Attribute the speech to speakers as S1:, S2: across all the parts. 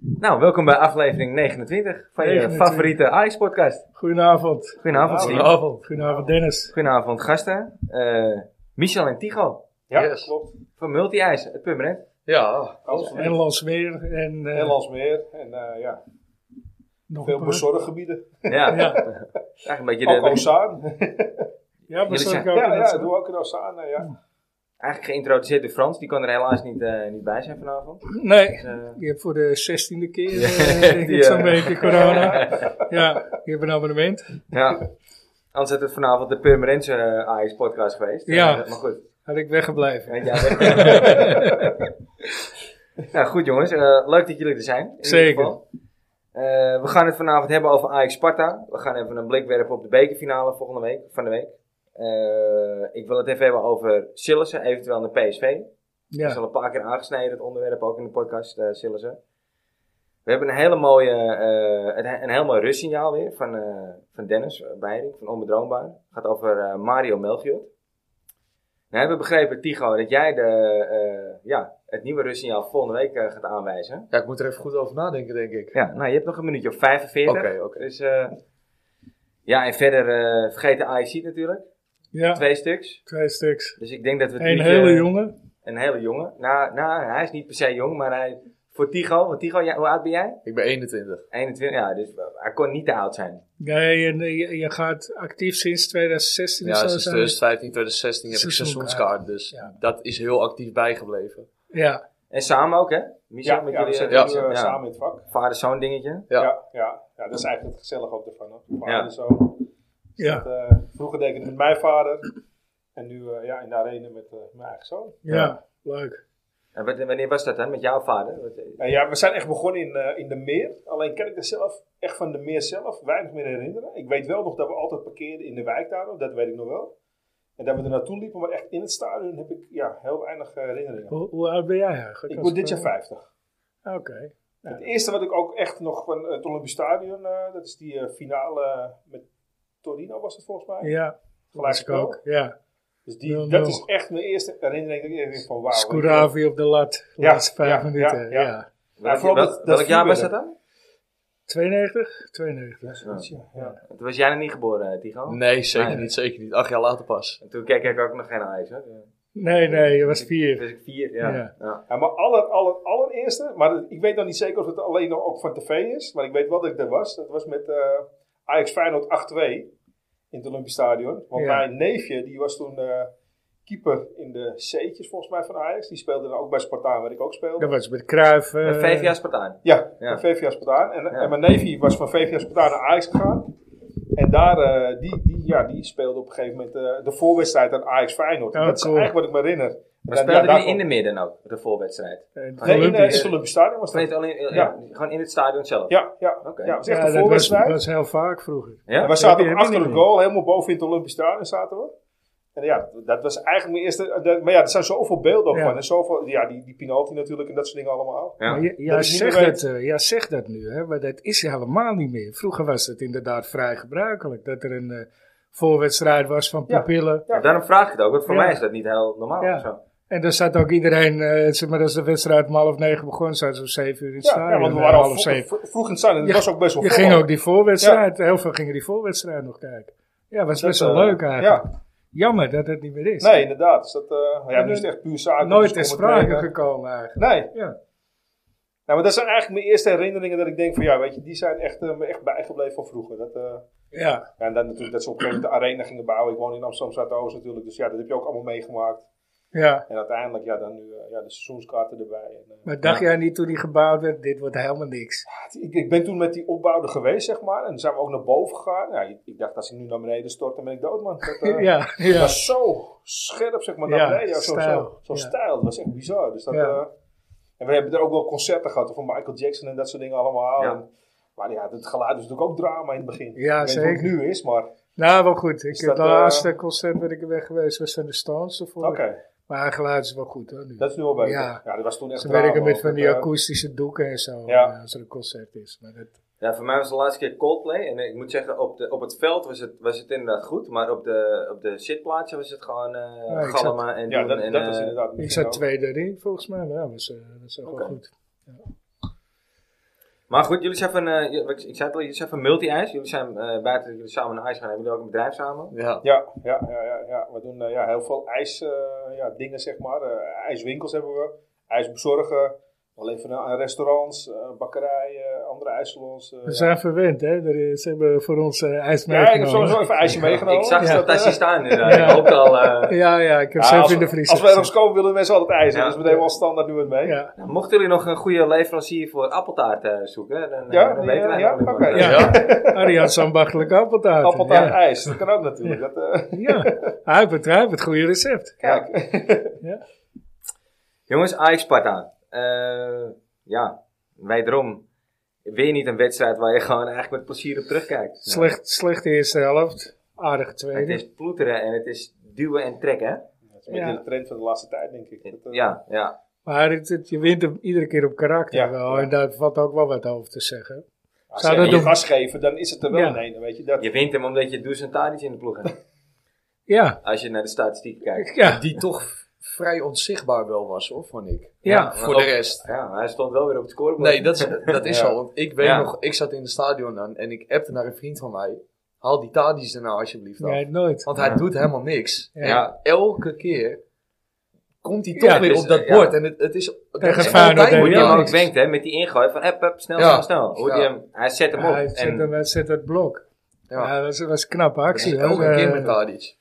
S1: Nou, welkom bij aflevering 29 van je
S2: 29.
S1: favoriete Ajax-podcast.
S2: Goedenavond.
S1: Goedenavond, Steve.
S3: Goedenavond.
S2: Goedenavond Dennis.
S1: Goedenavond, gasten. Eh, Michel en Tigo
S3: Ja, Yes.
S4: klopt.
S1: van Multi-Ice, het Pummerend.
S3: Ja,
S4: Alles van
S2: Nederlands meer en eh,
S4: Nederlands meer en eh, ja,
S2: nog een
S4: veel
S2: paar.
S4: bezorggebieden.
S1: Ja,
S2: Ja,
S1: eigenlijk een beetje de-
S4: Ook Ozaan.
S2: ja bezorg
S1: zijn-
S2: ook
S4: ja,
S2: in
S4: ja,
S2: het-
S4: doe ook in Ozaan. eh, Ja.
S1: eigenlijk geïntroduceerd door Frans, die kon er helaas niet, eh, niet bij zijn vanavond.
S2: Nee,
S1: Dus, eh,
S2: je hebt voor de zestiende keer
S1: Ja,
S2: eh, denk
S1: die,
S2: ik zo'n
S1: eh,
S2: beetje corona. Ja, je hebt een abonnement.
S1: ja, anders had het vanavond de Purmerendse Ajax-podcast geweest.
S2: Ja.
S1: Eh, maar goed.
S2: Had ik weggebleven.
S1: Weet jij- nou goed jongens, Eh, leuk dat jullie er zijn. in ieder
S2: Zeker.
S1: geval. Eh, we gaan het vanavond hebben over Ajax Sparta. We gaan even een blik werpen op de bekerfinale volgende week, van de week. Eh, ik wil het even hebben over Sillissen, eventueel naar PSV. Dat is
S2: Ja,
S1: al een paar keer aangesneden, het onderwerp ook in de podcast, eh Sillissen. We hebben een, hele mooie, eh, het- een heel mooi rustsignaal weer van, eh, van Dennis Beiring, van Onbedroombaar. Het gaat over eh, Mario Melchior. Nou, hebben we begrepen, Tigo, dat jij de, eh, ja, het nieuwe rustsignaal volgende week eh, gaat aanwijzen.
S3: ja, ik moet er even goed over nadenken, denk ik.
S1: Ja, nou, je hebt nog een minuutje of 45.
S3: Oké, oké.
S1: Dus, eh, ja, en verder eh vergeet de AIC natuurlijk.
S2: ja,
S1: Twee stuks.
S2: twee stuks.
S1: Dus ik denk dat we het
S2: Een
S1: uurtje-
S2: hele jongen.
S1: een hele jongen. Nou, nou, hij is niet per se jong, maar hij, voor Tigo, want Tigo, jij- hoe oud ben jij?
S3: Ik ben 21.
S1: 21, ja, dus hij kon niet te oud zijn.
S2: Nee, en, eh, je, je gaat actief sinds 2016
S3: Ja,
S2: of zo
S3: sinds
S2: zijn.
S3: 2015, 2016 heb ik
S2: eh, Seizoenkaart.
S3: seizoenskaart, dus
S2: Ja.
S3: dat is heel actief bijgebleven.
S2: Ja,
S1: En samen ook, hè? Michel,
S4: Ja,
S1: met
S4: ja, we
S1: jullie
S4: zitten
S1: eh,
S3: ja.
S4: nu, eh, samen in het vak.
S1: vader-zoon dingetje.
S3: Ja.
S4: Ja. Ja, ja. dat is eigenlijk het gezellig ook ervan. Hoor. Vader
S1: Ja.
S4: en zo.
S2: ja,
S4: Dat, eh, vroeger deed ik het met mijn vader en nu eh, ja, in de arena met eh, mijn eigen zoon.
S2: ja, leuk.
S1: En wat- wanneer was dat dan, met jouw vader? Wat- eh,
S4: Nou ja, we zijn echt begonnen in, eh, in de meer. Alleen ken ik er zelf, echt van de meer zelf, weinig meer herinneren. Ik weet wel nog dat we altijd parkeerden in de wijk daar, dat weet ik nog wel. En dat we er naartoe liepen, maar echt in het stadion heb ik ja, heel weinig eh, herinneringen.
S2: Hoe, hoe oud ben jij eigenlijk?
S4: Ik
S2: Als het,
S4: word dit jaar
S2: eh,
S4: 50.
S2: Oké.
S4: Het eerste wat ik ook echt nog van het Olympisch Stadion, eh, dat is die eh, finale met Torino was het volgens mij.
S2: Ja,
S4: Gelijk
S2: was ik ook. Ja.
S4: Dus die,
S2: 0-0.
S4: dat is echt mijn eerste herinnering dat ik echt denk van wauw.
S2: Scoravi op de lat, de
S4: Ja,
S2: laatste vijf
S4: ja,
S2: minuten. Ja,
S4: ja, ja.
S1: Welk,
S4: vooral
S1: wel-
S4: dat- dat
S1: welk jaar was dat
S4: vuurwerk.
S1: dan?
S2: 92? 92.
S4: Ja, zoiets, ja. Ja.
S1: Toen was jij nog niet geboren, eh,
S2: Oh.
S1: Tigo.
S3: Nee, zeker
S1: Nee.
S3: niet, zeker niet. Acht jaar later pas.
S1: En toen keek ik ook nog geen ijs, hè?
S2: Nee, nee, je was
S1: Toen
S2: vier.
S1: was ik vier, ja.
S2: Ja.
S1: Ja.
S4: Ja, maar aller, aller, allereerste, maar dat- ik weet nog niet zeker of het alleen nog ook van tv is, maar ik weet wel dat ik er was. Dat was met eh Ajax Feyenoord 8-2 in het Olympisch Stadion. Want
S2: Ja.
S4: mijn neefje, die was toen eh, keeper in de C'tjes volgens mij van Ajax. Die speelde dan ook bij Spartaan, waar ik ook speelde.
S2: Dat was met Cruijff. eh,
S1: Met vijf jaar Spartaan.
S4: Ja,
S1: Ja.
S4: van VVA Spartaan. En,
S1: Ja.
S4: en mijn neefje was van VVA Spartaan naar Ajax gegaan. En daar, eh, die, die, ja, die speelde op een gegeven moment eh, de voorwedstrijd aan Ajax Feyenoord.
S2: Oh,
S4: dat is
S2: cool.
S4: eigenlijk wat ik me herinner.
S1: Maar
S4: En dan-
S1: speelde
S4: ja,
S1: die
S4: daarvan-
S1: in de midden ook, de voorwedstrijd?
S2: eh, het
S4: Nee, in, eh, in
S2: Olympisch.
S4: het Olympisch Stadion was
S1: Of niet
S4: dat.
S1: alleen, eh,
S4: Ja.
S1: gewoon in het stadion zelf?
S4: Ja, ja.
S1: Oké.
S4: ja het was
S2: Ja,
S4: echt
S2: dat
S4: de
S2: was,
S4: voorwedstrijd.
S2: was heel vaak vroeger.
S1: Ja?
S4: En we
S2: heb je-
S4: zaten
S2: heb
S4: ook
S2: je
S4: achter
S2: niet
S4: de goal, helemaal boven in het Olympisch Stadion zaten we. En ja, dat was eigenlijk mijn eerste... dat- maar ja, er zijn zoveel beelden ook
S2: Ja.
S4: van. En zoveel, ja, die, die penalty natuurlijk en dat soort dingen allemaal.
S1: Ja.
S2: Maar j- ja,
S4: Dat ik niet
S2: zeg
S4: meer
S2: dat, eh, ja, zeg dat nu, hè, maar dat is helemaal niet meer. Vroeger was het inderdaad vrij gebruikelijk dat er een eh, voorwedstrijd was van
S4: Ja.
S2: pupillen.
S4: Ja.
S1: Daarom vraag ik het ook, want voor
S2: Ja.
S1: mij is dat niet heel normaal.
S2: Ja.
S1: of Zo.
S2: En daar zat ook iedereen, eh zeg maar als de wedstrijd om half negen begon, zaten ze om zeven uur in het
S4: Ja,
S2: stadion.
S4: ja, want we
S2: eh,
S4: waren al
S2: half
S4: vro-
S2: zeven.
S4: vro- vroeg in het stadion. Het
S2: Je-
S4: was ook best wel
S2: Je
S4: vol.
S2: ging ook die voorwedstrijd, heel veel gingen die voorwedstrijd nog kijken. Ja, was best wel
S4: eh,
S2: leuk eigenlijk.
S4: Ja,
S2: Jammer dat het niet meer is.
S4: Nee, inderdaad. Dus dat, eh, ja, nu is het echt puur zaak.
S2: Nooit
S4: dus
S2: ter
S4: om het
S2: sprake
S4: trainen.
S2: gekomen eigenlijk.
S4: Nee.
S2: Ja.
S4: Nou, maar dat zijn eigenlijk mijn eerste herinneringen dat ik denk van ja, weet je, die zijn echt, eh, me echt bijgebleven van vroeger. Dat, eh,
S2: Ja,
S4: ja, en dan natuurlijk dat ze op een gegeven moment de arena gingen bouwen. Ik woon in Amsterdam Zuidoost natuurlijk, dus ja, dat heb je ook allemaal meegemaakt.
S2: ja.
S4: En uiteindelijk, ja, dan nu eh, ja, de seizoenskaarten erbij. En, eh,
S2: Maar dacht jij niet toen die gebouwd werd, dit wordt helemaal niks.
S4: ik, ik ben toen met die opbouw er geweest, zeg maar. En dan zijn we ook naar boven gegaan. Ja, ik, ik dacht, als ik nu naar beneden stort, dan ben ik dood, man. Dat, eh,
S2: ja,
S4: dat
S2: ja.
S4: was zo scherp, zeg maar,
S2: Ja,
S4: naar beneden. Ja, zo
S2: stijl.
S4: zo, zo
S2: Ja.
S4: stijl. Dat was echt bizar. Dus dat,
S2: Ja.
S4: eh, en we hebben er ook wel concerten gehad van Michael Jackson en dat soort dingen allemaal.
S1: Ja.
S4: En- maar ja, het geluid is natuurlijk ook drama in het begin.
S2: Ja,
S4: ik weet niet hoe het
S2: zeker.
S4: nu is, maar...
S2: Nou, wel goed. Ik,
S4: Is
S2: het
S4: dat, eh,
S2: laatste concert waar ik ben geweest was van de Stones ervoor.
S4: Oké,
S2: Maar haar geluid is wel goed hoor nu.
S4: dat is nu wel beter.
S2: Ja.
S4: Ja, dat was toen echt
S2: Ze werken
S4: drama,
S2: met van
S4: want,
S2: die
S4: eh,
S2: akoestische doeken en zo
S4: Ja.
S2: eh, als er een concert is. Maar dat,
S1: Ja, voor mij was de laatste keer Coldplay. En ik moet zeggen, op, de, op het veld was het, was het inderdaad goed. Maar op de, op de zitplaatsen was het gewoon eh
S2: Ja, ik
S1: galmen en
S4: Ja,
S1: doen.
S4: dat,
S1: en,
S4: dat
S1: eh,
S4: was inderdaad...
S2: ik
S4: misschien
S2: zat
S4: ook.
S2: tweede ring volgens mij, maar ja, dat was, eh, dat was ook wel
S1: Oké.
S2: goed.
S1: Maar goed, jullie zijn van, eh, ik, ik zei het al, jullie zijn van multi-ijs. Jullie zijn eh, buiten dat jullie samen een ijs gaan, hebben jullie ook een bedrijf samen.
S3: Ja.
S4: Ja, ja, ja, ja, ja. we doen eh, ja, heel veel ijsdingen, ja, dingen zeg maar. Eh, ijswinkels hebben we, ijsbezorgen, we leveren aan restaurants, eh, bakkerijen, andere ijssalons. eh,
S2: We
S4: ja.
S2: zijn verwend, hè? Er is- Ze hebben voor ons eh ijs
S4: Ja, ik heb
S2: meegenomen.
S4: sowieso even ijsje meegenomen.
S1: Ik zag
S4: Dus
S1: ze
S4: dat, eh,
S1: fantastisch staan inderdaad. Ik hoopte al, eh,
S2: Ja, ja, ik heb
S4: ja,
S2: zelf
S4: als,
S2: in de vriezer.
S4: als we ergens komen willen mensen altijd ijs.
S1: Ja.
S4: Dus we nemen al standaard nu het mee. Ja,
S2: Ja.
S1: nou, mochten jullie nog een goede leverancier voor appeltaart eh, zoeken, dan, eh,
S4: Ja,
S1: dan
S4: die,
S1: weten
S4: eh,
S1: wij
S4: ja,
S1: nog wel
S4: oké.
S1: iemand.
S2: Ja.
S3: Ja.
S2: Arie had zo'n baggerlijk appeltaart.
S4: Appeltaart ijs, dat kan ook natuurlijk. Dat, eh,
S2: Ja. ja. Hij heeft het, hij heeft het goede recept.
S4: kijk.
S1: Jongens, Ajax Sparta. Eh, ja, wederom. Weer niet een wedstrijd waar je gewoon eigenlijk met plezier op terugkijkt.
S2: Slecht, slecht eerste helft. Aardig
S1: Ja. Het
S2: tweede.
S1: is ploeteren en het is duwen en trekken. hè?
S4: Dat is een beetje
S2: Ja.
S4: de trend van de laatste tijd, denk ik. Dat, eh,
S1: Ja, ja.
S2: Maar het, het- je wint hem iedere keer op karakter
S4: Ja,
S2: wel.
S4: ja.
S2: En daar valt ook wel wat over te zeggen.
S4: Als
S2: Zou
S4: ze
S2: dat
S4: je
S2: doen?
S4: gas geven, dan is het er wel
S2: Ja.
S4: een ene, weet je. Dat,
S1: Je wint hem omdat je Dusan Tadic in de ploeg hebt.
S2: Ja,
S1: Als je naar de statistieken kijkt.
S2: ja,
S3: Die toch vrij onzichtbaar wel was, hoor, vond ik.
S2: ja.
S3: Voor de rest.
S1: Ja, hij stond wel weer op het scorebord.
S3: Nee, dat is, dat is
S4: Ja.
S3: zo. Want ik weet
S1: Ja.
S3: nog, ik zat in het stadion dan en ik appte naar een vriend van mij. Haal die Tadis er nou alsjeblieft af.
S2: Nee, nooit.
S3: Want hij
S1: Ja.
S3: doet helemaal niks.
S2: Ja.
S3: En elke keer komt hij toch
S2: Ja,
S3: weer
S1: dus,
S3: op dat
S1: ja.
S3: bord. En het, het is... dat
S2: Tegen
S3: is
S2: Feyenoord
S3: altijd
S2: deed
S1: Hoe die
S2: Ja,
S3: met
S1: hem
S3: Tadic.
S1: ook wenkt, hè, met die ingooi van hup, hup, snel,
S3: Ja.
S1: snel, snel. Hoe die
S3: Ja.
S1: hem, hij zet hem op.
S2: Hij zet,
S1: en,
S2: hem, hij zet het blok. Ja,
S3: Ja.
S2: dat was, was een knappe
S3: Dat is
S2: actie. hoor.
S3: elke keer met
S2: Eh,
S3: Tadic.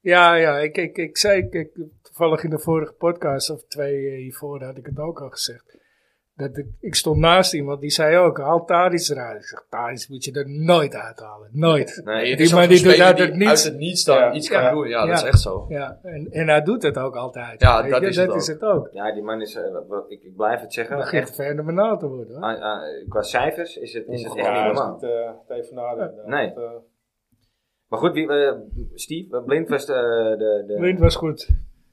S2: Ja, ja, ik, ik, ik zei ik, ik- toevallig in de vorige podcast of twee eh, hiervoor had ik het ook al gezegd. Dat ik, ik stond naast iemand die zei ook, haal Tadis eruit. Ik zeg, Tadis moet je er nooit uithalen. Nooit.
S1: nee,
S3: het
S2: die
S3: is ook
S2: man
S3: zo'n
S2: die doet
S3: speler
S2: uit het niets.
S3: uit het niets dan
S4: Ja.
S3: iets kan
S2: Ja.
S3: doen. Ja, dat
S2: Ja.
S3: is echt zo.
S2: Ja, en, en hij doet het ook altijd.
S3: Ja,
S2: Weet
S3: dat
S2: je,
S3: is het
S2: dat
S3: ook.
S2: is het ook.
S1: ja, die man is, eh, wat- wat- ik, ik blijf het zeggen,
S2: Het
S1: echt,
S2: begint fenomenaal te worden. Hoor.
S1: ah, ah, qua cijfers is het, is het echt
S3: Ja,
S1: niet
S4: Ja, dat is
S1: normaal.
S4: niet eh, het even nadenken.
S1: Nee.
S4: Dat, eh,
S1: Maar goed, wie, eh, Steve, eh, Blind was de, de, de,
S2: Blind was goed.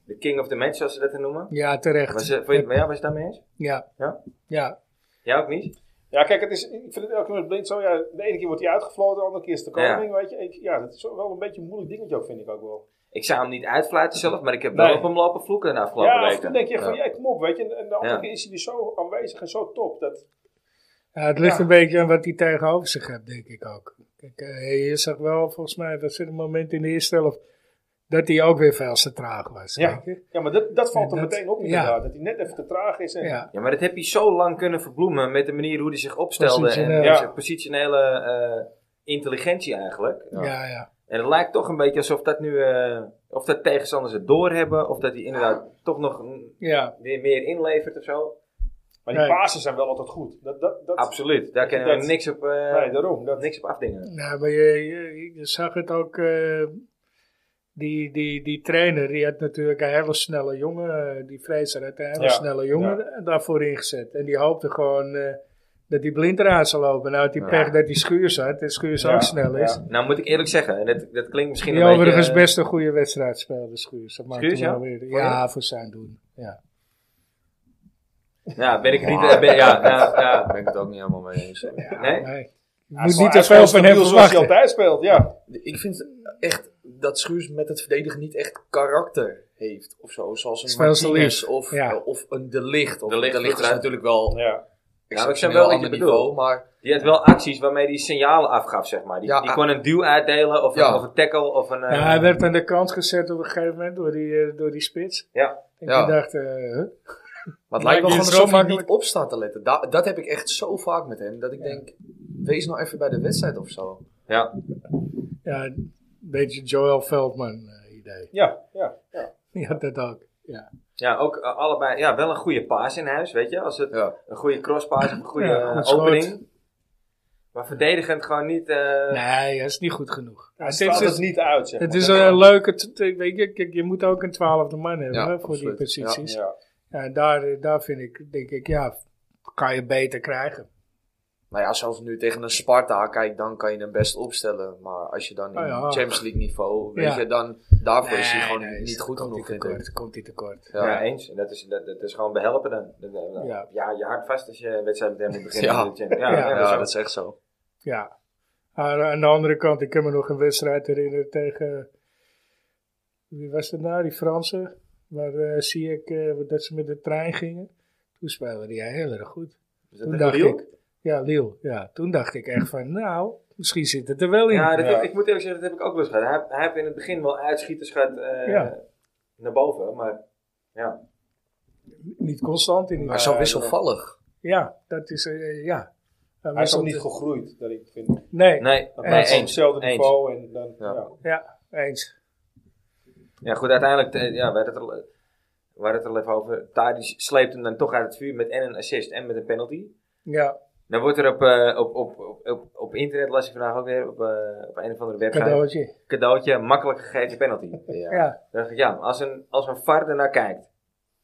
S1: de king of the match, zoals ze dat noemen.
S2: Ja, terecht.
S1: Was, je- vond je, ja, was je daarmee eens?
S2: ja.
S1: Ja?
S2: Ja.
S1: Jij ook niet?
S4: Ja, kijk, het is, ik vind het elke keer met blind zo. Ja, de ene keer wordt hij uitgefloten, de andere keer is de
S1: Ja.
S4: koning, weet je. Ik- ja, dat is wel een beetje een moeilijk dingetje ook, vind ik ook wel.
S1: Ik zou hem niet uitfluiten zelf, maar ik heb wel
S4: Nee.
S1: op hem lopen vloeken de afgelopen
S4: Ja, of
S1: weken.
S4: dan denk je echt van,
S3: Ja.
S4: ja, kom op, weet je. En, en de andere
S1: Ja.
S4: keer is hij weer zo aanwezig en zo top. Dat,
S2: Ja, het ligt
S4: Ja.
S2: een beetje aan wat hij tegenover zich hebt, denk ik ook. Kijk, eh, je zag wel, volgens mij, dat zit een moment in de eerste helft, dat hij ook weer veel te traag was.
S4: Ja.
S2: weet je.
S4: ja, maar dat, dat valt er
S2: Dat-
S4: meteen op
S2: ja.
S4: inderdaad. Dat hij net even te traag is. En,
S2: Ja,
S1: Ja, maar dat heb je zo lang kunnen verbloemen met de manier hoe hij zich opstelde. En,
S2: Positioneel.
S4: Ja.
S1: zijn positionele eh, intelligentie eigenlijk.
S2: ja, ja. ja.
S1: En het lijkt toch een beetje alsof dat nu, eh, of dat tegenstanders het doorhebben, of dat hij inderdaad toch nog een- weer meer inlevert of zo.
S4: Maar die
S2: Nee.
S4: basis zijn wel altijd goed. Dat, dat, dat,
S1: Absoluut, daar
S4: dat-
S1: kunnen we
S4: dat-
S1: niks op, eh,
S4: Nee, daarom. Dat,
S1: niks op afdingen.
S2: Nou, maar je, je, je zag het ook, eh, die, die, die trainer, die had natuurlijk een hele snelle jongen, eh, die Fraser had een hele
S4: Ja.
S2: snelle jongen eh, daarvoor ingezet. En die hoopte gewoon eh, dat die blind eruit zou lopen. Nou, had die
S3: Ja.
S2: pech dat die schuur zat, en schuur
S4: Ja,
S2: ook snel is.
S4: ja.
S1: Nou moet ik eerlijk zeggen, en dat, dat klinkt misschien
S2: Die
S1: een beetje...
S2: overigens
S1: eh,
S2: best een goede wedstrijd speelde, Schuurs. Dat maakt
S1: Schuurs,
S2: hem wel
S1: ja?
S2: weer.
S1: Voor
S2: Ja, voor zijn doen. Ja.
S1: Ja, ben ik het niet... eh, ben- ja, ja,
S3: Daar
S1: ja.
S3: ben ik het ook niet helemaal mee eens. hoor.
S1: Nee?
S2: Nee. Je moet
S4: Hij is wel-
S2: niet
S4: hij
S2: te
S4: is wel
S2: veel van hem
S4: stabiel zoals hij
S2: verwachten.
S4: altijd speelt, ja.
S3: Ik vind echt dat Schuurs met het verdedigen niet echt karakter heeft of zo. Zoals
S2: Het is
S3: een
S2: wel zo
S3: Martinez
S2: lief,
S3: of,
S2: ja.
S3: of een De Ligt. Of
S1: De
S3: de
S1: Ligt
S3: Ligt, is
S1: eruit.
S3: natuurlijk wel
S4: Ja,
S1: Ja, maar ik snap
S3: exceptioneel
S1: wel wat je
S3: ander
S1: bedoelt.
S3: niveau. Maar
S1: Die had wel acties waarmee hij signalen afgaf, zeg maar. Die,
S3: Ja,
S1: die
S3: ah.
S1: kon een duw uitdelen, of, een,
S3: Ja.
S1: of een tackle, of een... eh,
S2: Ja, Nou, hij werd aan de kant gezet op een gegeven moment door die, eh, door die spits.
S1: Ja.
S2: En
S3: Ja.
S2: toen dacht eh, huh?
S3: Maar het
S2: Maar
S3: lijkt wel
S2: die
S3: gewoon
S2: is
S3: alsof
S2: zo
S3: hij niet
S2: makkelijk.
S3: op staat te letten. Da- dat heb ik echt zo vaak met hem. Dat ik denk, wees nou even bij de wedstrijd of zo.
S1: ja.
S2: ja, een beetje Joel Veldman eh, idee.
S4: ja, ja. ja.
S2: Die had dat ook. Ja,
S1: Ja, ook eh, allebei. Ja, wel een goede paas in huis, weet je. Als het
S3: Ja.
S1: een goede crosspaas of een goede
S2: Ja,
S1: eh,
S2: goed schot.
S1: opening. Maar verdedigend gewoon niet. eh,
S2: nee, dat is niet goed genoeg.
S4: Hij
S2: het
S4: straalt
S2: is,
S4: het niet uit, zeg
S2: het
S4: maar.
S2: is
S4: Dat-
S2: een leuke, t- t- weet je, kijk, je moet ook een twaalfde man hebben
S3: Ja,
S2: hè, voor die
S3: absoluut.
S2: posities.
S4: Ja.
S2: Ja, daar, eh, daar vind ik, denk ik, ja, kan je beter krijgen.
S3: Nou ja, zelfs nu tegen een Sparta, kijk, dan kan je hem best opstellen. Maar als je dan in
S2: Ah, ja.
S3: Champions League niveau, weet
S2: Ja.
S3: je, dan daarvoor is hij
S2: Nee,
S3: gewoon
S2: nee,
S3: niet
S2: dan
S3: goed
S2: komt
S3: genoeg,
S2: hij
S3: vind ik.
S2: tekort, Komt hij tekort.
S1: ja.
S3: Ja.
S1: eens. En dat is, dat, dat is gewoon behelpen dan. Dat- dat-
S2: Ja.
S1: ja. je hakt vast als je een wedstrijd met hem moet beginnen.
S3: Ja.
S1: in de Champions-
S2: Ja.
S1: ja, ja,
S3: Ja,
S1: zo.
S3: dat is echt zo.
S2: Ja. Maar aan de andere kant, ik kan me nog een wedstrijd herinneren tegen. Wie was dat nou? Die Fransen. Waar eh, zie ik eh, dat ze met de trein gingen. Toen speelden die heel erg goed.
S1: Is dat tegen
S2: Toen dacht
S1: Lille?
S2: ik. Ja, Liel. Ja, toen dacht ik echt van, nou, misschien zit het er wel in.
S1: Ja, dat
S4: Ja.
S1: heb- ik moet eerlijk zeggen, dat heb ik ook wel eens gehad. Hij, hij heeft in het begin wel uitschieters gehad eh,
S2: Ja.
S1: naar boven, maar ja.
S2: Niet constant in ieder
S3: Maar
S2: geval.
S3: zo wisselvallig.
S2: Ja, dat is, eh, ja. Hij
S4: Hij is
S2: wisselt-
S4: ook niet gegroeid, dat ik vind. Hij
S2: Nee,
S1: Nee,
S4: blijft
S1: nee,
S4: op
S1: eens.
S4: hetzelfde
S1: Eens.
S4: niveau en dan...
S1: Ja.
S4: Ja.
S2: ja, eens.
S1: Ja, goed, uiteindelijk, eh, ja, we hadden het al, we hadden het al even over. Tadic sleept hem dan toch uit het vuur met en een assist en met een penalty.
S2: Ja,
S1: Dan wordt er op, eh, op, op, op, op, op internet, las ik vandaag ook weer, op, eh, op een of andere website,
S2: cadeautje.
S1: cadeautje, makkelijk gegeven penalty.
S2: Ja,
S1: Dan dacht ik, ja, als een, als een VAR ernaar kijkt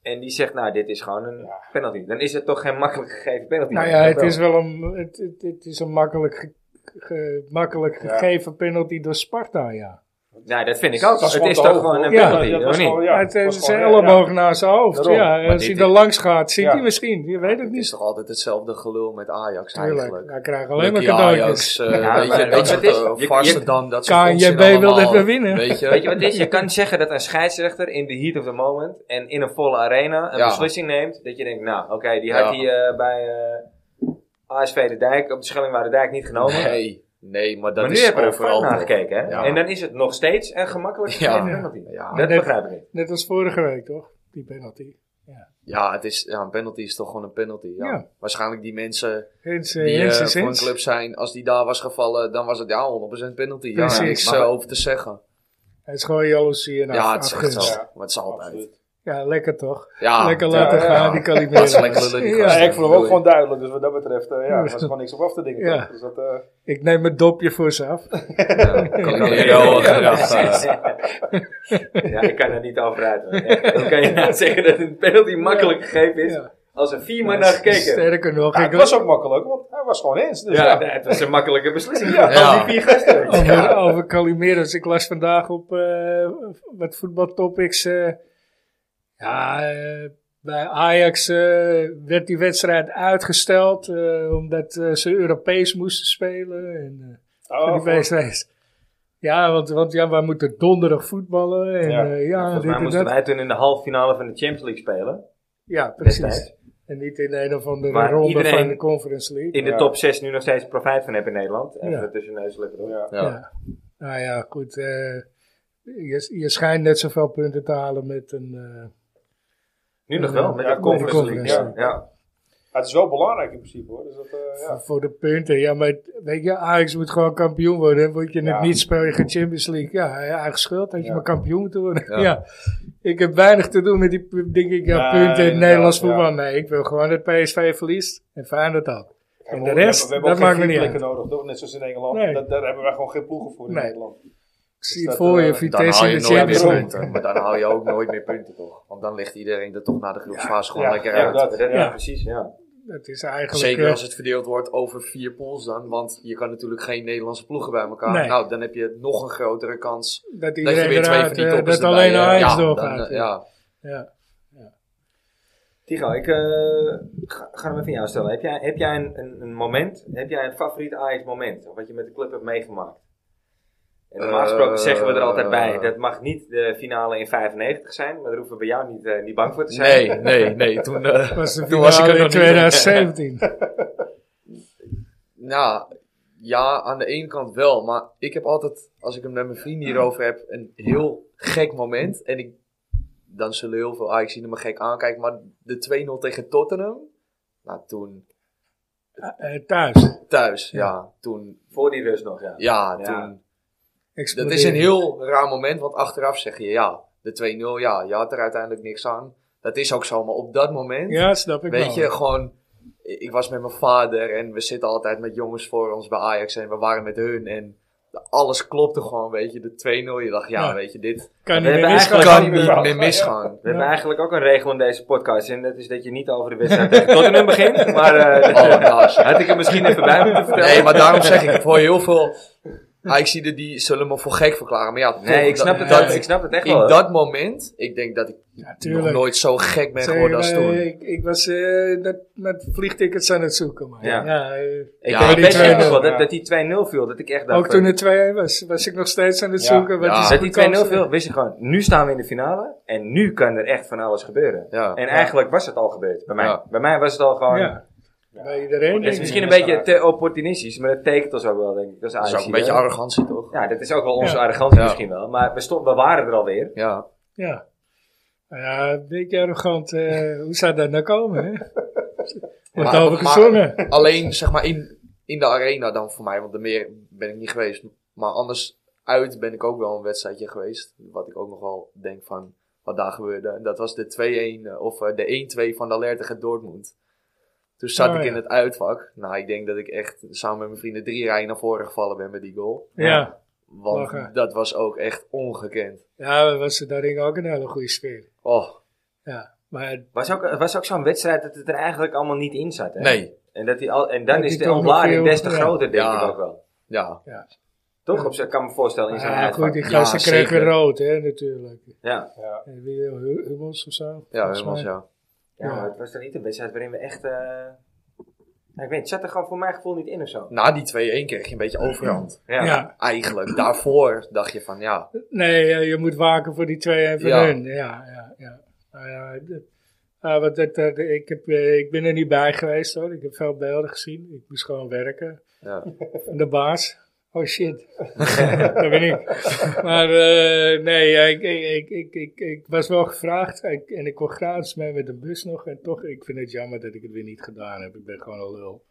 S1: en die zegt, nou, dit is gewoon een
S4: Ja.
S1: penalty, dan is het toch geen makkelijk gegeven penalty.
S2: nou ja, het is wel een, het, het, het is een makkelijk, ge- ge- makkelijk
S4: Ja.
S2: gegeven penalty door Sparta, ja.
S1: Nou, dat vind ik ook.
S4: Het
S1: Het
S4: was gewoon
S1: is
S4: te
S1: toch
S4: hoog,
S1: gewoon
S4: hoor.
S1: een
S2: Ja,
S1: penalty,
S4: dat
S1: of
S4: was
S1: niet?
S4: gewoon- ja,
S2: het
S4: dat was
S2: is zijn
S4: gewoon-
S2: elleboog naar zijn hoofd.
S4: Daarom.
S2: Ja,
S1: Maar
S2: als
S1: dit
S2: hij er
S1: is-
S2: langs gaat, ziet
S4: Ja.
S2: hij misschien. Je weet het
S3: Het is
S2: niet.
S3: toch altijd hetzelfde gelul met Ajax
S2: Tuurlijk,
S3: eigenlijk.
S2: hij krijgt alleen maar
S3: Lucky
S2: cadeautjes.
S3: Ajax, eh,
S1: Ja,
S3: weet
S1: maar
S3: je, weet
S1: het is-
S3: je,
S1: je- je-
S3: eh, Varsterdam, dat soort
S2: KNJB
S3: onzin allemaal.
S2: wilde even winnen.
S3: Weet je,
S1: Weet je wat het is? Je kan zeggen dat een scheidsrechter in the heat of the moment en in een volle arena een
S3: Ja.
S1: beslissing neemt. Dat je denkt, nou oké, die had
S3: Ja.
S1: hij eh, bij eh, ASV De Dijk op de Schellingwoude Dijk niet genomen.
S3: Nee, nee, maar dat
S1: maar nu
S3: is
S1: hebben we er
S3: overal
S1: vooral naar
S3: toch.
S1: gekeken. Hè?
S3: Ja.
S1: En dan is het nog steeds een gemakkelijk
S3: Ja.
S1: gegeven penalty.
S3: Ja.
S1: Dat
S2: Net-
S1: begrijp ik niet.
S2: Net als vorige week, toch? Die penalty.
S3: Ja, het is, ja, een penalty is toch gewoon een penalty. Ja.
S2: Ja.
S3: Waarschijnlijk die mensen
S2: Hens,
S3: die
S2: eh,
S3: eh,
S2: Hens is
S3: voor een
S2: Hens.
S3: club zijn, als die daar was gevallen, dan was het ja 100% penalty. Ja,
S2: Precies.
S3: niks
S1: Maar-
S3: eh, over te zeggen.
S2: Het is gewoon jaloezie en
S3: ja,
S2: af-
S3: het is echt
S2: afgunst.
S3: zo.
S4: Ja.
S3: Maar het is altijd.
S4: Absoluut.
S2: nou. Ja, lekker toch?
S3: Ja,
S2: lekker
S3: ja,
S2: laten
S4: ja,
S2: gaan,
S4: ja.
S2: die kalibreren.
S3: Dat is lekker lullen, die
S2: ja,
S3: gasten.
S4: Ja, ik vond hem ook
S3: Bedoel je?
S4: gewoon duidelijk, dus wat dat betreft eh, ja, was er gewoon niks op af te dingen.
S2: Ja.
S4: toch? Dus dat, eh,
S2: Ik neem mijn dopje voor ze af.
S3: Ja, kan ik heel erg graag, eh,
S1: Ja, ik kan er niet over uit. hoor. Ja, Hoe kan je nou zeggen dat een penalty makkelijk gegeven is
S2: Ja.
S1: als er vier man naar gekeken hebben?
S2: Sterker nog,
S4: ja,
S2: ik
S4: het was ook makkelijk, want hij was gewoon eens. Dus
S1: Ja,
S4: ja.
S1: nee, het was een makkelijke beslissing.
S4: Ja.
S1: Al die vier gasten.
S2: over, over Calimeros. Ik las vandaag op eh, wat voetbaltopics. eh, ja, eh, bij Ajax eh, werd die wedstrijd uitgesteld eh, omdat eh, ze Europees moesten spelen. En, eh,
S4: Oh,
S2: die wedstrijd. Ja, want, want ja, wij moeten donderdag voetballen. En, eh,
S4: Ja.
S2: ja, ja,
S1: Volgens
S2: dit
S1: mij
S2: en
S1: moesten
S2: dat.
S1: wij toen in de halve finale van de Champions League spelen.
S2: ja,
S1: destijds.
S2: precies. En niet in een of andere
S1: Maar
S2: ronde van
S1: iedereen-
S2: de Conference League.
S1: In de
S4: Ja.
S1: top 6 nu nog steeds profijt van hebben in Nederland. En
S2: Ja.
S1: dat tussen neus en lippen door.
S4: ja.
S3: Ja.
S2: Ja. Nou ja, goed. eh, je, je schijnt net zoveel punten te halen met een. eh,
S1: Nu nog wel, met
S4: Ja,
S1: de Conference
S2: met de
S1: League. Ja.
S2: Conference
S1: Ja.
S4: Maar het is wel belangrijk in principe hoor. Dus dat, eh, ja.
S2: Voor de punten. Ja, maar weet je, Ajax moet gewoon kampioen worden. En word je het
S4: Ja.
S2: niet, speel je geen Champions League. Ja, je eigen schuld dat je
S4: Ja.
S2: maar kampioen moet worden. Ja.
S3: Ja.
S2: Ik heb weinig te doen met die, pu- denk ik, ja,
S4: Nee,
S2: punten in het
S4: inderdaad,
S2: Nederlands
S4: ja.
S2: voetbal. Nee, ik wil gewoon dat PSV verliest. En Feyenoord ook. En de
S4: we
S2: rest,
S4: hebben- we
S2: dat
S4: hebben ook geen
S2: maakt me niet
S4: vliegplekken
S2: uit.
S4: nodig, toch? Net zoals in Engeland.
S2: Nee.
S4: Dat, daar hebben wij gewoon geen ploegen voor in
S2: Nee.
S4: Nederland.
S2: Ik zie
S4: dat,
S2: voor je
S4: eh,
S3: Dan
S2: Vitesse
S3: haal
S2: in
S3: je
S2: de
S3: nooit
S2: Champions
S3: meer
S2: League.
S3: punten. Maar dan haal je ook nooit meer punten toch? Want dan ligt iedereen er toch na de groepsfase gewoon
S4: Ja,
S3: lekker
S4: ja,
S3: uit.
S4: dat-
S1: Dat- ja,
S2: Ja.
S1: precies. Ja.
S2: Dat is eigenlijk...
S3: Zeker
S2: eh,
S3: als het verdeeld wordt over vier pools dan. Want je kan natuurlijk geen Nederlandse ploegen bij elkaar.
S2: Nee.
S3: Nou, dan heb je nog een grotere kans
S2: dat
S3: dat je
S2: iedereen
S3: weer twee van
S2: eruit,
S3: die
S2: eh,
S3: toppers
S2: dat
S3: erbij,
S2: alleen
S3: eh,
S2: Ajax
S3: ja, dan,
S2: doorgaat.
S3: eh, ja.
S2: Ja.
S1: Tigo, ik eh, ga, ga hem even aan jou stellen. Heb jij, heb jij een, een, een moment, heb jij een favoriet Ajax moment? Of wat je met de club hebt meegemaakt? En normaal gesproken
S3: Eh,
S1: zeggen we er altijd bij, dat mag niet de finale in 95 zijn. Maar daar hoeven we bij jou niet, eh, niet bang voor te zijn.
S3: Nee, nee, nee. Toen, eh,
S2: Dat was de
S3: toen was ik er
S2: finale
S3: nog
S2: in
S3: niet.
S2: 2017.
S3: Nou, ja, aan de ene kant wel. Maar ik heb altijd, als ik hem met mijn vrienden hierover heb, een heel gek moment. En ik, dan zullen heel veel Ajax me gek aankijken. Maar de 2-0 tegen Tottenham. Nou, toen
S2: Eh, thuis.
S3: thuis.
S2: Ja.
S3: Ja, toen.
S1: Voor die rust nog, ja.
S3: Ja,
S1: Ja.
S3: toen. Dat
S2: Explodeerde.
S3: is een heel raar moment. Want achteraf zeg je ja, de 2-0. Ja, je had er uiteindelijk niks aan. Dat is ook zo. Maar op dat moment.
S2: Ja, snap ik
S3: Weet
S2: wel.
S3: je, gewoon. Ik was met mijn vader en we zitten altijd met jongens voor ons bij Ajax en we waren met hun en alles klopte gewoon, weet je. De 2-0, je dacht, ja,
S2: Ja.
S3: weet je, dit
S2: Kan
S1: We
S2: niet meer
S1: hebben
S2: misgaan.
S1: eigenlijk niet
S3: kan niet
S1: meer
S3: meer,
S4: fout gaan,
S3: misgaan.
S1: We hebben
S2: Ja.
S1: eigenlijk ook een regel in deze podcast. En dat is dat je niet over de wedstrijd tegen Tottenham begint. Maar eh,
S3: Oh, nou, shit.
S1: had ik er misschien even bij moeten vertellen.
S3: Nee, maar daarom zeg ik, voor heel veel ah, Ajaxiden die zullen me voor gek verklaren. Maar ja, toch,
S1: Nee, ik snap
S3: dat-
S1: het,
S3: dat-
S1: ik snap het echt
S3: in
S1: wel.
S3: dat moment, ik denk dat ik
S2: Ja,
S3: nog
S2: tuurlijk.
S3: nooit zo gek ben
S2: Zeg,
S3: geworden als
S2: eh,
S3: toen.
S2: Ik, ik was eh, net met vliegtickets aan het zoeken. Maar,
S1: Ja.
S2: ja. eh,
S1: ik
S3: Ja,
S1: weet
S2: die
S1: best echt
S2: 2-0,
S1: wel dat,
S4: ja.
S1: dat die 2-0 viel. Dat ik echt dacht.
S2: ook
S1: van,
S2: toen het 2 was, was ik nog steeds aan het
S4: Ja.
S2: zoeken. Wat
S3: Ja.
S1: dat
S2: is de
S1: die 2-0
S2: goedkoopste?
S1: viel, wist ik gewoon. Nu staan we in de finale. En nu kan er echt van alles gebeuren.
S3: Ja.
S1: En eigenlijk was het al gebeurd bij mij.
S3: Ja.
S1: Bij mij was het al gewoon.
S2: Ja. bij iedereen.
S1: Het is
S2: denk
S1: misschien een
S2: ik.
S1: beetje te opportunistisch, maar dat tekent ons ook wel, denk ik. Dat is,
S3: Dat is ook
S1: Ajax
S3: een beetje
S1: hier, hè?
S3: arrogantie, toch?
S1: Ja, dat is ook wel onze
S2: Ja.
S1: arrogantie
S3: Ja.
S1: misschien wel. Maar we, stond, we waren er alweer.
S3: Ja.
S2: Ja. Nou ja, een beetje arrogant. eh, hoe zou dat nou komen, hè? Wordt
S3: Maar-
S2: over
S3: maar-
S2: gezongen.
S3: Alleen, zeg maar, in, in de arena dan voor mij. Want de meer ben ik niet geweest. Maar anders, uit ben ik ook wel een wedstrijdje geweest. Wat ik ook nog wel denk van, wat daar gebeurde. En dat was de 2-1, eh, of eh, de 1-2 van de Alert tegen Dortmund. Toen zat
S2: Oh,
S3: ik
S2: ja.
S3: in het uitvak. Nou, ik denk dat ik echt samen met mijn vrienden drie rijen naar voren gevallen ben met die goal.
S2: ja.
S3: Want
S2: Lachen.
S3: dat was ook echt ongekend.
S2: Ja, we was daarin ook een hele goede sfeer.
S3: Oh,
S2: Ja. Maar
S1: Was ook, het was ook zo'n wedstrijd dat het er eigenlijk allemaal niet in zat. Hè?
S3: nee.
S1: En, dat die al, en dan
S2: Dat
S1: is
S2: die
S1: de
S2: toch nog
S1: ontlading
S2: veel-
S1: des te
S2: ja.
S1: groter, denk
S3: Ja.
S1: ik ook wel.
S3: Ja,
S1: Toch? Op, z'n- ik kan me voorstellen in zo'n
S2: ja,
S1: uitvak.
S2: goed, die
S3: Ja,
S2: gasten kregen
S3: zeker.
S2: rood, hè, natuurlijk.
S1: Ja.
S4: Ja.
S2: Eh, Wie wil Hu- Hummels of zo?
S3: ja
S2: Volgens
S3: helemaal
S2: mij.
S3: ja.
S1: ja, maar het was dan niet een wedstrijd waarin we echt... eh, nou, ik weet, het zat er gewoon voor mijn gevoel niet in of zo.
S3: Na die 2-1 kreeg je een beetje overhand.
S1: Ja.
S2: Ja.
S3: Eigenlijk, daarvoor dacht je van, ja,
S2: Nee, eh, je moet waken voor die twee en voor
S3: Ja.
S2: hun. Ja, ja, ja. Nou ja, d- ah, want dat, dat- ik, heb, eh, ik ben er niet bij geweest hoor. Ik heb veel beelden gezien. Ik moest gewoon werken.
S3: Ja.
S2: En de baas. Oh shit. dat ben ik. Maar eh, nee, ja, ik, ik, ik, ik, ik, ik was wel gevraagd. Ik- en ik kon gratis mee met de bus nog. En toch, ik vind het jammer dat ik het weer niet gedaan heb. Ik ben gewoon een lul.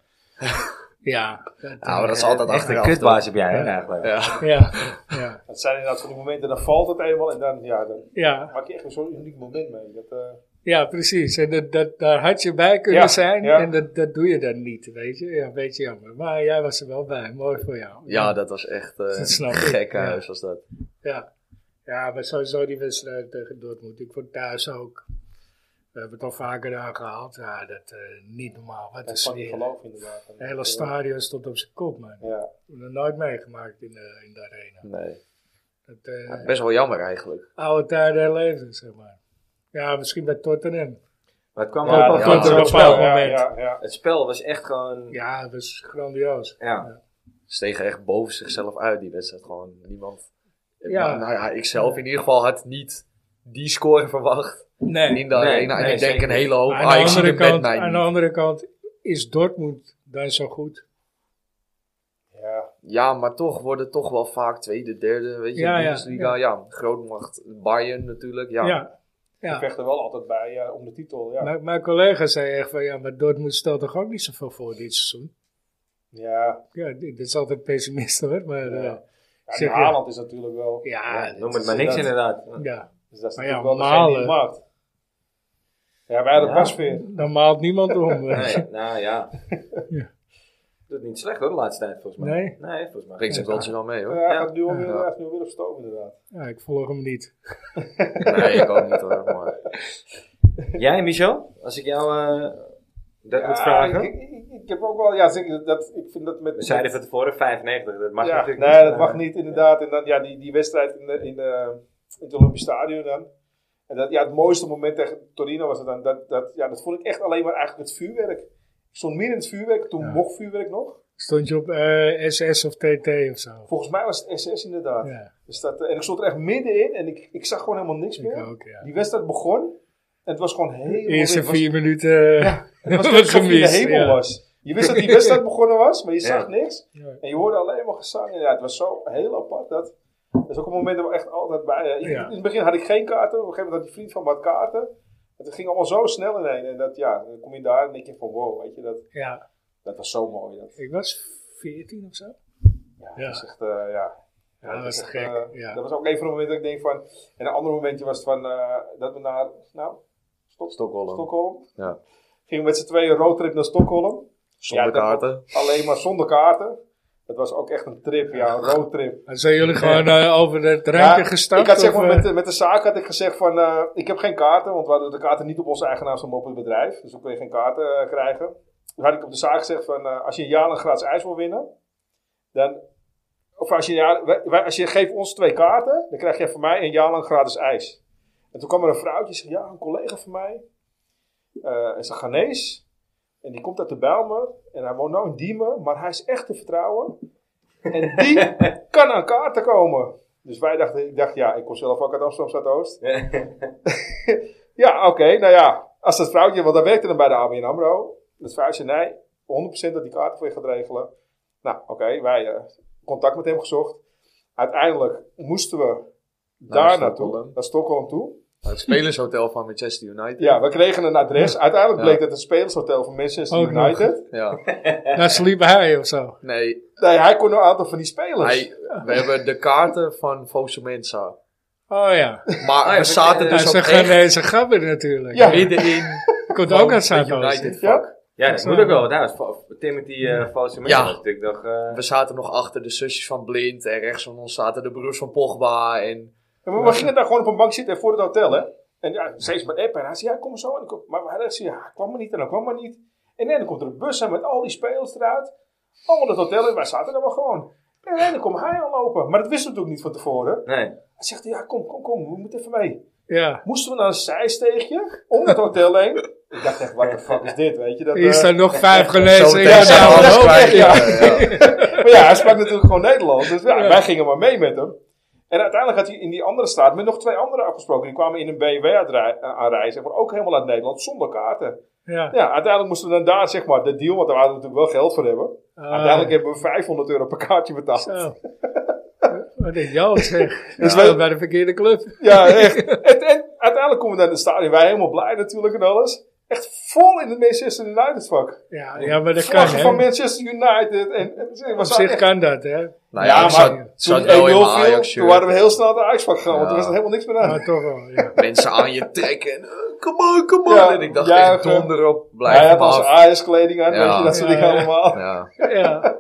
S2: ja, dat,
S3: Ja, maar Nou, dat is
S1: Ja,
S3: altijd
S1: echt een
S3: achteraf.
S1: kutbaas heb jij hè, eigenlijk.
S3: toch? Ja.
S2: ja, ja,
S4: Dat zijn inderdaad van die momenten, dan valt het eenmaal en dan, ja, dan
S2: ja.
S4: maak je echt zo'n uniek moment mee. Dat, eh,
S2: Ja, precies. En dat, dat, daar had je bij kunnen
S4: Ja,
S2: zijn.
S4: ja.
S2: En dat, dat doe je dan niet, weet je. Ja, een beetje jammer. Maar jij was er wel bij. Mooi voor jou.
S3: ja, dat was echt eh
S2: Dat snap ik,
S3: gek
S2: ja.
S3: huis was dat.
S2: Ja, ja maar sowieso die wedstrijd tegen Dortmund. Ik vond thuis ook... We hebben het al vaker aangehaald. Ja, dat eh, niet normaal. Wat
S4: dat
S2: is
S4: kan niet
S2: Het
S4: geloven inderdaad.
S2: hele stadion stond op zijn kop, man.
S4: Ja,
S2: Dat nooit meegemaakt in de, in de arena.
S3: Nee.
S2: Dat, eh,
S3: Ja, best wel jammer eigenlijk.
S2: Oude tijden herleven, zeg maar. Ja, misschien bij Tottenham.
S1: Maar het kwam
S4: Ja,
S1: ook
S4: ja,
S1: wel
S4: ja,
S1: goed
S2: dat
S1: door het
S2: was wel-
S1: spel.
S4: ja,
S2: moment.
S4: ja, ja.
S1: Het spel was echt gewoon... Ja.
S2: Ja, dat was grandioos.
S3: Stegen echt boven zichzelf uit die wedstrijd. Gewoon niemand.
S2: Ja.
S3: Nou, nou ja, ik zelf in ieder geval had niet die score verwacht
S2: Nee.
S3: in de
S1: Nee,
S3: arena. en
S1: nee,
S3: ik denk
S1: zeker
S3: een hele hoop.
S2: Maar aan,
S3: Ah,
S2: de
S3: ik zie
S2: andere
S3: de bed
S2: kant,
S3: mij
S2: aan de
S3: niet.
S2: andere kant is Dortmund dan zo goed.
S4: ja.
S3: Ja, maar toch worden toch wel vaak tweede, derde, weet je,
S2: Ja, ja,
S3: Bundesliga. Ja, grootmacht. Bayern natuurlijk, ja.
S2: Ja. ja.
S4: Je vecht er wel altijd bij ja, om de titel. Ja,
S2: Mijn, mijn collega zei echt van ja, maar Dortmund stelt toch ook niet zoveel voor dit seizoen.
S4: ja.
S2: Ja, dit, dit is altijd pessimist hoor, maar
S4: Ja.
S2: eh,
S4: Ja, en
S2: Zeg je-
S4: Haaland is natuurlijk wel.
S2: ja,
S1: noem
S2: dit
S1: het
S2: is-
S1: maar niks
S4: dat-
S1: inderdaad.
S2: ja.
S4: Dus dat is
S2: Maar
S4: natuurlijk
S2: ja,
S4: wel degene die
S2: Malen.
S4: het maakt. Ja, wij hadden
S1: Ja.
S4: pas weer.
S2: dan maalt niemand om. nee.
S1: Nee, nou ja.
S2: Ja.
S1: Doet niet slecht hoor, de laatste tijd volgens mij.
S2: Nee?
S1: volgens mij.
S3: Brengt zich wel wel mee hoor.
S4: Ja, gaat nu al
S3: Ja.
S4: weer, echt nu al weer op stoom inderdaad.
S2: Ja, ik volg hem niet.
S3: Nee, ik ook niet hoor. Maar
S1: Jij, Michel? Als ik jou eh, dat moet
S4: Ja,
S1: vragen.
S4: Ik, ik, ik heb ook wel, ja, zeker, dat, ik vind dat met...
S1: We zeiden van tevoren 95, dat mag
S4: ja,
S1: natuurlijk
S4: nee,
S1: niet.
S4: dat
S1: eh,
S4: mag niet inderdaad. En dan, ja, die, die wedstrijd in, de- in, de- in het Olympisch Stadion dan. En dat, ja, het mooiste moment tegen Torino was het dan. Dat, dat, ja, dat vond ik echt alleen maar eigenlijk het vuurwerk. Ik stond midden in het vuurwerk, toen
S2: Ja.
S4: mocht vuurwerk nog.
S2: Stond je op eh, SS of TT of zo?
S4: Volgens mij was het SS inderdaad.
S2: Ja,
S4: Dus dat, eh, en ik stond er echt middenin en ik, ik zag gewoon helemaal niks
S2: ik
S4: meer.
S2: ook, ja.
S4: Die wedstrijd begon en het was gewoon helemaal...
S2: De eerste
S4: wit. Het was-
S2: vier minuten eh,
S4: Het was
S2: was,
S4: net alsof je in de
S2: gemist.
S4: hemel
S2: ja.
S4: was. Je wist dat die wedstrijd begonnen was, maar je
S1: Ja.
S4: zag niks.
S2: Ja.
S4: En je hoorde alleen maar gezang. En ja, het was zo heel apart. Dat, dat is ook een moment dat we echt altijd bij... eh, in-
S2: Ja.
S4: In het begin had ik geen kaarten. Op een gegeven moment had die vriend van me had kaarten. Het ging allemaal zo snel ineen. En dat, ja, dan kom je daar en denk je van wow, weet je. Dat,
S2: ja,
S4: dat was zo mooi. Dat,
S2: ik was 14 of zo.
S4: ja,
S2: Ja.
S4: dat is echt... eh, ja.
S2: Ja, dat was
S4: is echt,
S2: gek.
S4: eh,
S2: ja.
S4: Dat was ook een van de momenten dat ik denk van... En een ander momentje was van... eh, dat we naar... Nou, Stok-
S3: Stockholm.
S4: Stockholm.
S3: Ja.
S4: Gingen we met z'n tweeën roadtrip naar Stockholm.
S3: zonder
S4: Ja, dat-
S3: kaarten.
S4: Alleen maar zonder kaarten. Het was ook echt een trip, ja, een roadtrip.
S2: Maar Zijn jullie gewoon eh, over het rijtje
S4: Ja,
S2: gestapt?
S4: Ik had zeg
S2: of,
S4: maar
S2: eh,
S4: met, de- met de zaak had ik gezegd van, eh, ik heb geen kaarten, want we hadden de kaarten niet op onze eigen naam, maar op het bedrijf. Dus we kon je geen kaarten eh, krijgen. Toen had ik op de zaak gezegd van, eh, als je een jaar lang gratis ijs wil winnen, dan, of als je, een jaar, wij- wij- als je geeft ons twee kaarten, dan krijg je van mij een jaar lang gratis ijs. En toen kwam er een vrouwtje, zegt, ja, een collega van mij, eh is een Ghanese. En die komt uit de Bijlmer. En hij woont nu in Diemen. Maar hij is echt te vertrouwen. En die kan aan kaarten komen. Dus wij dachten, ik dacht, ja, ik kom zelf ook uit Amsterdam Zuidoost. ja, oké, nou ja. Als dat vrouwtje, want daar werkte dan bij de ABN AMRO. Dat vrouwtje, nee, 100% dat die kaarten voor je gaat regelen. Nou, oké, wij eh, contact met hem gezocht. Uiteindelijk moesten we daar naartoe,
S3: Stockholm.
S4: naar Stockholm toe.
S3: Het spelershotel van Manchester United.
S4: Ja, we kregen een adres. Uiteindelijk
S3: Ja.
S4: bleek dat het spelershotel van Manchester
S2: Ook nog.
S4: United.
S3: Ja.
S2: Daar sliep hij of zo.
S3: Nee,
S4: Nee, hij kon een aantal van die spelers.
S3: hij, we hebben de kaarten van Fosu Mensa.
S2: Oh ja.
S4: Ah,
S3: Maar we zaten
S2: Hij
S3: dus
S2: is
S3: op
S2: een
S3: echt
S2: Ghanese gabber natuurlijk.
S4: Ja.
S3: midden in
S2: Komt ook uit
S3: het
S2: Zuidoost.
S3: United
S4: Ja.
S3: vak.
S1: Ja, dat moet ook wel. Daar is Fa- Timothy eh False
S3: Ja.
S1: Dat is natuurlijk nog... eh,
S3: We zaten nog achter de zusjes van Blind en rechts van ons zaten de broers van Pogba. En
S4: En we, we gingen daar gewoon op een bank zitten voor het hotel, hè. En ja, steeds maar appen. En hij zei, ja, kom zo. En ik kom, maar hij zei, ja, kwam maar niet en dan kwam maar niet. En dan komt er een bus aan met al die spelers eruit. Allemaal het hotel in. Wij zaten er maar gewoon. En dan komt hij aanlopen. Maar dat wist natuurlijk niet van tevoren.
S1: Nee.
S4: Hij zegt, ja, kom, kom, kom. We moeten even mee.
S2: Ja.
S4: Moesten we naar een zijsteegje om het hotel heen. Ik dacht echt, wat de fuck is dit, weet je. Dat,
S2: Hier
S4: eh,
S2: staan nog vijf
S3: zo
S2: Ghanese in
S3: meteen zijn
S4: ja,
S3: we alles
S4: ja,
S3: kwijt.
S4: ja.
S3: Ja, ja.
S4: Maar ja, hij sprak natuurlijk gewoon Nederlands. Dus ja,
S2: Ja.
S4: wij gingen maar mee met hem. En uiteindelijk had hij in die andere staat met nog twee anderen afgesproken. Die kwamen in een BMW aanrij- aanreizen. Maar ook helemaal uit Nederland, zonder kaarten.
S2: Ja.
S4: Ja, uiteindelijk moesten we dan daar, zeg maar, de deal. Want daar hadden we natuurlijk wel geld voor hebben.
S2: Ah,
S4: Uiteindelijk hebben we 500 euro per kaartje betaald.
S2: Zo. Wat een jood zeg.
S4: Dus
S2: Dus
S4: wij-
S2: bij de verkeerde club.
S4: Ja, echt. En, en uiteindelijk komen we naar het stadion. Wij helemaal blij natuurlijk en alles. Echt vol in het Manchester United vak.
S2: Ja, ja maar dat kan
S4: Vlaggen van
S2: hè.
S4: Manchester United. En, en, we
S2: Op
S4: zaten
S2: zich
S4: echt-
S2: kan dat hè.
S3: Nou
S4: Ja,
S3: ja, ik
S4: maar
S3: zat,
S4: Toen
S3: zat
S4: die 1-0
S3: wel in mijn
S4: viel,
S3: Ajax
S4: toen
S3: shirt.
S4: waren we heel snel naar de Ajax-vak gegaan, want
S3: Ja.
S4: er was er helemaal niks meer aan.
S2: Maar toch wel. Ja.
S3: Mensen aan je trekken. en, eh, Come on, come on.
S4: Ja,
S3: en ik dacht echt
S4: juichen.
S3: donder op. Blijf
S4: Hij
S3: ja,
S4: had onze Ajax-kleding aan,
S3: Ja.
S4: weet je, dat soort
S2: Ja,
S4: dingen
S2: ja.
S4: allemaal.
S3: Ja.
S2: ja.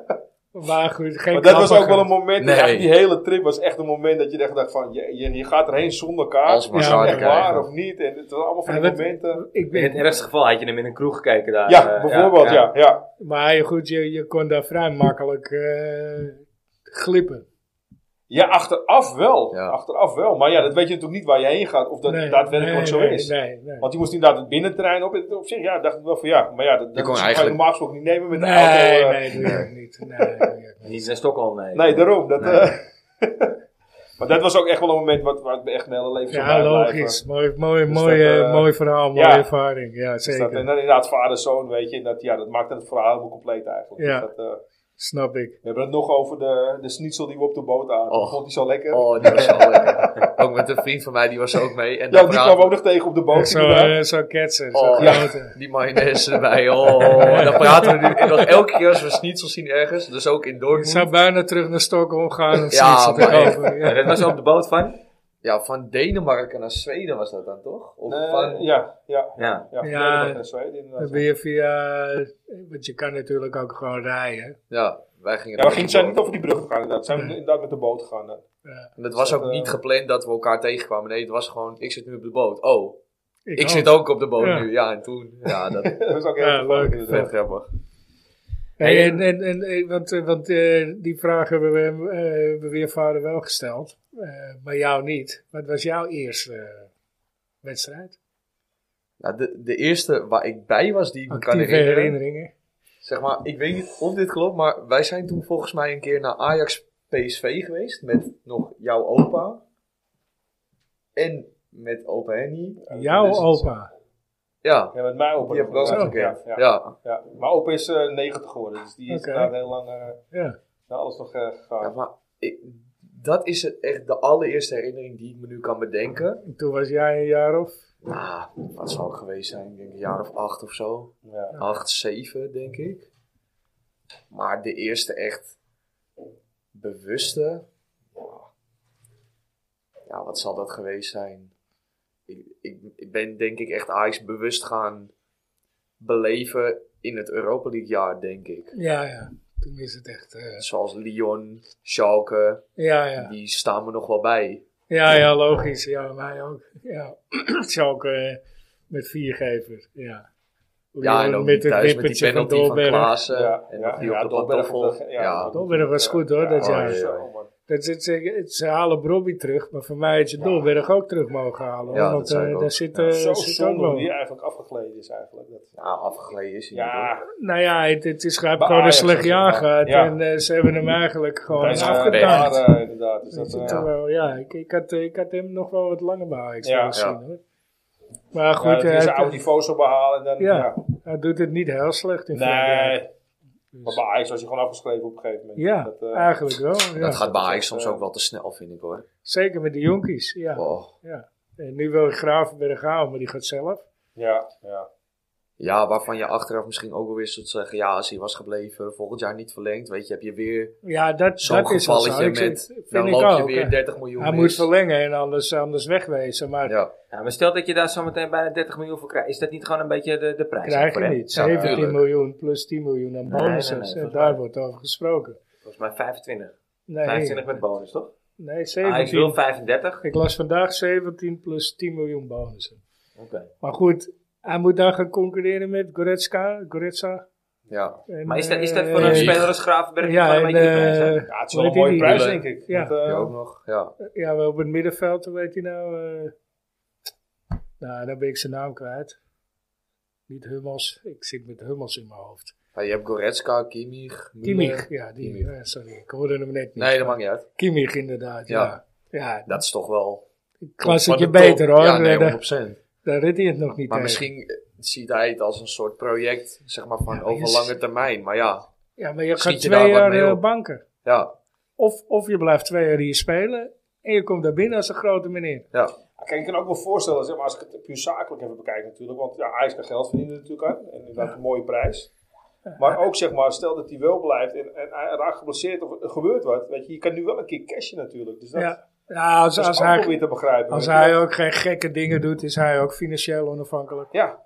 S2: Maar goed, geen
S4: Maar dat was ook wel een
S2: knappe
S4: moment,
S3: Nee.
S4: echt die hele trip was echt een moment dat je echt dacht van, je, je, je gaat erheen zonder kaart.
S3: Als
S4: Is
S3: maar
S2: Ja,
S4: het
S3: zouden
S4: echt waar
S3: krijgen.
S4: of niet? En het was allemaal van
S2: Ja,
S4: die
S2: dat-
S4: momenten.
S2: Ik
S1: In het
S2: ben,
S1: ergste geval had je hem in een kroeg gekeken daar.
S4: Ja,
S1: eh,
S4: bijvoorbeeld, ja. ja.
S2: maar goed, je, je kon daar vrij makkelijk eh, glippen.
S4: Ja, achteraf wel.
S3: Ja.
S4: Achteraf wel. Maar ja, dat weet je natuurlijk niet waar je heen gaat, of dat daadwerkelijk
S2: nee,
S4: zo
S2: nee,
S4: is.
S2: Nee, nee.
S4: Want die moest inderdaad het binnenterrein op. En op zich, ja, dacht ik wel van ja. Maar ja, dat, dat
S3: kon
S4: kan je
S3: eigenlijk-
S4: normaal gesproken niet nemen met de auto.
S2: nee,
S4: eh,
S2: nee, doe je ook niet. Nee, doe je ook niet.
S1: Niet naar Stockholm, nee.
S4: Nee, daarom. Dat,
S3: Nee.
S4: eh, maar dat was ook echt wel een moment wat, waar ik me echt mijn hele leven van
S2: Ja, logisch.
S4: blijven.
S2: Mooi, mooi,
S4: Dus
S2: mooi,
S4: dat,
S2: eh,
S4: eh,
S2: mooi verhaal, mooie
S4: ja.
S2: ervaring. Ja,
S4: Dus dat,
S2: zeker.
S4: en dan inderdaad vader-zoon, weet je. En dat, ja, dat maakt het verhaal helemaal compleet eigenlijk.
S2: Ja.
S4: Dus dat, eh,
S2: Snap ik.
S4: we hebben het nog over de, de schnitzel die we op de boot aten.
S3: Och.
S4: Vond die zo lekker.
S3: Oh, die was zo lekker. Ook met een vriend van mij, die was er ook mee. En
S4: ja,
S3: dan
S4: die kwamen we ook
S3: praten
S4: nog tegen op de
S2: Zo,
S4: boot. inderdaad.
S2: eh, zo ketsen. zo
S3: Oh, ja.
S4: Mhm.
S2: kloten.
S3: die mayonaise erbij. Oh, en dan praten we nu en nog elke keer als we snitsel zien ergens. Dus ook in
S2: Ik
S3: Dortmund.
S2: zou bijna terug naar Stockholm gaan om
S3: Ja,
S2: zoiets te
S3: maar echt.
S2: kopen.
S1: Maar
S2: Ja.
S1: dat was op de boot van?
S3: Ja, van Denemarken naar Zweden was dat dan toch? Of
S4: Eh,
S3: van...
S4: ja, ja.
S1: Ja.
S4: Ja,
S2: Ja.
S4: ja. in Zweden
S2: Dan
S4: inderdaad.
S2: ben je via... Want je kan natuurlijk ook gewoon rijden.
S3: Ja, wij gingen
S4: Ja, we gingen, zijn niet
S3: door.
S4: over die brug gegaan inderdaad. Zijn we inderdaad met de boot gegaan. eh.
S3: En het was
S4: Dus dat,
S3: ook niet
S4: eh,
S3: gepland dat we elkaar tegenkwamen. Nee, het was gewoon, ik zit nu op de boot. Oh, ik,
S2: ook.
S3: zit ook op de boot
S2: Ja.
S3: nu. Ja, en toen, ja, dat
S4: dat was ook heel
S2: Ja,
S4: toevallig
S2: leuk.
S4: inderdaad.
S3: vet grappig.
S2: Hey, en, en, en, eh, want eh, want eh, die vraag hebben we hem, eh, hebben we weer vader wel gesteld. eh, maar jou niet. Wat was jouw eerste eh, wedstrijd?
S3: Ja, de, de eerste waar ik bij was, die ik me kan
S2: Actieve
S3: herinneren.
S2: herinneringen.
S3: Zeg maar, ik weet niet of dit klopt, maar wij zijn toen volgens mij een keer naar Ajax PSV geweest. Met nog jouw opa. En met opa Henny.
S2: Jouw
S3: dus-
S2: opa. Oh,
S3: Ja,
S4: Ja, met mij open.
S3: die heb ik wel eens
S2: Zo.
S3: gekend.
S4: Ja, ja.
S3: Ja.
S4: Ja, maar opa is eh, 90 geworden, dus die is
S2: Oké.
S4: inderdaad heel lang eh,
S2: Ja.
S4: naar alles nog eh, gegaan.
S3: Ja, maar ik- dat is het, echt de allereerste herinnering die ik me nu kan bedenken.
S2: En Toen was jij een jaar of...
S3: Nou, wat zou ik geweest zijn? Ik denk een jaar of acht of zo.
S4: Ja.
S3: Acht, zeven, denk ik. Maar de eerste echt bewuste. Ja, ja wat zal dat geweest zijn? Ik, ik, ik ben denk ik echt Ajax bewust gaan beleven in het Europa League jaar, denk ik.
S2: Ja, ja. Toen is het echt... eh,
S3: Zoals Lyon, Schalke,
S2: ja, ja.
S3: die staan me nog wel bij.
S2: Ja, ja, logisch. Ja, mij ook. Ja. Schalke eh, met viergever. Ja.
S3: Ja, en
S2: Leeuwen
S3: ook met thuis met die
S2: wippertje
S3: penalty van,
S2: Dolberg.
S3: Klaassen.
S4: Ja,
S3: en
S4: ja,
S3: nog die
S4: ja,
S3: op de
S4: Dolberg,
S3: pantoffel.
S4: dat- ja, oh,
S3: Ja,
S2: Dolberg was goed, hoor, dat
S3: jaar.
S4: zo, man.
S2: Dat, ze- ze- ze halen Brobby terug, maar voor mij had je Dolberg ook terug mogen halen. hoor,
S3: Ja, dat
S2: want
S3: zei
S2: eh,
S3: ik ook.
S2: daar zit,
S3: Ja.
S2: eh,
S4: Zo
S2: zit ook
S4: zonde hoe
S2: wel.
S4: die eigenlijk afgegleden is eigenlijk. Dat,
S3: Ja, afgeleden is hij niet, hoor.
S4: ja,
S2: Nou ja, het, het is hij heeft
S4: Bij
S2: gewoon een
S4: Ajax
S2: slecht
S4: was
S2: jaar
S4: het wel.
S2: gehad.
S4: Ja.
S2: En eh, ze hebben hem eigenlijk gewoon
S4: hij is eh,
S2: afgedaan.
S4: daar, eh, inderdaad. Dus dat,
S2: Weet je,
S4: eh,
S2: terwijl, ja, ik, ik, had, eh, ik had hem nog wel wat langer bij Ajax
S4: Ja,
S2: willen
S4: ja.
S2: zien, hoor. Maar
S4: ja,
S2: goed,
S4: dat
S2: hij,
S4: hij zijn
S2: heeft-
S4: oude niveaus op behalen en dan...
S2: Ja.
S4: Ja.
S2: hij doet het niet heel slecht in Frankrijk.
S4: Nee, Maar
S2: Dus,
S4: bij Ajax was je gewoon afgeschreven op een gegeven moment.
S2: ja,
S4: Dat, eh,
S2: eigenlijk wel. Ja.
S3: Dat gaat bij Ajax
S4: is,
S3: soms
S4: eh,
S3: ook wel te snel, vind ik hoor.
S2: Zeker met de jonkies, ja.
S3: Oh.
S2: En nu wil ik Gravenberg halen, maar die gaat zelf.
S4: ja, ja.
S3: Ja, waarvan je achteraf misschien ook wel weer zult zeggen: ja, als hij was gebleven, volgend jaar niet verlengd. Weet je, heb je weer
S2: Ja, dat,
S3: zo'n
S2: dat is wel zo.
S3: gevalletje
S2: Ik-
S3: met.
S2: vind
S3: Dan
S2: ik
S3: loop je
S2: ook, eh,
S3: weer
S2: hè.
S3: 30 miljoen.
S2: Hij
S3: mis.
S2: moet verlengen en anders, anders wegwezen. Maar
S3: Ja,
S1: Ja, maar stel dat je daar zometeen bijna 30 miljoen voor krijgt. Is dat niet gewoon een beetje de, de prijs?
S2: krijg je
S1: voor hem?
S2: niet.
S3: Ja,
S2: 17
S3: tuurlijk.
S2: miljoen plus 10 miljoen aan
S1: Nee, nee, nee,
S2: bonussen.
S1: volgens mij.
S2: daar wordt over gesproken.
S1: Volgens mij 25.
S2: Nee,
S1: 25 met bonus, toch?
S2: nee
S1: Ajax wil
S2: 17.
S1: 35.
S2: Ik las vandaag 17 plus 10 miljoen bonussen.
S1: Oké.
S2: Maar goed, hij moet dan gaan concurreren met Goretzka. Goretzka
S3: ja.
S2: en,
S1: Maar is dat, is dat
S2: eh,
S1: voor een
S3: eh,
S1: speler als Gravenberg niet
S2: Ja,
S1: gewoon een
S2: en,
S1: beetje de prijs? hè?
S2: eh,
S4: ja, het is
S2: hoe
S4: wel een
S2: heet
S4: mooie
S2: die?
S4: prijs,
S3: Lille.
S4: denk ik.
S2: Ja.
S4: Want, eh,
S3: Die ook nog. Ja.
S2: ja, wel op het middenveld, hoe heet hij nou? eh, nou, dan ben ik zijn naam kwijt. Niet Hummels, ik zit met Hummels in mijn hoofd.
S3: Ja, je hebt Goretzka, Kimmich. Müller.
S2: Kimmich, ja, die,
S3: Kimmich.
S2: eh, sorry, ik hoorde hem net niet.
S3: Nee, dat maakt niet uit.
S2: Kimmich inderdaad, ja. Ja,
S3: Dat is toch wel.
S2: klassetje
S3: van de top.
S2: beter hoor.
S3: Ja,
S2: Eh,
S3: nee,
S2: daar,
S3: 100%.
S2: daar redt hij het nog niet
S3: Maar
S2: tegen.
S3: misschien eh, ziet hij het als een soort project, zeg maar, van
S2: Ja, maar je
S3: over
S2: s-
S3: lange termijn. Maar ja,
S2: Ja, maar je
S3: schiet
S2: gaat
S3: je
S2: twee
S3: daar wat
S2: jaar
S3: mee
S2: eh,
S3: op?
S2: banken.
S3: ja,
S2: Of, of je blijft twee jaar hier spelen en je komt daar binnen als een grote meneer.
S3: ja.
S4: Kijk, ik kan ook wel voorstellen, zeg maar, als ik het puur zakelijk even bekijk natuurlijk. Want ja, Ajax kan geld verdienen natuurlijk aan. En inderdaad een mooie prijs. Maar ook zeg maar, stel dat hij wel blijft en, en hij raakt geblesseerd of er gebeurt wat. Weet je, je kan nu wel een keer cashen natuurlijk. Dus dat
S2: Ja, ja als,
S4: dat is
S2: als,
S4: ook wel
S2: hij,
S4: weer te begrijpen.
S2: als
S4: weet je.
S2: hij ook geen gekke dingen doet, is hij ook financieel onafhankelijk.
S4: Ja,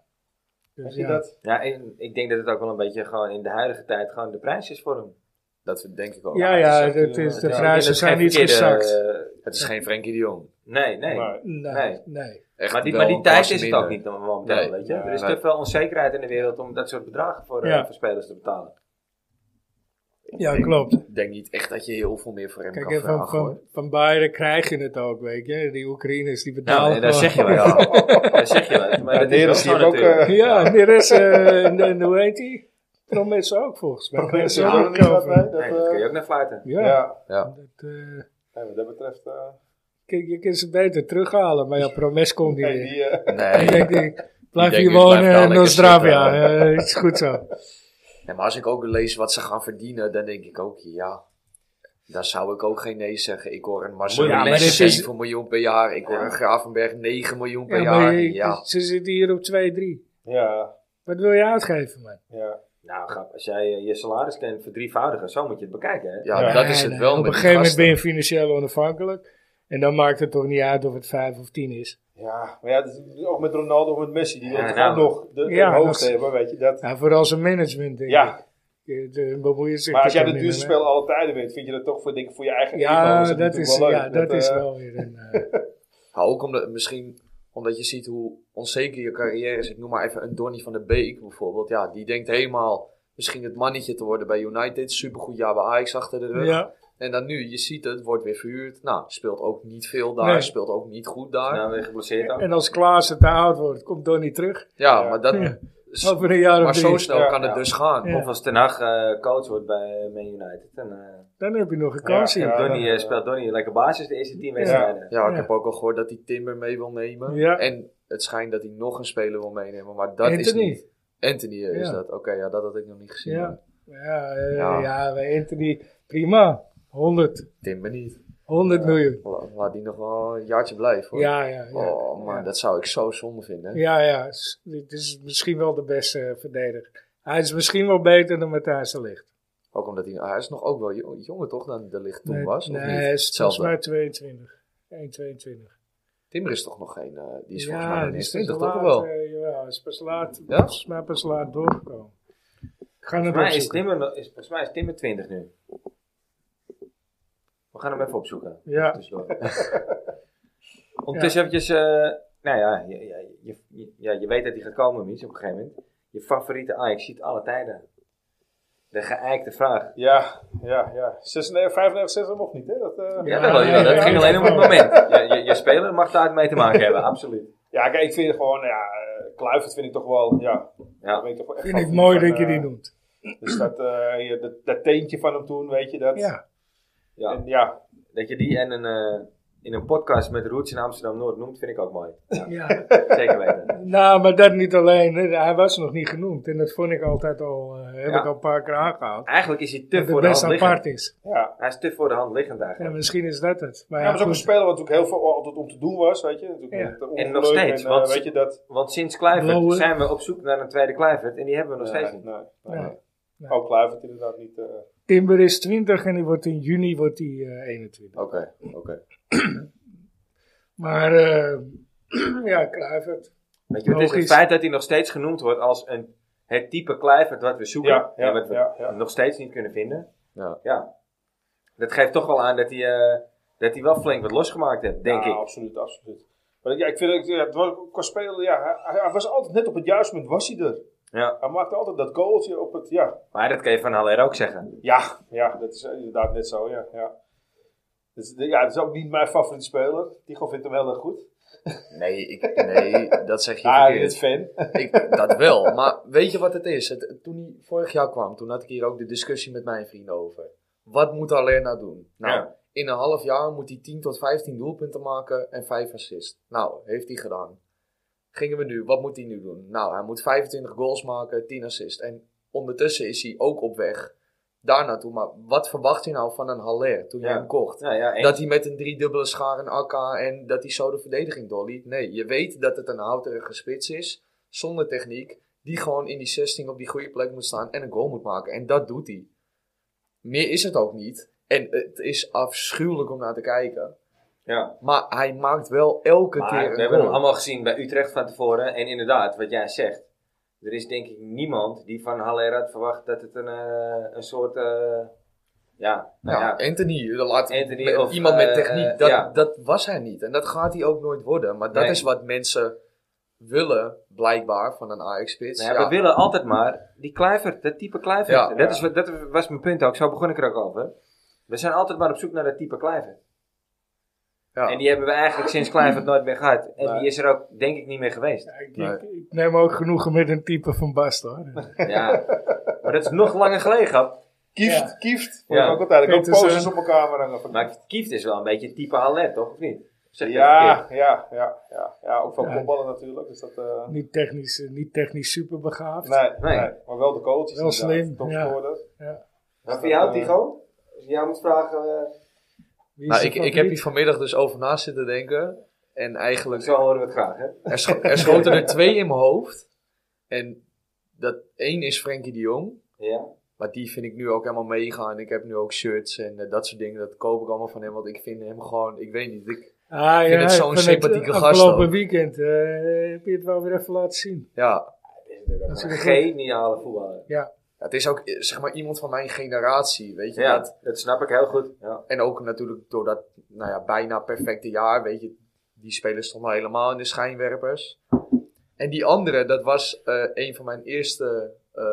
S2: Dus
S4: heb je
S2: ja.
S4: dat?
S1: Ja, en ik denk dat het ook wel een beetje gewoon in de huidige tijd gewoon de prijs is voor hem.
S3: Dat denk ik ook.
S2: ja,
S4: het is
S2: ja,
S4: echt,
S2: het
S4: eh,
S2: is, de
S4: ja,
S1: ik
S2: prijzen
S1: denk dat
S2: zijn
S1: geen
S2: niet
S1: verkeerde,
S2: gezakt.
S1: eh,
S3: Het is geen Frenkie de Jong.
S1: nee, nee.
S4: Maar,
S2: nee,
S1: nee.
S2: nee.
S3: Echt
S1: maar die,
S3: wel
S1: maar die
S3: een
S1: tijd
S3: klasse
S1: is het
S3: minder.
S1: ook niet momenteel,
S3: Nee.
S1: weet je.
S4: Ja,
S1: er is
S3: nee.
S1: te veel onzekerheid in de wereld om dat soort bedragen voor, eh,
S2: Ja.
S1: voor spelers te betalen.
S2: Ja, klopt.
S3: Ik denk niet echt dat je heel veel meer voor hem
S2: Kijk,
S3: kan
S2: en van,
S3: vragen hoor.
S2: van, van Bayern krijg je het ook, weet je. Die Oekraïners, die
S1: Nou,
S2: betalen
S1: nee, daar
S2: gewoon-
S1: zeg je wel.
S3: Ja.
S1: Daar zeg je wel. Maar
S4: Ja,
S1: dat is wel
S4: Neres
S1: zo
S4: hier ook,
S1: natuurlijk.
S4: eh,
S2: Ja, en de rest, eh, en- en hoe heet die? Promes ook volgens mij.
S4: Promes
S2: Daar
S4: ook
S2: hebben we
S4: niet
S2: het
S4: wat
S2: over.
S4: bij. Dat,
S1: Nee, dat kun je
S4: eh,
S1: ook naar fluiten.
S2: Ja,
S4: Ja,
S2: Dat, eh,
S4: Nee, wat dat betreft. eh,
S2: kijk, je kunt ze beter terughalen, maar ja, Promes komt niet
S4: nee,
S2: meer.
S4: die, eh,
S3: Nee.
S2: Ik denk, ik blijf
S3: denk,
S2: hier
S3: ik blijf daar
S2: wonen in
S3: lekker
S2: Nostravia.
S3: zitten.
S2: Eh, is goed zo.
S3: Nee, maar als ik ook lees wat ze gaan verdienen, dan denk ik ook, ja, daar zou ik ook geen nee zeggen. Ik hoor een Marcelo
S2: Ja, maar dit is-
S3: 7 miljoen per jaar, ik hoor een Gravenberg 9 miljoen per
S2: Ja,
S3: jaar.
S2: maar je-
S3: ja.
S2: Ze zitten hier op 2-3.
S4: ja,
S2: Wat wil je uitgeven, man?
S4: ja.
S1: Nou, grap, als jij eh, je salaris kan verdrievoudigen, zo moet je het bekijken. Hè?
S3: Ja,
S4: Ja,
S3: Nou, dat is
S2: Nee,
S3: het
S2: nee,
S3: wel.
S2: eh, Op
S3: met
S2: een
S3: die
S2: gegeven moment
S3: gasten.
S2: ben je financieel onafhankelijk. En dan maakt het toch niet uit of het 5 of 10 is.
S4: Ja, maar ja, dat is ook met Ronaldo of met Messi, die
S1: Ja,
S4: wil toch
S1: nou,
S4: ook nog de, de
S2: ja,
S4: hoogste
S2: dat-
S4: hebben, weet je. Dat,
S2: Ja, vooral zijn management, denk
S4: Ja.
S2: ik. Je- de- bemoeien zich
S4: maar als
S2: er
S4: jij
S2: dan
S4: de
S2: minder
S4: duurste
S2: mee.
S4: speler alle tijden bent, vind je dat toch voor, denk ik, voor je eigen ego
S2: Ja,
S4: het
S2: dat is,
S4: natuurlijk wel
S2: ja,
S4: leuk.
S2: dat is
S4: eh,
S2: wel weer een... eh,
S3: Maar ook omdat, misschien omdat je ziet hoe onzeker je carrière is. Ik noem maar even een Donny van de Beek bijvoorbeeld. Ja, die denkt helemaal misschien het mannetje te worden bij United. Supergoed jaar bij Ajax achter de rug.
S2: Ja,
S3: En dan nu, je ziet het, wordt weer verhuurd. Nou, speelt ook niet veel daar,
S2: Nee.
S3: speelt ook niet goed daar.
S1: Nou, weer geblesseerd ook.
S2: en als Klaassen te oud wordt, komt Donny terug.
S3: Ja,
S4: Ja.
S3: maar dat...
S2: Ja.
S3: s-
S2: Over een jaar
S3: Maar
S2: of
S3: zo
S2: drie.
S3: snel
S4: Ja,
S3: kan het
S1: ja.
S3: dus gaan.
S2: Ja.
S3: Ja.
S1: Of als Ten Hag eh, coach wordt bij Man United. En, eh,
S2: Dan heb je nog een kans
S4: Ja,
S2: hier.
S1: Donny,
S4: dat-
S1: eh, speelt Donny een lekker basis de eerste tien wedstrijden.
S3: ik
S2: Ja.
S3: heb ook al gehoord dat hij Timber mee wil nemen.
S2: Ja.
S3: En het schijnt dat hij nog een speler wil meenemen, maar dat is
S2: Anthony.
S3: niet. Anthony is
S2: Ja.
S3: dat. Oké, ja, dat had ik nog niet gezien.
S2: Ja, ja, eh,
S3: Ja.
S2: ja. bij Anthony, prima. 100,
S3: Timber niet.
S2: 100 miljoen.
S3: La- Laat die nog wel een jaartje blijven hoor.
S2: Ja, ja, ja.
S3: Oh man,
S2: ja.
S3: dat zou ik zo zonde vinden.
S2: Ja, ja, s- dit is misschien wel de beste eh, verdediger. Hij is misschien wel beter dan Matthijs de Ligt.
S3: Ook omdat hij, hij is nog ook wel jo- jonger toch dan de licht toen
S2: nee,
S3: was? Of
S2: nee,
S3: niet?
S2: hij is volgens
S3: Hetzelfde.
S2: mij 22. 1, 22.
S3: Timber is toch nog geen, eh, die is volgens mij
S2: Ja,
S3: nog
S2: die
S3: niet
S2: is pas
S3: 20
S2: laat.
S3: toch wel?
S2: eh, jawel, hij is pas laat,
S3: Ja?
S2: volgens mij pas laat doorgekomen. Ik ga het
S1: Volgens, mij is
S2: opzoeken.
S1: Timmer, nog- is, volgens mij is Timmer 20 nu. We gaan hem even opzoeken.
S2: Ja.
S1: Tussendoor. Ondertussen eventjes... eh, nou ja je, je, je- je- ja, je weet dat hij gaat komen, Mies, op een gegeven moment. Je favoriete Ajax ziet alle tijden. De geëikte vraag.
S4: Ja, ja, ja. 96, 95, 96 mocht niet, hè? Dat, eh,
S1: Ja,
S4: ja.
S1: dat, wel, ja, dat
S2: ja,
S1: ging
S2: ja.
S1: alleen om het moment. Je, je, je speler mag daar mee te maken hebben, absoluut.
S4: kijk, ik vind gewoon, ja, eh, Kluivert vind ik toch wel, ja. daar
S1: Ja.
S4: ben ik toch wel echt
S2: Vind
S4: fan
S2: ik
S4: van.
S2: mooi
S4: Van,
S2: dat je
S4: eh,
S2: die noemt.
S4: Dus dat, eh, ja, dat, dat teentje van hem toen, weet je, dat.
S2: Ja,
S1: Ja.
S4: En ja,
S1: Dat je die en een, eh, in een podcast met Roots in Amsterdam-Noord noemt, vind ik ook mooi. Ja,
S2: Ja.
S1: zeker weten.
S2: Nou, maar dat niet alleen. Hij was nog niet genoemd. En dat vond ik altijd al, eh, heb
S1: Ja.
S2: ik al een paar keer aangehaald.
S1: Eigenlijk is hij te
S2: Dat het
S1: voor de hand
S2: best
S1: liggend.
S2: apart is.
S4: Ja.
S1: Hij is te voor de hand liggend
S2: Ja,
S1: eigenlijk.
S2: misschien is dat het. Maar
S4: Ja,
S2: ja,
S4: maar het is ook een
S2: goed.
S4: speler wat ook heel veel altijd om te doen was, weet je. Natuurlijk
S2: Ja.
S4: met, eh,
S1: En nog
S4: ongeluk
S1: steeds,
S4: En, eh,
S1: want-
S4: weet je dat...
S1: Want sinds Kluivert
S2: Blauwe-
S1: zijn we op zoek naar een tweede Kluivert. En die hebben we nog steeds
S4: Nee,
S1: niet.
S4: nee, nee,
S2: Ja.
S4: nee.
S2: Ja.
S4: Ook Kluivert inderdaad niet... eh,
S2: Timber is 20 en die wordt in juni wordt hij eh, 21.
S3: Oké, oké.
S2: Maar eh, ja, Kluivert.
S1: Weet je, het is het
S2: Logisch.
S1: feit dat hij nog steeds genoemd wordt als een, het type Kluivert wat we zoeken.
S4: Ja, ja,
S1: en wat we
S4: ja, ja.
S1: nog steeds niet kunnen vinden.
S3: Ja.
S1: Dat geeft toch wel aan dat hij, eh, dat hij wel flink wat losgemaakt heeft, denk
S4: ja,
S1: ik.
S4: absoluut, absoluut. Maar ja, ik vind het, ja, het was, qua speler, ja, hij- hij, hij was altijd net op het juiste moment, was hij er.
S1: Ja.
S4: Hij maakte altijd dat goaltje op het, ja,
S1: Maar dat kan je van Haller ook zeggen.
S4: Ja, ja, dat is inderdaad net zo, ja. ja. Dus, de- ja, dat is ook niet mijn favoriete speler. Tigo vindt hem heel erg goed.
S3: Nee, ik, nee, dat zeg je
S4: Ah, hij
S3: verkeerd.
S4: is fan.
S3: Ik, dat wel, maar weet je wat het is? Het- toen hij vorig jaar kwam, toen had ik hier ook de discussie met mijn vrienden over. Wat moet Haller nou doen? Nou,
S1: Ja.
S3: in een half jaar moet hij 10 tot 15 doelpunten maken en 5 assists. Nou, heeft hij gedaan. Gingen we nu, wat moet hij nu doen? Nou, hij moet 25 goals maken, 10 assists. En ondertussen is hij ook op weg daar naartoe. Maar wat verwacht je nou van een Haller toen je
S1: Ja.
S3: hem kocht?
S1: Nou ja, en-
S3: Dat hij met een driedubbele schaar een AK en dat hij zo de verdediging doorliet. Nee, je weet dat het een houterige spits is, zonder techniek, die gewoon in die 16 op die goede plek moet staan en een goal moet maken. En dat doet hij. Meer is het ook niet. En het is afschuwelijk om naar te kijken.
S1: ja.
S3: Maar hij maakt wel elke
S1: Maar
S3: keer
S1: we
S3: een
S1: hebben hem
S3: goal.
S1: allemaal gezien bij Utrecht van tevoren. En inderdaad, wat jij zegt. Er is denk ik niemand die van Haller had verwacht dat het een, eh, een soort... eh, ja, nou
S3: Ja,
S1: ja,
S3: Anthony, dat laat
S1: Anthony
S3: met-
S1: of,
S3: iemand
S1: eh,
S3: met techniek,
S1: eh,
S3: dat,
S1: ja.
S3: dat was hij niet. En dat gaat hij ook nooit worden. Maar dat
S1: Nee.
S3: is wat mensen willen, blijkbaar, van een Ajax-spits.
S1: Nou ja,
S3: Ja.
S1: We willen altijd maar die kluivert, dat type kluivert.
S3: Ja.
S1: dat,
S4: Ja.
S1: Is, wat- dat was mijn punt ook, zo begon ik er ook over. We zijn altijd maar op zoek naar dat type kluivert.
S3: Ja.
S1: En die hebben we eigenlijk sinds kluivert nooit meer gehad. En
S4: Nee.
S1: die is er ook denk ik niet meer geweest.
S2: Ja, ik,
S3: Nee.
S2: ik, ik neem ook genoegen met een type van Bast hoor.
S1: Ja. maar dat is nog langer geleden. Gab.
S4: Kieft,
S2: Ja. eh,
S4: kieft. Vond
S1: Ja.
S4: ik ook altijd. Ik ook
S2: Petersen.
S4: posters op elkaar maar hangen. Van,
S1: Maar Kieft is wel een beetje type Haller, toch? Of niet? Zeg ik dat
S4: ja,
S1: verkeerd?
S4: ja, ja, ja, ja. Ook van
S2: Ja.
S4: kopballen natuurlijk. Dus dat, eh,
S2: Niet technisch, eh, niet technisch super begaafd.
S4: nee,
S1: Nee.
S4: nee. maar wel de coach.
S2: Wel slim, ja.
S4: Topscorer. eh,
S2: Ja.
S1: Maar Voor jou, Tigo? Als je jou moet vragen... eh,
S2: Wie is
S3: Nou,
S2: je
S3: ik, ik heb
S2: favoriet?
S3: hier vanmiddag dus over na zitten denken. En eigenlijk,
S1: zo horen we het graag, hè?
S3: er, scho- er schoten er twee in mijn hoofd. En dat één is Frenkie de Jong.
S1: Ja.
S3: Maar die vind ik nu ook helemaal meegaan. Ik heb nu ook shirts en eh, dat soort dingen. Dat koop ik allemaal van hem. Want ik vind hem gewoon, ik weet niet. Ik,
S2: Ah,
S3: vind
S2: ja,
S3: het zo'n
S2: van
S3: sympathieke gast
S2: Afgelopen
S3: ook.
S2: weekend eh, heb je het wel weer even laten zien.
S3: ja.
S1: Dat
S2: is
S1: is een
S2: goed.
S1: geniale voetballer.
S2: Ja,
S3: Ja, het is ook, eh, zeg maar, iemand van mijn generatie. Weet je
S1: Ja,
S3: dat?
S1: dat snap ik heel goed. Ja.
S3: En ook natuurlijk door dat nou ja, bijna perfecte jaar, weet je, die spelers stonden helemaal in de schijnwerpers. En die andere, dat was eh, een van mijn eerste, eh,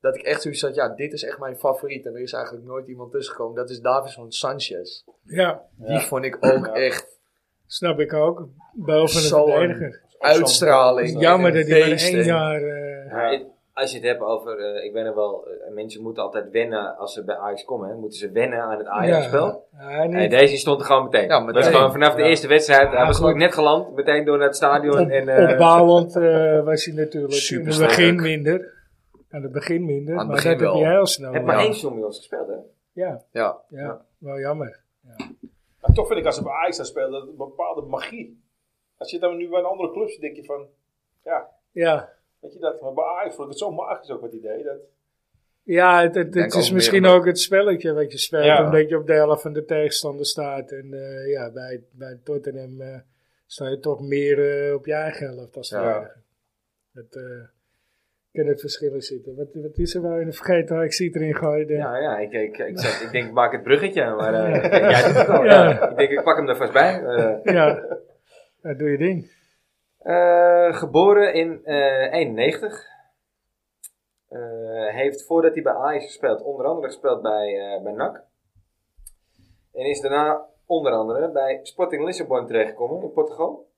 S3: dat ik echt zoiets had, ja, dit is echt mijn favoriet. En er is eigenlijk nooit iemand tussengekomen. Dat is Davison Sanchez.
S2: ja
S3: Die vond ik ook
S4: Ja.
S3: echt
S2: snap ik ook. Boven de
S3: Zo'n-
S2: verdediger.
S3: uitstraling.
S2: Jammer dat hij maar
S3: Beest
S2: één
S3: en-
S2: jaar... eh,
S1: Maar het- als je het hebt over, eh, ik ben er wel, eh, mensen moeten altijd wennen als ze bij Ajax komen. Hè, moeten ze wennen aan het Ajax-spel.
S2: Ja, hij
S1: Hey,
S2: niet.
S1: deze stond er gewoon meteen.
S3: Ja,
S1: Dat
S3: meteen.
S1: is gewoon vanaf de
S4: Ja.
S1: eerste wedstrijd. hij
S2: Ja,
S1: was
S2: goed.
S1: gewoon net geland, meteen door naar het stadion.
S2: Op,
S1: en, eh,
S2: opbouwend eh, was hij natuurlijk. In het
S3: Supersterk.
S2: begin minder. Aan het begin minder.
S3: Aan het
S2: maar
S3: begin
S2: dat heb
S3: wel.
S2: je heel snel.
S1: heb maar
S3: Ja.
S1: één seizoen met ons gespeeld, hè?
S2: Ja,
S3: Ja,
S2: ja, wel jammer.
S4: Maar toch vind ik als ze bij Ajax dan spelen, dat een bepaalde magie. Als je dan nu bij een andere club zit, denk je van... Ja,
S2: Ja,
S4: weet je dat? Maar bij Ajax vond ik het zo magisch ook wat idee. Dat,
S2: ja het, het,
S3: Denk
S2: het
S3: ook
S2: is
S3: meer
S2: misschien
S3: omdat-
S2: ook het spelletje wat je speelt.
S4: Ja.
S2: Omdat je op de helft van de tegenstander staat. En eh, ja, bij, bij Tottenham eh, sta je toch meer eh, op je eigen helft als
S3: Ja.
S2: verdediger. Het eh, kan het verschillen zitten. Wat, wat is er wel in de vergeten? Ik zie het erin gooien.
S1: Ja, ja. Ik, ik, ik, zeg, ik denk, ik maak het bruggetje. Maar eh, ik denk, jij doet het al.
S2: Ja.
S1: Ik denk, ik pak hem er vast bij. Eh,
S2: ja. Ja, doe je ding.
S1: eh, geboren in eh 91. Eh, heeft voordat hij bij Ajax gespeeld, onder andere gespeeld bij, eh, bij NAC. En is daarna onder andere bij Sporting Lissabon terechtgekomen in Portugal.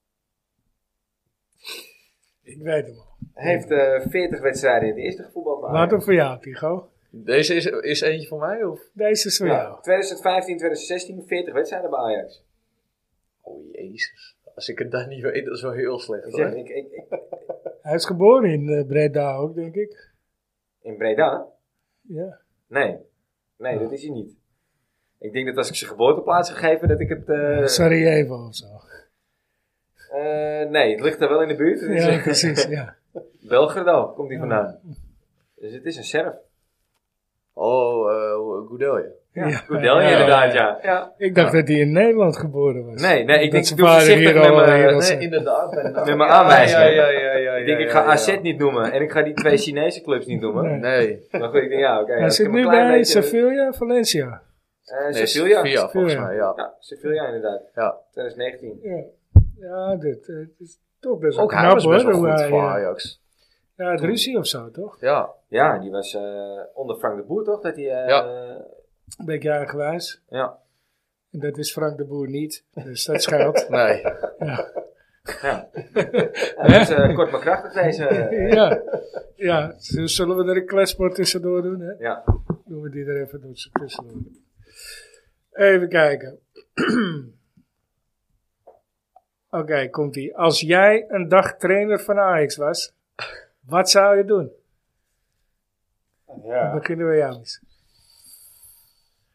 S2: Ik weet hem al.
S1: Heeft eh 40 wedstrijden in de eerste gevoetbald. bij
S2: Laat
S1: Ajax.
S2: hem voor jou, Tigo.
S3: deze is, is eentje voor mij, of?
S2: Deze is voor jou.
S1: 2015, 2016, 40 wedstrijden bij Ajax.
S3: Oh jezus. Als ik het dan niet weet, dat is wel heel
S1: Ik
S3: slecht
S1: zeg,
S3: hoor.
S1: ik, ik, ik-
S2: Hij is geboren in eh, Breda ook, denk ik.
S1: in Breda?
S2: Ja.
S1: Nee. Nee, dat is hij niet. Ik denk dat als ik zijn geboorteplaats gegeven, dat ik het... eh,
S2: Sarajevo of zo.
S1: eh, nee, het ligt er wel in de buurt. Het is,
S2: Ja,
S1: eh,
S2: precies. Ja.
S1: Belgrado komt hij vandaan. Dus het is een Serf.
S3: Oh, eh Goedelje.
S1: Ja,
S2: Ja.
S1: Goedelje
S2: Ja,
S1: inderdaad,
S2: ja,
S1: ja. ja.
S2: Ik dacht dat hij in Nederland geboren was.
S1: Nee, nee, ik
S2: Dat
S1: denk ik
S2: zijn
S1: doe
S2: vader
S1: voorzichtig
S2: hier
S1: met
S2: al, eh,
S1: mijn...
S2: hier al
S1: nee,
S2: zijn.
S3: Inderdaad. Met
S1: Met mijn aanwijzingen.
S3: Ja, ja, ja, ja,
S1: ik denk,
S3: ja,
S1: ik ga
S3: ja,
S1: AZ
S3: ja.
S1: niet noemen en ik ga die twee Chinese clubs niet noemen.
S2: Nee.
S3: Nee.
S1: Maar goed, ik denk, ja, oké.
S2: Hij
S1: als ik
S2: zit
S1: hem een
S2: nu
S1: klein
S2: bij
S1: beetje-
S2: Sevilla, Valencia.
S1: Eh,
S3: Nee,
S1: Sevilla.
S3: Sevilla, volgens
S2: Sevilla.
S3: mij, ja.
S1: Ja, Sevilla inderdaad.
S3: Ja.
S1: 2019.
S2: Ja, ja dit, eh, het is toch best wel
S3: Ook hij
S2: knap,
S3: was best wel
S2: hoor,
S3: goed
S2: hoe
S3: voor
S2: hij, eh,
S3: Ajax.
S2: Ja, het ruzie of zo, toch?
S3: Ja.
S1: Ja, die was eh, onder Frank de Boer toch? Dat hij, eh,
S2: Een beetje jaargewijs.
S1: ja.
S2: En dat is Frank de Boer niet, dus dat scheelt.
S3: Nee.
S1: ja. Hij was eh, kort maar krachtig deze. eh,
S2: ja. ja, z- zullen we er een kletsport tussendoor doen, hè?
S1: ja.
S2: Doen we die er even tussen- tussendoor. Even kijken. Oké, komt ie. Als jij een dag trainer van Ajax was, wat zou je doen? Dan
S4: Ja.
S2: beginnen we jou eens.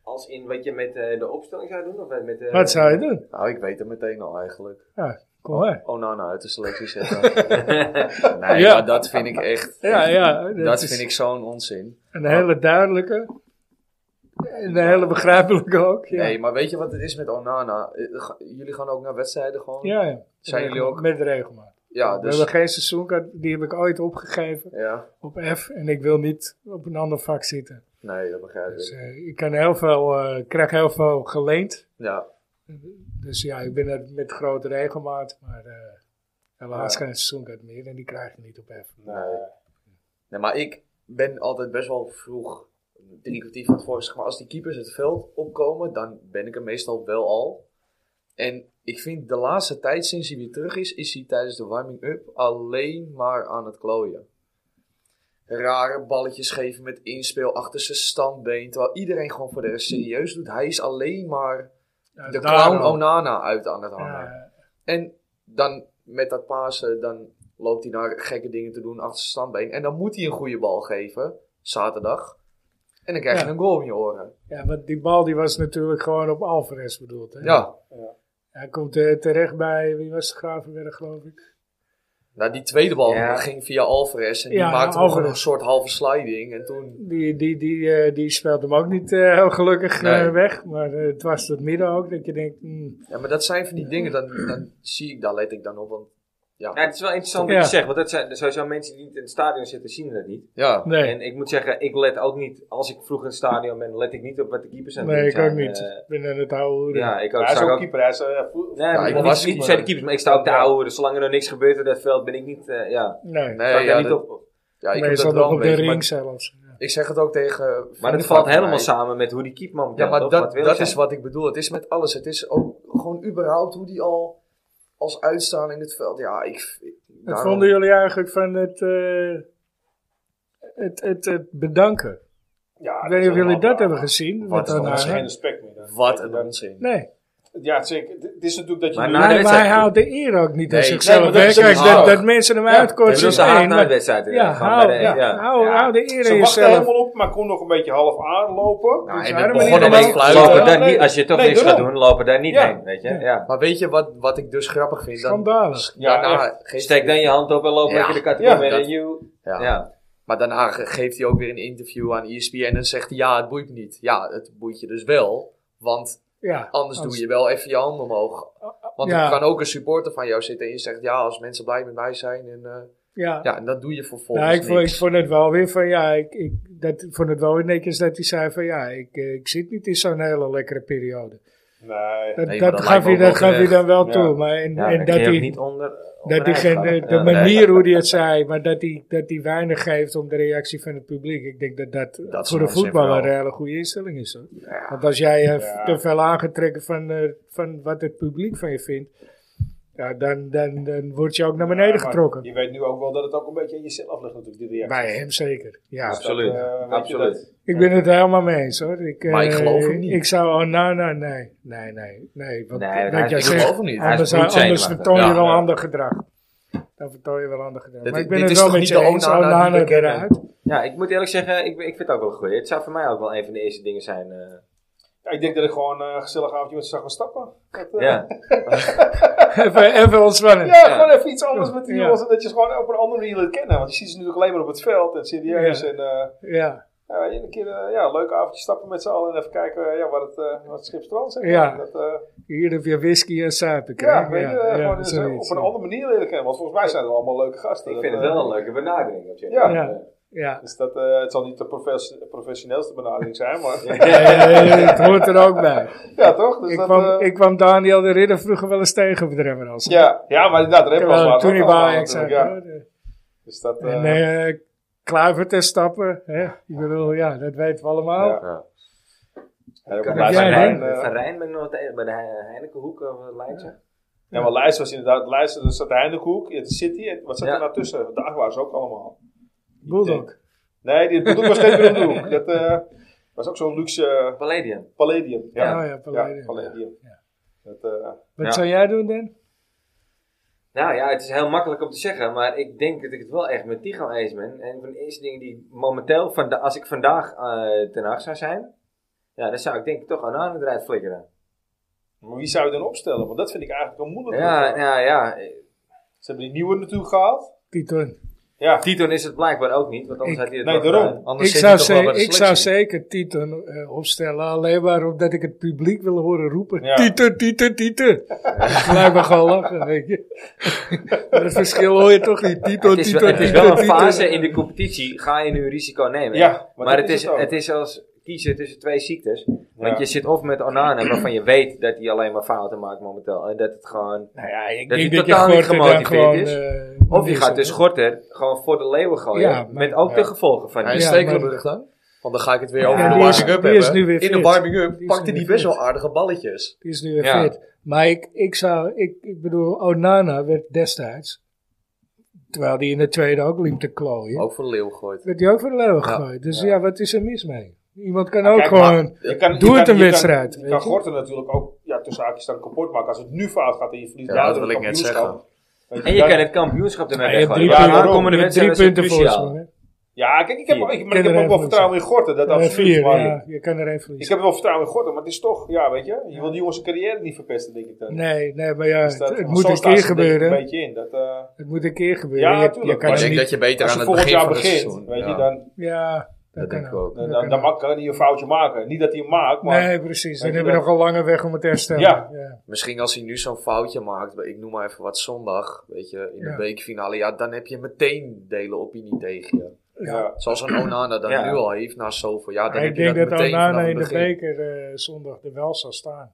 S1: Als in wat je met eh, de opstelling zou doen? Of met, met, eh,
S2: Wat zou je doen?
S3: Nou, ik weet het meteen al eigenlijk.
S2: Ja, kom maar.
S3: Onana uit de selectie zetten. nee,
S2: Ja.
S3: maar dat vind ik echt...
S2: Ja, ja. Dat,
S3: Dat
S2: is
S3: vind ik zo'n onzin.
S2: Een hele duidelijke. En een hele begrijpelijke ook. Ja,
S3: Nee, maar weet je wat het is met Onana? Eh, ga- Jullie gaan ook naar wedstrijden gewoon?
S2: ja, ja.
S3: Zijn
S2: Met-
S3: jullie ook-
S2: Met regelmaat.
S3: Ja,
S2: We hebben
S3: dus...
S2: geen seizoenkaart, die heb ik ooit opgegeven
S3: Ja.
S2: op F. En ik wil niet op een ander vak zitten.
S3: Nee, dat begrijp ik.
S2: Dus eh, ik kan heel veel, eh, ik krijg heel veel geleend.
S3: Ja.
S2: Dus ja, ik ben er met grote regelmaat. Maar eh, helaas
S4: Ja.
S2: geen seizoenkaart meer. En die krijg je niet op F.
S4: Nee.
S3: Nee, maar ik ben altijd best wel vroeg, drie kwartier van tevoren, zeg maar, als die keepers het veld opkomen, dan ben ik er meestal wel al. En ik vind de laatste tijd, sinds hij weer terug is, is hij tijdens de warming-up alleen maar aan het klooien. Rare balletjes geven met inspel achter zijn standbeen, terwijl iedereen gewoon voor de rest serieus doet. Hij is alleen maar
S2: Ja,
S3: de
S2: daarom.
S3: clown Onana uit aan het hangen.
S2: Ja,
S3: En dan met dat Pasen, dan loopt hij naar gekke dingen te doen achter zijn standbeen. En dan moet hij een goede bal geven, zaterdag. En dan krijg je
S2: Ja.
S3: een goal in je oren.
S2: ja, want die bal die was natuurlijk gewoon op Alvarez bedoeld. Hè?
S3: Ja,
S2: Hij komt eh, terecht bij, wie was de Gravenberg geloof ik?
S3: nou die tweede bal
S1: Ja.
S3: ging via Alvarez. En die
S2: Ja,
S3: maakte nog
S2: Alvarez.
S3: een soort halve sliding. En toen,
S2: Die, die, die, eh, die speelt hem ook niet eh, heel gelukkig eh,
S3: Nee.
S2: weg. Maar eh, het was tot midden ook dat je denkt, hmm,
S3: ja, maar dat zijn van die dingen, dan, dan zie ik, daar let ik dan op. Want
S1: Ja,
S3: ja,
S1: het is wel interessant wat
S2: Ja.
S1: je zegt, want dat zijn, sowieso mensen die niet in het stadion zitten, zien dat niet.
S3: ja,
S2: nee,
S1: En ik moet zeggen, ik let ook niet, als ik vroeg in het stadion ben, let ik niet op wat de keepers aan het
S2: nee
S1: doen
S2: ik ook
S1: zijn.
S2: niet.
S1: Eh,
S2: ik ben aan het oude hoeren.
S1: ja, ik ook.
S4: Hij is
S1: zou
S4: ook
S1: ik ook
S4: keeper. Hij is, eh, vo-
S1: Nee,
S3: Ja,
S1: maar
S3: ik
S1: niet,
S3: was
S1: niet
S3: niet,
S1: per se de
S3: maar-
S1: keepers, maar ik sta ook te ouwen. Dus zolang er nog niks gebeurt op dat veld, ben ik niet, eh, ja,
S2: Nee,
S3: nee,
S1: sta ik daar
S3: ja,
S1: niet
S3: dat-
S1: op.
S3: ja, ik heb dat
S2: meestal
S3: wel
S2: nog
S3: een
S2: op de
S3: beetje.
S2: ring
S3: Maar
S2: zelfs. Ja.
S3: ik zeg het ook tegen...
S1: Maar
S3: vrienden
S1: dat valt
S3: van
S1: helemaal
S3: mij.
S1: samen met hoe die keeper momenteel
S3: Ja, maar
S1: loopt,
S3: dat,
S1: wat wil
S3: dat
S1: zijn.
S3: is wat ik bedoel. Het is met alles. Het is ook gewoon überhaupt hoe die al als uitstraling in het veld. Ja, ik. ik-
S2: Wat
S3: daarom-
S2: vonden jullie eigenlijk van het, eh, het, het, het bedanken?
S4: Ja,
S2: Ik weet niet of jullie dat hebben gezien.
S3: Wat
S2: met
S3: een
S2: Onana.
S4: Dat is geen
S3: gezien.
S4: respect meer. dan.
S3: Wat een onzin.
S2: Nee,
S4: Ja, zeker. Het is natuurlijk dat je...
S1: Maar
S4: nu-
S1: na
S2: maar,
S1: de
S2: maar hij
S1: wedstrijd.
S2: haalt de eer ook niet aan
S3: Nee,
S2: zichzelf.
S4: nee, maar dat
S2: hè.
S4: is een
S2: Kijk, dat,
S3: haal.
S2: dat mensen hem
S1: Dat
S2: uitkorten.
S1: is
S2: is
S1: de haat
S2: één,
S1: naar de
S2: maar-
S1: wedstrijd.
S2: Ja,
S1: inderdaad, gewoon
S2: hou,
S1: bij de-
S2: ja,
S1: ja.
S2: hou, hou de eer
S4: Ze
S2: in
S4: wachten
S2: jezelf.
S4: helemaal op, maar kon nog een beetje half aanlopen.
S3: Nou,
S4: Dus hij
S3: en het
S4: had hem
S3: begon
S4: niet
S3: ineens
S4: gedaan.
S3: fluiten.
S4: Ja,
S1: Lopen daar
S4: nee.
S1: niet, als je toch
S4: Nee,
S1: niks gaat
S4: daarom.
S1: doen, lopen daar niet
S4: Ja.
S1: heen, weet je. Ja.
S3: Maar weet je wat, wat ik dus grappig vind? Dan,
S2: Schandalig.
S4: Ja,
S3: daarna geeft-
S1: Steek dan je hand op en loop
S3: Ja.
S1: lekker de catacombe
S3: Ja.
S1: in.
S3: Dat-
S1: en you-
S3: ja.
S1: Ja.
S3: Maar daarna ge- geeft hij ook weer een interview aan E ESPN en zegt hij: Ja, het boeit me niet. Ja, het boeit je dus wel. Want
S2: Ja,
S3: anders doe je wel even je hand omhoog. Want
S2: Ja.
S3: er kan ook een supporter van jou zitten en je zegt: Ja, als mensen blij met mij zijn. En, eh,
S2: Ja,
S3: ja, en dat doe je vervolgens.
S2: Nou, ik, vond, ik
S3: niks.
S2: vond het wel weer van ja, ik, ik dat, vond het wel weer netjes dat hij zei van ja, ik, eh, ik zit niet in zo'n hele lekkere periode.
S4: Nee.
S2: Dat,
S3: Nee, maar
S2: dat
S3: dat
S2: gaf, hij,
S3: lijkt me
S2: dat
S3: ook
S2: gaf hij
S3: oprecht.
S2: dan wel
S4: Ja.
S2: toe. Maar en,
S1: Ja,
S2: en
S1: daar kun
S2: dat
S1: je ook
S2: hij,
S1: niet onder.
S2: dat
S1: onderuit
S2: hij geen,
S1: gaan.
S2: de, de
S1: Ja.
S2: manier hoe hij het zei, maar dat hij, dat hij weinig geeft om de reactie van het publiek. Ik denk dat dat,
S3: Dat is
S2: voor een
S3: onzin
S2: voetballer
S3: wel.
S2: een hele goede instelling is. Hoor. Want als jij eh,
S4: Ja.
S2: te veel aangetrekken van, eh, van wat het publiek van je vindt, Ja, dan, dan, dan word je ook naar beneden
S4: Ja, maar
S2: getrokken.
S4: Je weet nu ook wel dat het ook een beetje aan jezelf ligt natuurlijk, die reactie.
S2: Bij hem zeker. Ja,
S4: Dus dat, eh, weet je, dat-
S1: Absoluut.
S2: ik ben het helemaal mee eens hoor. Ik,
S3: Maar ik
S2: eh,
S3: geloof hem niet.
S2: Ik zou, oh nou, nou, nee, nee, nee, nee. Want,
S1: Nee,
S2: wat
S1: hij-
S2: jij
S1: ik
S3: Ik
S1: Zeg,
S2: zegt,
S3: geloof hem niet.
S1: hij is
S2: Anders,
S1: bloed
S2: anders
S1: zenuwachtig.
S2: vertoon je
S3: Ja,
S2: wel
S1: ja.
S2: ander gedrag. Dan vertoon je wel ander gedrag.
S3: Dit-
S2: maar ik
S3: dit
S2: ben het
S3: is
S2: wel
S3: toch
S2: met
S3: niet
S2: je
S3: de
S2: eens.
S3: Onana
S2: Onana
S3: die we kennen?
S2: eruit.
S1: Ja, ik moet eerlijk zeggen, ik, ik vind het ook wel een goeie. Het zou voor mij ook wel een van de eerste dingen zijn. eh,
S4: Ja, ik denk dat ik gewoon eh, een gezellig avondje met ze zag gaan stappen. Dat, eh,
S1: ja.
S2: even, even ontspannen.
S4: Ja, gewoon even iets anders met die
S2: Ja.
S4: jongens. en Dat je ze gewoon op een andere manier leert kennen. Want je ziet ze nu ook alleen maar op het veld en serieus.
S2: Ja.
S4: En eh,
S2: Ja.
S4: ja, een keer eh, ja, een leuk avondje stappen met z'n allen. En even kijken eh, ja, wat het, eh, wat het schip strandt. zeg maar.
S2: Ja.
S4: Dat, eh,
S2: Hier heb je whisky en suiker.
S4: ja,
S2: hè?
S4: weet je, eh, gewoon eens, eh,
S2: zoiets,
S4: op een
S2: ja.
S4: andere manier leren kennen. Want volgens mij zijn er allemaal leuke gasten.
S1: Ik
S4: Dat,
S1: vind het
S4: eh,
S1: wel een leuke benadering. op zich.
S4: Ja.
S2: Ja. Ja.
S4: Dus dat, eh, het zal niet de profes- professioneelste benadering zijn, maar
S2: Eh, het hoort er ook bij.
S4: ja, toch? Dus
S2: ik,
S4: dat,
S2: kwam,
S4: eh,
S2: ik kwam Daniel de Ridder vroeger wel eens tegen op de Rembrandts.
S4: ja, ja, maar inderdaad, Rempels
S2: Terwijl
S4: waren
S2: toen
S4: ook
S2: hij bij
S4: allemaal
S2: Ajax zat,
S4: natuurlijk, ja.
S2: hoor.
S4: Dus dat, eh,
S2: En eh Kluivert en Stappen. Hè? Ik bedoel, ja, dat weten we allemaal.
S4: Ja.
S1: Ja.
S4: ja,
S1: Ik had
S4: maar
S2: Ja,
S1: Van
S4: Leijs-
S2: ja,
S1: Rijn-
S4: Leijn,
S1: met Van
S4: eh,
S1: Rijn ben ik nog tegen, bij de He- Heinekenhoek eh, of Leidse.
S4: Ja, maar Leijs was inderdaad, Leijs, er zat Heindekoek, het City, en wat zat
S1: Ja.
S4: er nou tussen? De Agua's ook allemaal.
S2: Bulldog.
S4: Nee, die bedoel was geen bedoel. Dat eh, was ook zo'n luxe eh,
S1: Palladium.
S4: Palladium. Ja,
S2: Oh ja, Palladium.
S4: Ja, Palladium.
S2: Ja.
S4: Dat, eh,
S2: Wat
S1: Ja.
S2: zou jij doen, Dan?
S1: Nou ja, het is heel makkelijk om te zeggen, maar ik denk dat ik het wel echt met Tigo eens ben. En van de eerste dingen die ik momenteel, van de, als ik vandaag eh ten acht zou zijn, ja, dan zou ik denk ik toch aan aan eruit flikkeren.
S4: maar wie zou je dan opstellen? Want dat vind ik eigenlijk wel moeilijk. eh,
S1: Ja, ja, ja.
S4: Ze hebben die nieuwe natuurlijk gehaald.
S2: Titon.
S4: Ja,
S1: Titon is het blijkbaar ook niet, want anders
S2: Ik-
S1: had hij het eh,
S4: nee,
S1: wel
S4: daarom.
S1: gedaan.
S3: Anders
S2: Ik,
S3: zit
S2: zou,
S3: hij toch wel
S2: ze-
S3: bij de
S2: ik zou
S3: selectie.
S2: zeker Titon eh, opstellen. Alleen maar omdat ik het publiek wil horen roepen.
S4: Ja.
S2: Tieten, Tieten, Tieten. Blijf maar gewoon lachen, weet je. dat verschil hoor je toch niet. Titon,
S1: Het is, wel,
S2: Titon,
S1: het is wel
S2: Titon,
S1: een fase
S2: Titon.
S1: in de competitie, ga je nu risico nemen.
S4: Ja,
S1: maar
S4: maar dat
S1: het,
S4: is
S1: is,
S4: het ook.
S1: het is als kiezen tussen twee ziektes. Want
S4: Ja.
S1: je zit of met Onana, waarvan je weet dat hij alleen maar fouten maakt momenteel. En dat het gewoon...
S2: Nou ja, ik
S1: Dat
S2: denk
S1: hij
S2: dat je
S1: totaal niet
S2: Gorter dan
S1: gemotiveerd
S2: gewoon...
S1: is.
S2: eh,
S1: Of je gaat
S2: neerzet,
S1: dus
S2: hè.
S1: Gorter gewoon voor de leeuwen gooien.
S2: Ja, maar-
S1: met ook
S4: ja.
S1: de gevolgen van
S3: Hij
S1: die.
S3: is
S2: Ja,
S3: stekelrug dan. Want dan ga ik het weer over
S2: Ja,
S3: de
S2: die is-
S3: warming-up
S2: die
S3: hebben.
S2: is nu weer
S3: in de
S2: fit.
S3: warming-up
S2: Die is
S3: pakte
S2: nu
S3: die
S2: weer
S3: best
S2: fit.
S3: wel aardige balletjes.
S2: Die is nu weer
S1: Ja.
S2: fit. Maar ik, ik zou, ik, ik bedoel, Onana werd destijds, terwijl die in de tweede ook liep te klooien,
S3: Ook voor de leeuw gegooid.
S2: werd die ook voor de leeuwen
S3: Ja.
S2: gegooid. Dus
S4: Ja.
S2: ja. wat is er mis mee? Iemand kan
S4: Maar
S2: ook
S4: kijk,
S2: gewoon...
S4: je kan, je
S2: Doe
S4: kan-
S2: het een
S4: je kan-
S2: wedstrijd,
S4: Je
S2: weet
S4: kan
S2: je.
S4: Gorten natuurlijk ook ja, tussen haakjes dan kapot maken. Als het nu fout gaat en je verliest
S3: Ja,
S4: daardoor
S3: dat wil
S4: het
S3: ik net
S4: kampioenschap.
S3: zeggen.
S4: Weet
S1: En je
S4: dan-
S1: kan het kampioenschap ermee
S2: Ja, je hebt
S1: weggooien.
S2: drie,
S1: Ja, de
S4: daarom.
S1: aankomende
S2: punten, je hebt drie
S1: wedstrijd is
S2: punten volgens
S1: cruciaal.
S2: mij.
S4: Ja, kijk, ik heb, ik, maar ik heb ook
S2: Kinderen
S4: wel
S2: en
S4: vertrouwen in Gorten. Dat
S2: Eh,
S4: absoluut.
S2: vier,
S4: maar-
S2: ja. Je kan er één
S4: Ik
S2: verliezen.
S4: heb wel vertrouwen in Gorten, maar het is toch, ja, weet je. Je wil die jongens hun carrière niet verpesten, denk ik dan.
S2: Nee, nee, maar ja,
S4: Dus
S2: het,
S4: dat-
S2: het
S4: want
S2: moet
S4: zo
S2: een
S4: staan
S2: keer
S4: ze er denk ik Een
S2: gebeuren.
S4: beetje in. Dat, eh,
S2: Het moet een keer gebeuren.
S4: Ja,
S2: Je- je,
S4: tuurlijk.
S2: kan
S4: Maar
S3: Maar
S2: er
S3: ik denk
S2: niet...
S3: dat je beter
S4: als
S3: aan
S4: je
S3: het
S4: volgend
S3: begin
S4: jaar
S3: van het
S4: begint,
S3: seizoen...
S4: weet je,
S3: ja.
S4: dan,
S2: Ja, dat,
S1: Dat
S2: kan
S1: denk ik
S2: ook.
S1: ook.
S2: Dat
S4: dan, dan,
S2: kan
S4: dan
S2: ook.
S4: mag- kan hij een foutje maken. Niet dat hij hem maakt, maar...
S2: nee, precies. Dan
S4: je
S2: hebben we
S4: dat-
S2: nog een lange weg om het te herstellen.
S4: Ja.
S3: Misschien als hij nu zo'n foutje maakt, ik noem maar even wat zondag, weet je, in de
S2: Ja.
S3: bekerfinale, ja, dan heb je meteen de hele opinie tegen je.
S4: Ja.
S3: Zoals een Onana dan
S1: Ja.
S3: nu al heeft na zoveel jaar, dan
S2: Maar ik
S3: heb je
S2: denk
S3: dat
S2: dat
S3: meteen vanaf
S2: Onana
S3: het
S2: in de
S3: begin.
S2: beker eh, zondag er wel zal staan.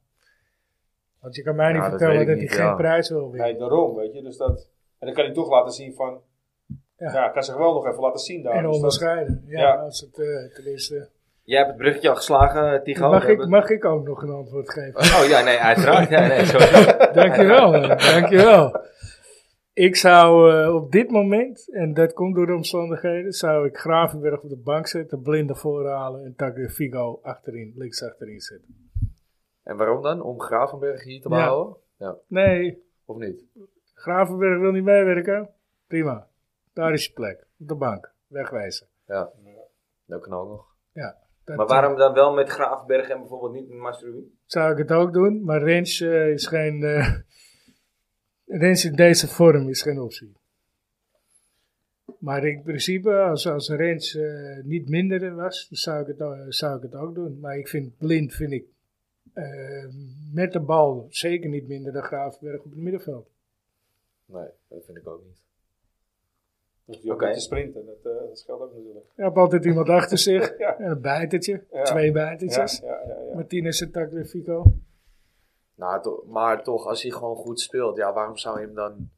S2: Want je kan mij
S3: Ja,
S2: niet
S3: dat
S2: vertellen
S3: weet
S2: dat,
S3: ik niet,
S2: hij geen
S3: ja.
S2: prijs wil winnen.
S4: Nee, daarom, weet je. Dus dat, en dan kan hij toch laten zien van... Ja,
S2: Ja.
S4: kan zich wel nog even laten zien daar.
S2: en
S4: Dus dat-
S2: onderscheiden. Ja,
S4: ja.
S2: Als het, eh, tenminste.
S1: Jij hebt het bruggetje al geslagen, eh, Tigo.
S2: Mag
S1: We
S2: ik,
S1: hebben-
S2: mag ik ook nog een antwoord geven?
S1: Oh ja, nee, uiteraard. Ja, nee, sowieso.
S2: dankjewel, eh, dankjewel. Ik zou eh, op dit moment, en dat komt door de omstandigheden, zou ik Gravenberg op de bank zetten, Blinder voorhalen en Tagliafico achterin, links achterin zetten.
S3: En waarom dan? Om Gravenberg hier te
S2: Ja.
S3: behouden?
S2: Nee,
S3: Of niet?
S2: Gravenberg wil niet meewerken. Prima. Daar is je plek. Op de bank. Wegwijzen.
S3: Ja, dat kan ook nog.
S2: Dat, eh,
S1: Maar waarom dan wel met Graafberg en bijvoorbeeld niet met Masrui?
S2: zou ik het ook doen. Maar Rens eh, is geen. eh Rens in deze vorm is geen optie. Maar in principe, als, als Rens eh, niet minder was, dan zou ik, het, o- zou ik het ook doen. Maar ik vind blind, vind ik, eh, met de bal zeker niet minder dan Graafberg op het middenveld.
S3: Nee, dat vind ik ook niet.
S4: Dus die ook
S1: Oké.
S4: met te sprinten, dat, eh, dat scheelt ook natuurlijk.
S2: Je hebt altijd iemand achter zich.
S4: Ja.
S2: Een bijtertje,
S4: Ja.
S2: twee
S4: Ja,
S2: bijtertjes.
S4: ja, ja, ja.
S2: Martinez en Tagliafico.
S3: Nou, to- maar toch, als hij gewoon goed speelt, ja, waarom zou je hem dan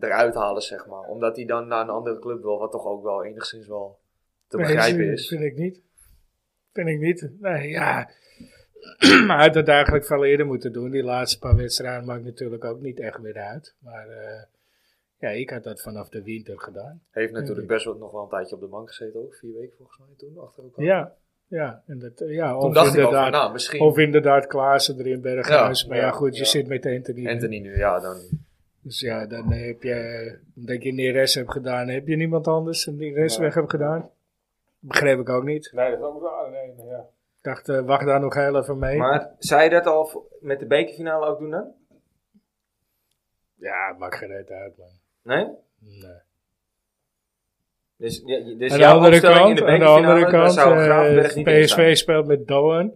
S3: eruit halen, zeg maar? Omdat hij dan naar een andere club wil, wat toch ook wel enigszins wel te
S2: Nee,
S3: begrijpen
S2: vind-
S3: is.
S2: Vind ik niet. Vind ik niet. Nee, ja. maar hij had dat eigenlijk veel eerder moeten doen. Die laatste paar wedstrijden maakt natuurlijk ook niet echt meer uit. Maar eh, ja, ik had dat vanaf de winter gedaan.
S3: Heeft
S2: Denk ik.
S3: natuurlijk best wel nog wel een tijdje op de bank gezeten ook. Vier weken volgens mij toen, achter elkaar.
S2: Ja, ja. En dat, eh, ja
S3: Toen
S2: of,
S3: dacht ik al van,
S2: inderdaad,
S3: nou, misschien
S2: of inderdaad Klaassen erin, Berghuis.
S3: Ja,
S2: maar ja,
S3: ja,
S2: goed, je
S3: ja.
S2: zit met Anthony.
S3: Anthony nu, ja, dan...
S2: Dus ja, dan heb je, omdat je Neres hebt gedaan, heb je niemand anders en Neres
S4: Nee.
S2: weg hebt gedaan. Begreep ik ook niet.
S4: Nee, dat is ook raar. Nee, nee, ja.
S2: Ik dacht, eh, wacht daar nog heel even mee.
S1: Maar zou je dat al v- met de bekerfinale ook doen dan?
S2: ja, maakt geen reet uit, man.
S1: Nee?
S2: Nee.
S1: Dus, ja, je- dus
S2: aan de
S1: jouw
S2: andere
S1: opstelling
S2: kant,
S1: in de
S2: aan de andere
S1: bekerfinale, daar
S2: kant
S1: zou
S2: eh,
S1: Gravenberg niet in staan.
S2: PSV speelt met Doan,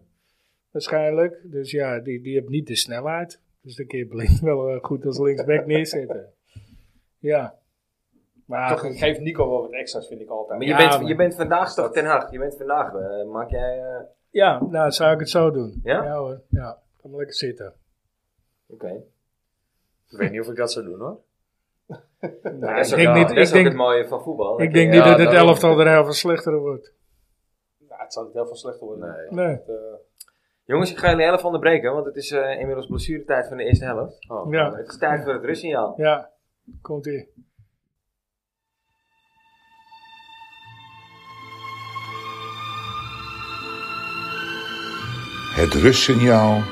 S2: waarschijnlijk. Dus ja, die, die heeft niet de snelheid. Dus dan kun je Blind wel eh, goed als linksback neerzetten. Ja. Maar
S4: Toch geeft Nico wel wat extra's, vind ik altijd.
S1: Maar
S2: Ja,
S1: je, bent,
S2: maar-
S1: je bent vandaag toch Ten Hag? Je bent vandaag, eh, maak jij... eh,
S2: ja, nou zou ik het zo doen.
S1: Ja?
S2: hoor, ja. Ga maar lekker zitten.
S1: Oké.
S2: Nou,
S3: Ik weet niet of ik dat zou doen hoor.
S1: Nou,
S2: Nou,
S1: dat
S2: ik
S1: is ook,
S2: denk
S1: wel-
S2: niet,
S1: dat is
S2: ik
S1: ook
S2: denk,
S1: het mooie van voetbal. eh,
S2: ik denk
S1: je-
S2: niet
S3: Ja,
S2: dat het
S3: daarom.
S2: elftal er heel veel slechter op wordt.
S4: Ja, het zal niet heel veel slechter worden.
S3: Nee.
S2: Nee.
S4: Eh,
S1: Jongens, ik ga jullie helft onderbreken, want het is eh, inmiddels blessuretijd van de eerste helft.
S3: Oh.
S2: Ja,
S1: Het is tijd voor het rustsignaal.
S2: ja. Komt ie.
S5: Het rustsignaal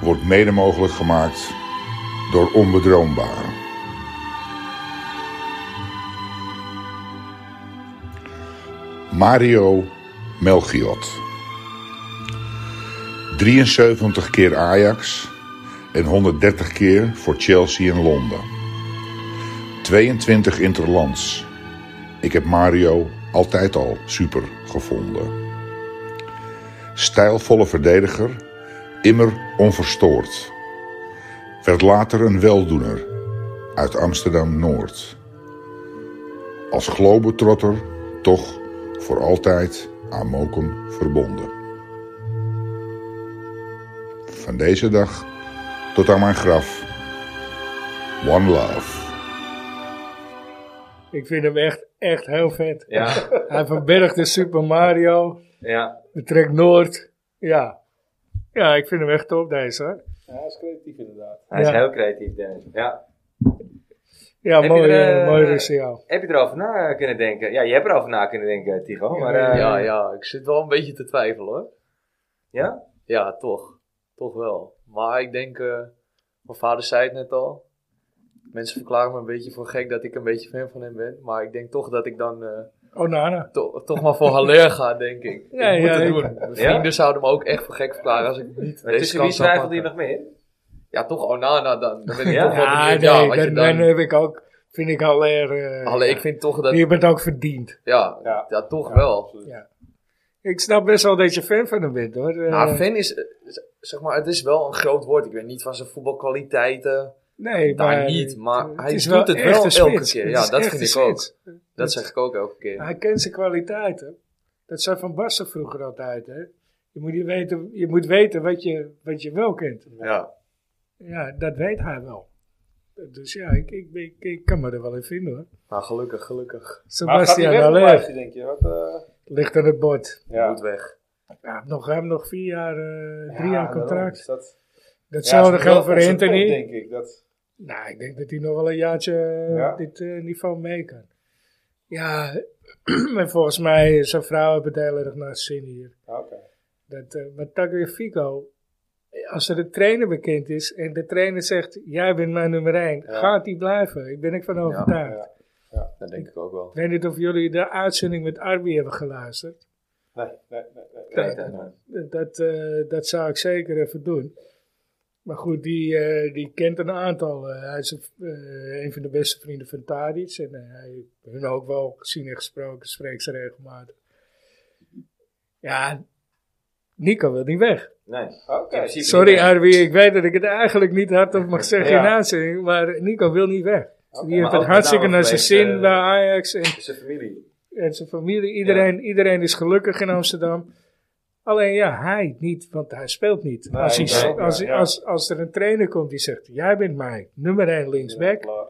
S5: wordt mede mogelijk gemaakt door onbedroombaar. Mario Melchiot. 73 keer Ajax en 130 keer voor Chelsea in Londen. 22 interlands. Ik heb Mario altijd al super gevonden stijlvolle verdediger, immer onverstoord. Werd later een weldoener uit Amsterdam-Noord. Als globetrotter toch voor altijd aan Mokum verbonden. Van deze dag tot aan mijn graf. One love.
S2: Ik vind hem echt, echt heel vet.
S1: Ja,
S2: Hij verbergt de Super Mario.
S1: ja.
S2: De Trek Noord. Ja. Ja, ik vind hem echt top deze. hoor.
S4: ja, hij is creatief inderdaad.
S1: Hij is
S2: Ja.
S1: heel creatief, Dennis. Ja.
S2: Ja,
S1: Heb je
S2: mooi,
S1: er,
S2: eh,
S1: eh,
S2: mooi Russiaal.
S1: Heb je erover na kunnen denken? Ja, je hebt erover na kunnen denken, Tigo. Maar, eh,
S3: Ja, ja, ik zit wel een beetje te twijfelen hoor.
S1: ja?
S3: Ja, toch. Toch wel. Maar ik denk, eh, mijn vader zei het net al. Mensen verklaren me een beetje voor gek dat ik een beetje fan van hem ben. Maar ik denk toch dat ik dan eh,
S2: Oh, Nana.
S3: to- toch maar voor Haller ga, denk ik.
S2: Ja,
S3: ik moet
S2: ja,
S3: het
S2: ik-
S3: doen. Mijn
S1: Ja?
S3: vrienden zouden me ook echt voor gek verklaren als ik niet
S1: Maar
S3: deze
S1: tussen wie
S3: kans zou
S1: twijfelde je
S3: pakken.
S1: nog meer?
S3: Ja, toch Onana dan. Dan ben ik
S1: Ja?
S3: toch wel
S2: Ja, nee,
S3: benieuwd. Ja, wat je
S2: dan, dan
S3: dan...
S2: heb ik ook, vind ik al eh
S3: Alleen ik vind toch dat...
S2: Je bent ook verdiend.
S3: Ja,
S4: Ja.
S3: ja. toch wel.
S4: absoluut.
S2: Ja. Ik snap best wel dat je fan van hem bent hoor. Eh,
S3: Nou, fan is... eh, z- Zeg maar, het is wel een groot woord. Ik weet niet van zijn voetbalkwaliteiten.
S2: nee,
S3: daar
S2: maar, eh,
S3: niet, maar
S2: het
S3: hij
S2: is
S3: doet het
S2: echt
S3: wel
S2: een
S3: elke
S2: spits.
S3: keer.
S2: Het
S3: Ja,
S2: is
S3: dat
S2: echt
S3: vind
S2: een
S3: ik ook.
S2: spits.
S3: Dat zeg ik ook elke keer.
S2: Hij kent zijn kwaliteiten. Dat zei Van Basten vroeger altijd. Hè? Je, moet je, weten, je moet weten wat je, wat je wel kent.
S3: Ja.
S2: Ja, dat weet hij wel. Dus ja, ik, ik, ik, ik kan me er wel in vinden hoor.
S3: Nou, gelukkig, gelukkig.
S4: Maar gaat hij
S2: Sebastian
S4: weg of blijft
S2: Haller
S4: hij, denk je? Wat, eh,
S2: ligt aan het bord.
S3: Ja.
S4: ja.
S3: Moet weg.
S2: Ja, hij heeft nog, hij heeft nog vier jaar, eh, drie jaar
S4: Ja, daarom
S2: contract.
S4: is dat-
S2: Datzelfde
S4: Ja, is
S2: geldt
S4: wel op
S2: voor
S4: zijn top,
S2: Anthony.
S4: denk ik. Dat,
S2: Nou, ik denk dat hij nog wel een jaartje eh,
S4: Ja.
S2: dit eh, niveau mee kan. Ja, en volgens mij, eh, zijn vrouw hebben het heel erg naar zin hier.
S4: ja, ah, oké.
S2: Dat, eh maar Tagliafico, als er een trainer bekend is en de trainer zegt, jij bent mijn nummer één,
S4: Ja.
S2: gaat hij blijven. Ik ben ik van overtuigd.
S4: ja.
S3: Dat denk ik ook wel.
S2: Ik weet niet of jullie de uitzending met Arby hebben geluisterd.
S4: Nee, nee, nee. nee.
S1: Nee, nee, nee.
S2: Dat, eh, dat zou ik zeker even doen. Maar goed, die, eh, die kent een aantal. Eh, hij is een, eh, een van de beste vrienden van Tadic. En eh, hij heeft hun ook wel gezien en gesproken. Spreekt ze regelmatig. Ja, Nico wil niet weg.
S1: Nee. In
S3: Oh.
S4: Oké.
S1: principe
S2: Sorry
S1: niet.
S2: Arby, ik weet dat ik het eigenlijk niet hardop mag zeggen in
S4: Ja.
S2: uitzending. Maar Nico wil niet weg. die
S1: maar
S2: heeft het
S1: ook
S2: hartstikke
S1: met name
S2: naar zijn
S1: vanwege,
S2: zin
S1: eh,
S2: bij Ajax. En
S1: Zijn familie.
S2: en zijn familie. Iedereen, iedereen is gelukkig in Amsterdam. Alleen ja, hij niet, want hij speelt niet.
S4: Nee,
S2: als, hij,
S4: ik
S2: s-
S4: ook,
S2: als,
S4: ja, ja.
S2: Als, als er een trainer komt die zegt: Jij bent mijn nummer 1 linksback,
S4: Ja,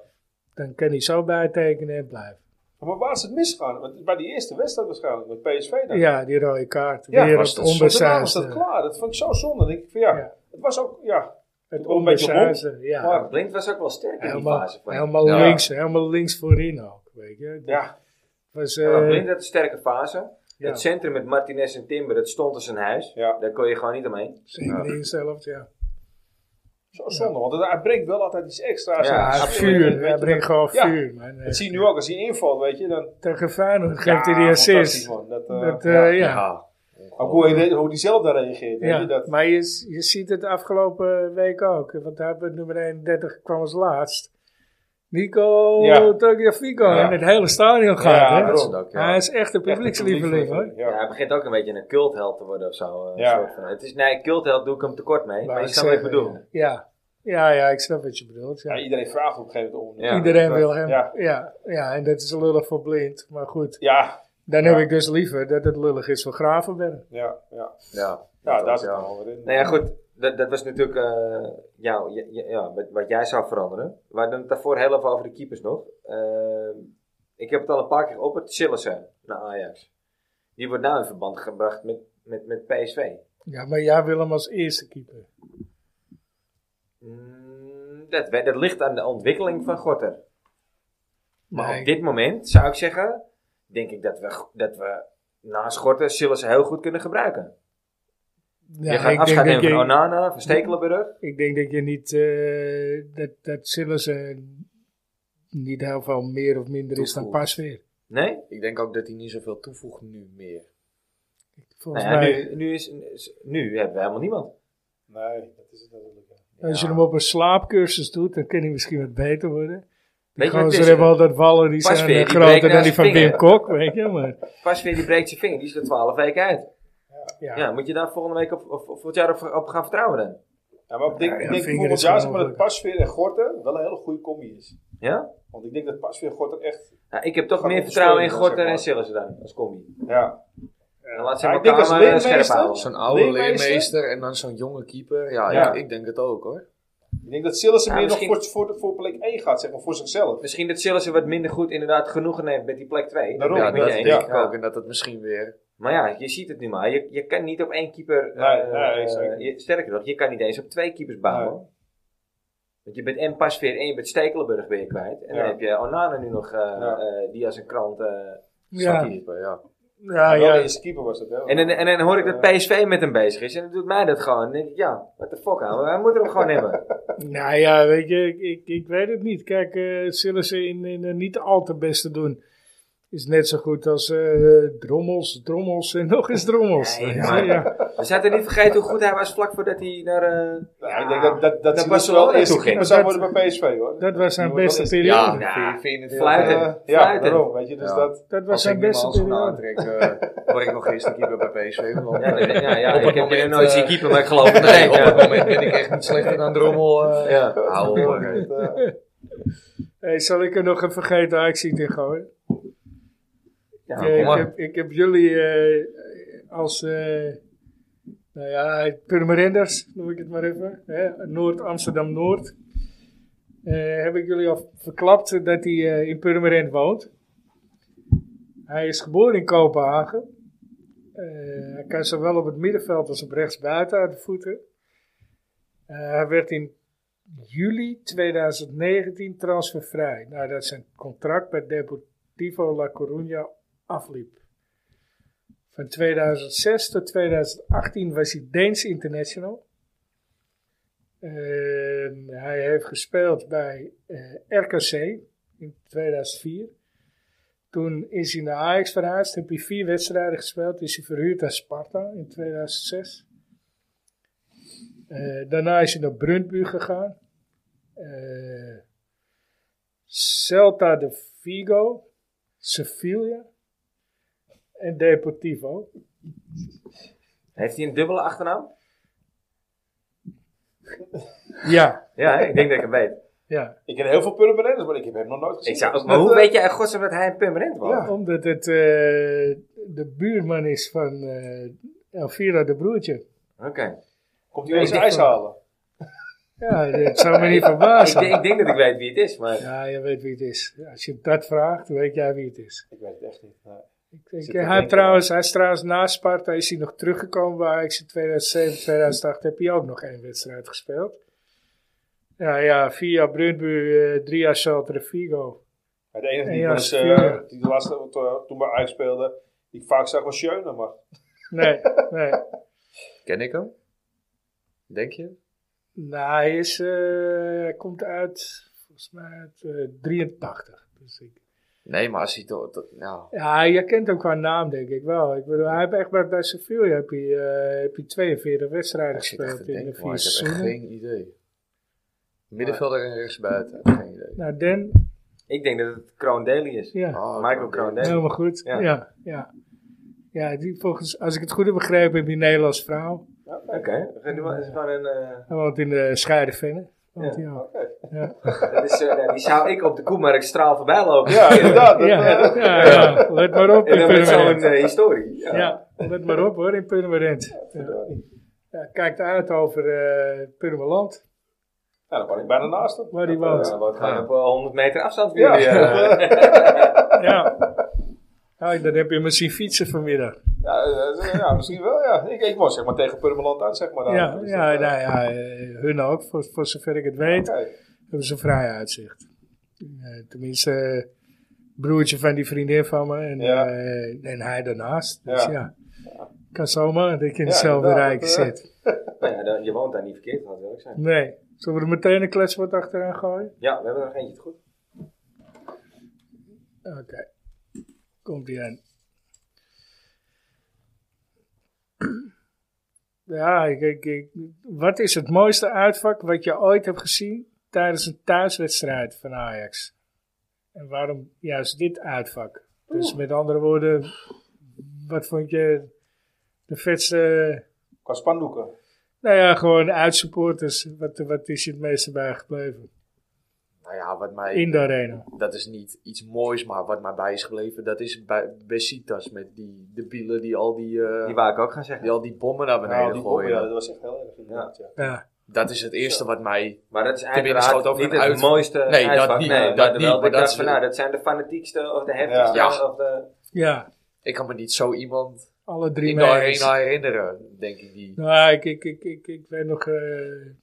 S2: dan kan hij zo bijtekenen en blijven.
S4: Maar waar is het misgaan? Want Bij die eerste wedstrijd waarschijnlijk, met PSV dan.
S2: Ja, die rode kaart.
S4: Ja,
S2: Weer het
S3: was dat- zo- daarna
S4: Want daarna was dat
S2: onbesuisde.
S4: klaar. Dat vond ik zo zonde. Dan denk ik van ja,
S2: Ja.
S4: het was ook, ja,
S2: Het
S4: Wel een beetje
S2: onbesuisde, ja.
S1: Maar Blind was ook wel sterk in die
S2: Helemaal,
S1: fase. vond ik.
S2: helemaal
S3: Ja.
S2: links, helemaal links voorin ook, weet je. Het
S4: ja,
S2: was,
S1: Ja, maar
S2: eh,
S1: Blind had een sterke fase.
S2: Ja.
S1: Het centrum met Martinez en Timber, dat stond als een huis.
S4: Ja.
S1: Daar kon je gewoon niet omheen. Dus
S2: zeker in de eerste helft, ja.
S4: zo zonde. Want hij brengt wel altijd iets extra's.
S1: Ja,
S4: En
S2: Ja,
S4: dat is weet
S2: vuur.
S4: je,
S2: Hij
S4: dat-
S2: brengt gewoon
S4: Ja.
S2: vuur, man.
S4: Dat zie je nu ook. Als hij invalt, weet je, dan...
S2: Tegen Feyenoord geeft hij die
S4: Ja,
S2: assist.
S4: fantastisch, man. Dat, eh,
S2: Dat,
S4: ja.
S2: eh, ja.
S4: Ook hoe hij, hoe hij zelf daar reageert. weet
S2: Ja,
S4: je, dat,
S2: maar je, s- je ziet het afgelopen week ook. Want daar hebben we nummer 31 kwam als laatst. Nico
S4: Ja.
S2: ja. Tagliafico
S1: Ja.
S2: in het hele stadion gaat.
S4: Ja,
S2: hè?
S4: dat is
S3: het ook, ja.
S2: Hij is echt een
S4: Echt een
S2: publiekslieveling hoor.
S1: Ja.
S4: Ja.
S1: hij begint ook een beetje een cultheld te worden of zo. eh, een
S4: Ja.
S1: soort van. Het is, nee, cultheld doe ik hem tekort mee. Maar
S2: Wou
S1: je
S2: ik
S1: snapt wat ik
S2: zeggen,
S1: bedoel.
S2: Ja. Ja, ja, ik snap wat je bedoelt. Ja.
S4: Ja, iedereen vraagt op een gegeven moment om.
S1: Ja.
S2: Iedereen wil hem.
S4: Ja.
S2: Ja. Ja, en dat is lullig voor blind. Maar goed,
S4: Ja,
S2: dan
S4: Ja.
S2: heb ik dus liever dat het lullig is voor Gravenberg.
S4: ja, ja.
S1: Ja,
S4: Ja, daar
S1: was
S4: zit het allemaal weer in.
S1: Nou ja, goed. Dat, dat was natuurlijk eh, jou, ja, ja, ja, wat, wat jij zou veranderen. We hadden het daarvoor heel even over de keepers nog. Eh, ik heb het al een paar keer geopperd. Sillissen naar Ajax. Die wordt nou in verband gebracht met, met, met PSV.
S2: Ja, maar jij wil hem als eerste keeper.
S1: Mm, Dat, we- dat ligt aan de ontwikkeling van Gorter. Maar
S2: Nee.
S1: op dit moment zou ik zeggen, denk ik dat we, dat we naast Gorter Sillissen heel goed kunnen gebruiken.
S2: Ja,
S1: je gaat
S2: ik
S1: afscheid
S2: denk dat
S1: nemen van
S2: je-
S1: Onana, van Stekelenburg.
S2: Ik denk dat je niet, eh, dat, dat Sillissen niet heel veel meer of minder is dan
S3: Toevoegt.
S2: Pasveer.
S1: Nee?
S3: Ik denk ook dat hij niet zoveel toevoegt nu meer.
S2: Volgens
S1: Nou ja,
S2: mij,
S1: nu, nu, is, is- nu hebben we helemaal niemand.
S4: Nee, dat is het natuurlijk. ja.
S2: als je hem op een slaapcursus doet, dan kan hij misschien wat beter worden.
S1: Weet
S2: Die
S1: je wat het
S2: gozer
S1: is?
S2: hebben al dat wallen, die zijn
S1: Pasveer,
S2: eh,
S1: die breekt
S2: groter dan
S1: naast
S2: die van
S1: vinger.
S2: Wim Kok, weet je. Maar,
S1: Pas weer die breekt zijn vinger, die is er 12 weken uit.
S2: ja.
S1: Ja. moet je daar volgende week op, of, of volgend jaar op, op gaan vertrouwen dan?
S4: Ja, maar ik denk,
S2: Ja, ja,
S4: ik denk
S2: vinger
S4: bijvoorbeeld
S2: is
S4: juist
S2: gewoon
S4: maar dat Pasveer en Gorter wel een hele goede combi is.
S1: Ja?
S4: Want ik denk dat Pasveer en Gorter echt...
S1: Nou, ik heb toch
S4: Gaan
S1: meer
S4: we
S1: vertrouwen in
S4: spelen,
S1: Gorter
S4: zeg
S1: en
S4: maar.
S1: Sillissen dan, als combi.
S4: Ja,
S1: En laat ze
S4: Ja, ik denk
S1: elkaar
S4: als
S1: maar eh, scherp
S4: leermeester-
S1: houden.
S3: Zo'n oude
S4: Leermeester?
S3: leermeester, en dan zo'n jonge keeper. Ja,
S4: Ja.
S3: Ik, ik denk het ook hoor.
S4: ik denk dat Sillissen
S1: Ja,
S4: meer nog
S1: misschien-
S4: voor, voor, voor plek 1 gaat, zeg maar, voor zichzelf.
S1: Misschien dat Sillissen wat minder goed inderdaad genoegen neemt met die plek 2.
S4: Daarom,
S3: Ja,
S4: ik
S3: dat
S4: met je
S3: denk
S4: eens.
S3: ik ook. En dat het misschien weer...
S1: Maar ja, je ziet het nu maar. Je, je kan niet op één keeper...
S4: Nee,
S1: eh,
S4: nee, zeker
S1: eh,
S4: niet.
S1: je- sterker nog, je kan niet eens op twee keepers bouwen. Want je bent en Pasveer en je bent Stekelenburg weer kwijt. En
S4: Ja.
S1: dan heb je Onana nu nog, eh,
S4: Ja.
S1: eh, die als een krant... eh,
S3: Ja.
S2: Ja,
S3: Keeper, ja.
S2: ja,
S4: Wel de
S2: ja.
S4: eerste keeper was dat, hè?
S1: En, dan- en dan hoor ik
S4: Eh.
S1: dat PSV met hem bezig is. En dan doet mij dat gewoon. Dan denk ik, ja, what the fuck aan. Wij moeten hem gewoon hebben.
S2: Nou ja, weet je, ik, ik, ik weet het niet. Kijk, eh Sillissen in, in een niet al te beste doen is net zo goed als eh, drommels, drommels en nog eens drommels.
S1: Nee,
S2: Weet je,
S1: maar-
S2: ja.
S1: We zaten niet vergeten hoe goed hij was vlak voordat hij naar... eh,
S4: Nou, ik denk dat, dat,
S1: Dat
S4: dat, Sillissen
S1: was wel
S4: wel eerste
S1: naartoe ging.
S4: keeper zou
S2: Dat-
S4: worden bij PSV, hoor.
S2: Dat was zijn
S4: Die wordt
S2: beste
S4: wel eens-
S2: periode.
S3: Ja,
S1: Ja.
S3: vind- vind het heel
S1: Fluiten.
S3: erg.
S4: Eh, ja,
S1: Fluiten.
S4: daarom, weet je, dus
S3: Ja.
S4: dat...
S2: Dat was
S3: Als ik
S2: zijn
S3: nu mijn
S2: beste
S3: handschoenen
S2: periode.
S3: aantrek, eh, word ik nog eerste keeper bij PSV. want,
S1: ja,
S3: eh,
S1: nee, ja, ja,
S3: Op het
S1: ik heb je
S3: moment,
S1: nooit
S3: eh,
S1: zien keeper, maar ik geloof het
S3: Nee,
S1: niet.
S3: op
S1: Ja.
S3: het moment ben ik echt niet slechter dan Drommel. eh.
S1: Ja.
S3: Hou op.
S4: dat, eh,
S2: Hey, zal ik er nog een vergeten actie in gooien?
S1: Ja,
S2: Eh,
S1: kom
S2: ik,
S1: maar.
S2: heb, ik heb jullie eh, als, eh nou ja, Purmerenders, noem ik het maar even, hè, Noord-Amsterdam-Noord. Eh, heb ik jullie al verklapt dat hij eh, in Purmerend woont. Hij is geboren in Kopenhagen. Eh, hij kan zowel op het middenveld als op rechtsbuiten uit de voeten. Eh, hij werd in juli 2019 transfervrij. Nadat zijn contract bij Deportivo La Coruña afliep. Van 2006 tot 2018 was hij Deens international. En hij heeft gespeeld bij eh, RKC in 2004. Toen is hij naar Ajax verhuisd, heb hij vier wedstrijden gespeeld. Is hij verhuurd aan Sparta in 2006. Eh, daarna is hij naar Brundby gegaan. Eh, Celta de Vigo, Sevilla en Deportivo.
S1: Heeft hij een dubbele achternaam?
S2: Ja,
S1: Ja, hè, ik denk dat ik hem weet.
S2: ja.
S4: Ik ken heel veel Purmerenders, maar ik heb hem nog nooit gezien.
S1: Ik zou,
S4: Dus
S1: maar
S4: dat,
S1: hoe
S4: eh,
S1: weet jij uit godsnaam dat hij een permanent was?
S4: Ja.
S2: Omdat het eh, de buurman is van eh Elvira de broertje.
S1: Oké.
S4: Komt hij wel eens
S2: Ik
S4: ijs
S2: denk-
S4: halen?
S2: Ja, het zou me niet
S1: ik,
S2: verbazen.
S1: denk- ik denk dat ik weet wie het is, maar...
S2: Ja, je weet wie het is. Als je dat vraagt, dan weet jij wie het is.
S4: Ik weet het echt niet. maar-
S2: Ik denk, eh,
S1: Zit er
S2: hij,
S1: denk-
S2: trouwens, hij is trouwens na Sparta is hij nog teruggekomen bij Ajax in 2007, 2008 heb hij ook nog één wedstrijd gespeeld. Ja, ja, vier jaar Brunbu, eh drie jaar Celta Vigo.
S4: Maar de enige die,
S2: Ja,
S4: wel eens, eh,
S2: ja.
S4: die de laatste wat, eh, toen bij Ajax speelde, die ik vaak zag was Schöne. Maar
S2: Nee, nee.
S3: Ken ik hem? Denk je?
S2: Nou, hij, is, eh, hij komt uit, volgens mij uit eh, 83. Dus ik,
S3: Nee, maar als hij toch... dat- nou,
S2: ja, je kent hem qua naam denk ik wel. Ik bedoel, hij heeft echt bij, bij Sevilla heb hij, eh, heb hij 42 wedstrijden
S3: ik zit echt te
S2: gespeeld in de
S3: denken, maar
S2: vier
S3: ik heb echt
S2: seizoenen.
S3: geen idee. Middenvelder en rechtsbuiten, geen idee.
S2: Nou, Den,
S1: Ik denk dat het Kroon Daly is.
S2: ja.
S3: Oh,
S1: Michael Kroon Daly.
S2: Helemaal goed.
S1: Ja.
S2: Ja. ja, ja. die volgens, als ik het goed heb begrepen, heb je een Nederlands vrouw.
S4: ja, oké.
S1: Oké, we gaan nu wel- is gewoon een... eh,
S2: Hij woont in de Scheidevinnen. Woont
S1: Ja.
S2: hij ook.
S4: Oké.
S2: Ja.
S1: dat is, eh, die zou ik op de Koemarkt straal voorbij lopen.
S4: Ja, inderdaad.
S2: Ja.
S4: dat, eh,
S2: Ja, ja. let maar op
S1: En
S2: in
S1: dan met zo'n
S2: Purmerend.
S1: eh, historie. Ja.
S2: Ja, let maar op hoor, in Purmerend. Ja. Ja, kijkt uit over eh Purmerland,
S4: Nou, dan ben ik bijna naast hem.
S2: waar hij
S1: Ja,
S2: woont.
S1: we gaan op eh, 100 meter afstand eh, weer.
S4: Ja.
S2: Ja. Ja, dan heb je hem zien fietsen vanmiddag.
S4: Ja, eh, ja, misschien wel, ja. Ik, ik was zeg maar tegen Purmerland aan, zeg maar. daar.
S2: Ja,
S4: Dus
S2: ja, nou
S4: dat, eh,
S2: ja, eh, hun ook, voor, voor zover ik het weet.
S4: oké.
S2: hebben ze een vrij uitzicht. Eh, tenminste, eh, broertje van die vriendin van me en,
S4: Ja.
S2: eh, en hij daarnaast. Dus
S4: Ja.
S2: ja. Kan zomaar dat je in
S4: Ja,
S2: hetzelfde
S4: inderdaad,
S2: rijk
S4: dat, eh,
S2: zit.
S1: Nou ja, dan- je woont daar niet verkeerd, laat wel ik zijn.
S2: Nee. Zullen we er meteen een klets wat achteraan gooien?
S1: Ja, we hebben er nog eentje te goed.
S2: Oké. Komt ie aan. Ja, ik, ik, ik- wat is het mooiste uitvak wat je ooit hebt gezien tijdens een thuiswedstrijd van Ajax? En waarom juist dit uitvak? Dus met andere woorden, wat vond je de vetste,
S4: Qua spandoeken.
S2: nou ja, gewoon uitsupporters, wat, wat is je het meeste bijgebleven?
S3: Nou ja, wat mij...
S2: In de arena.
S3: dat is niet iets moois, maar wat mij bij is gebleven, dat is bij Besitas met die debielen die al die, eh,
S1: Die wou ik ook gaan zeggen.
S3: die al die bommen naar beneden
S4: Nou, die bommen,
S3: gooien.
S4: ja, dat was echt heel erg inderdaad, ja.
S2: Ja,
S3: Dat is het eerste wat mij...
S1: Maar dat is
S3: schoot
S1: uiteraard
S3: over
S1: niet
S3: een
S1: het
S3: uit-
S1: mooiste
S3: Nee, dat
S1: uitvak.
S3: niet,
S1: nee,
S3: dat
S1: maar
S3: niet,
S1: wel,
S3: maar
S1: ik
S3: dat
S1: dacht
S3: is-
S1: van, nou, dat zijn de fanatiekste of de heftigste.
S3: Ja.
S1: Of de,
S2: ja
S3: Ik kan me niet zo iemand
S2: alle drie
S3: in de
S2: mee eens.
S3: arena herinneren, denk ik. Die,
S2: Nou, ik, ik, ik, ik, ik ben nog. eh,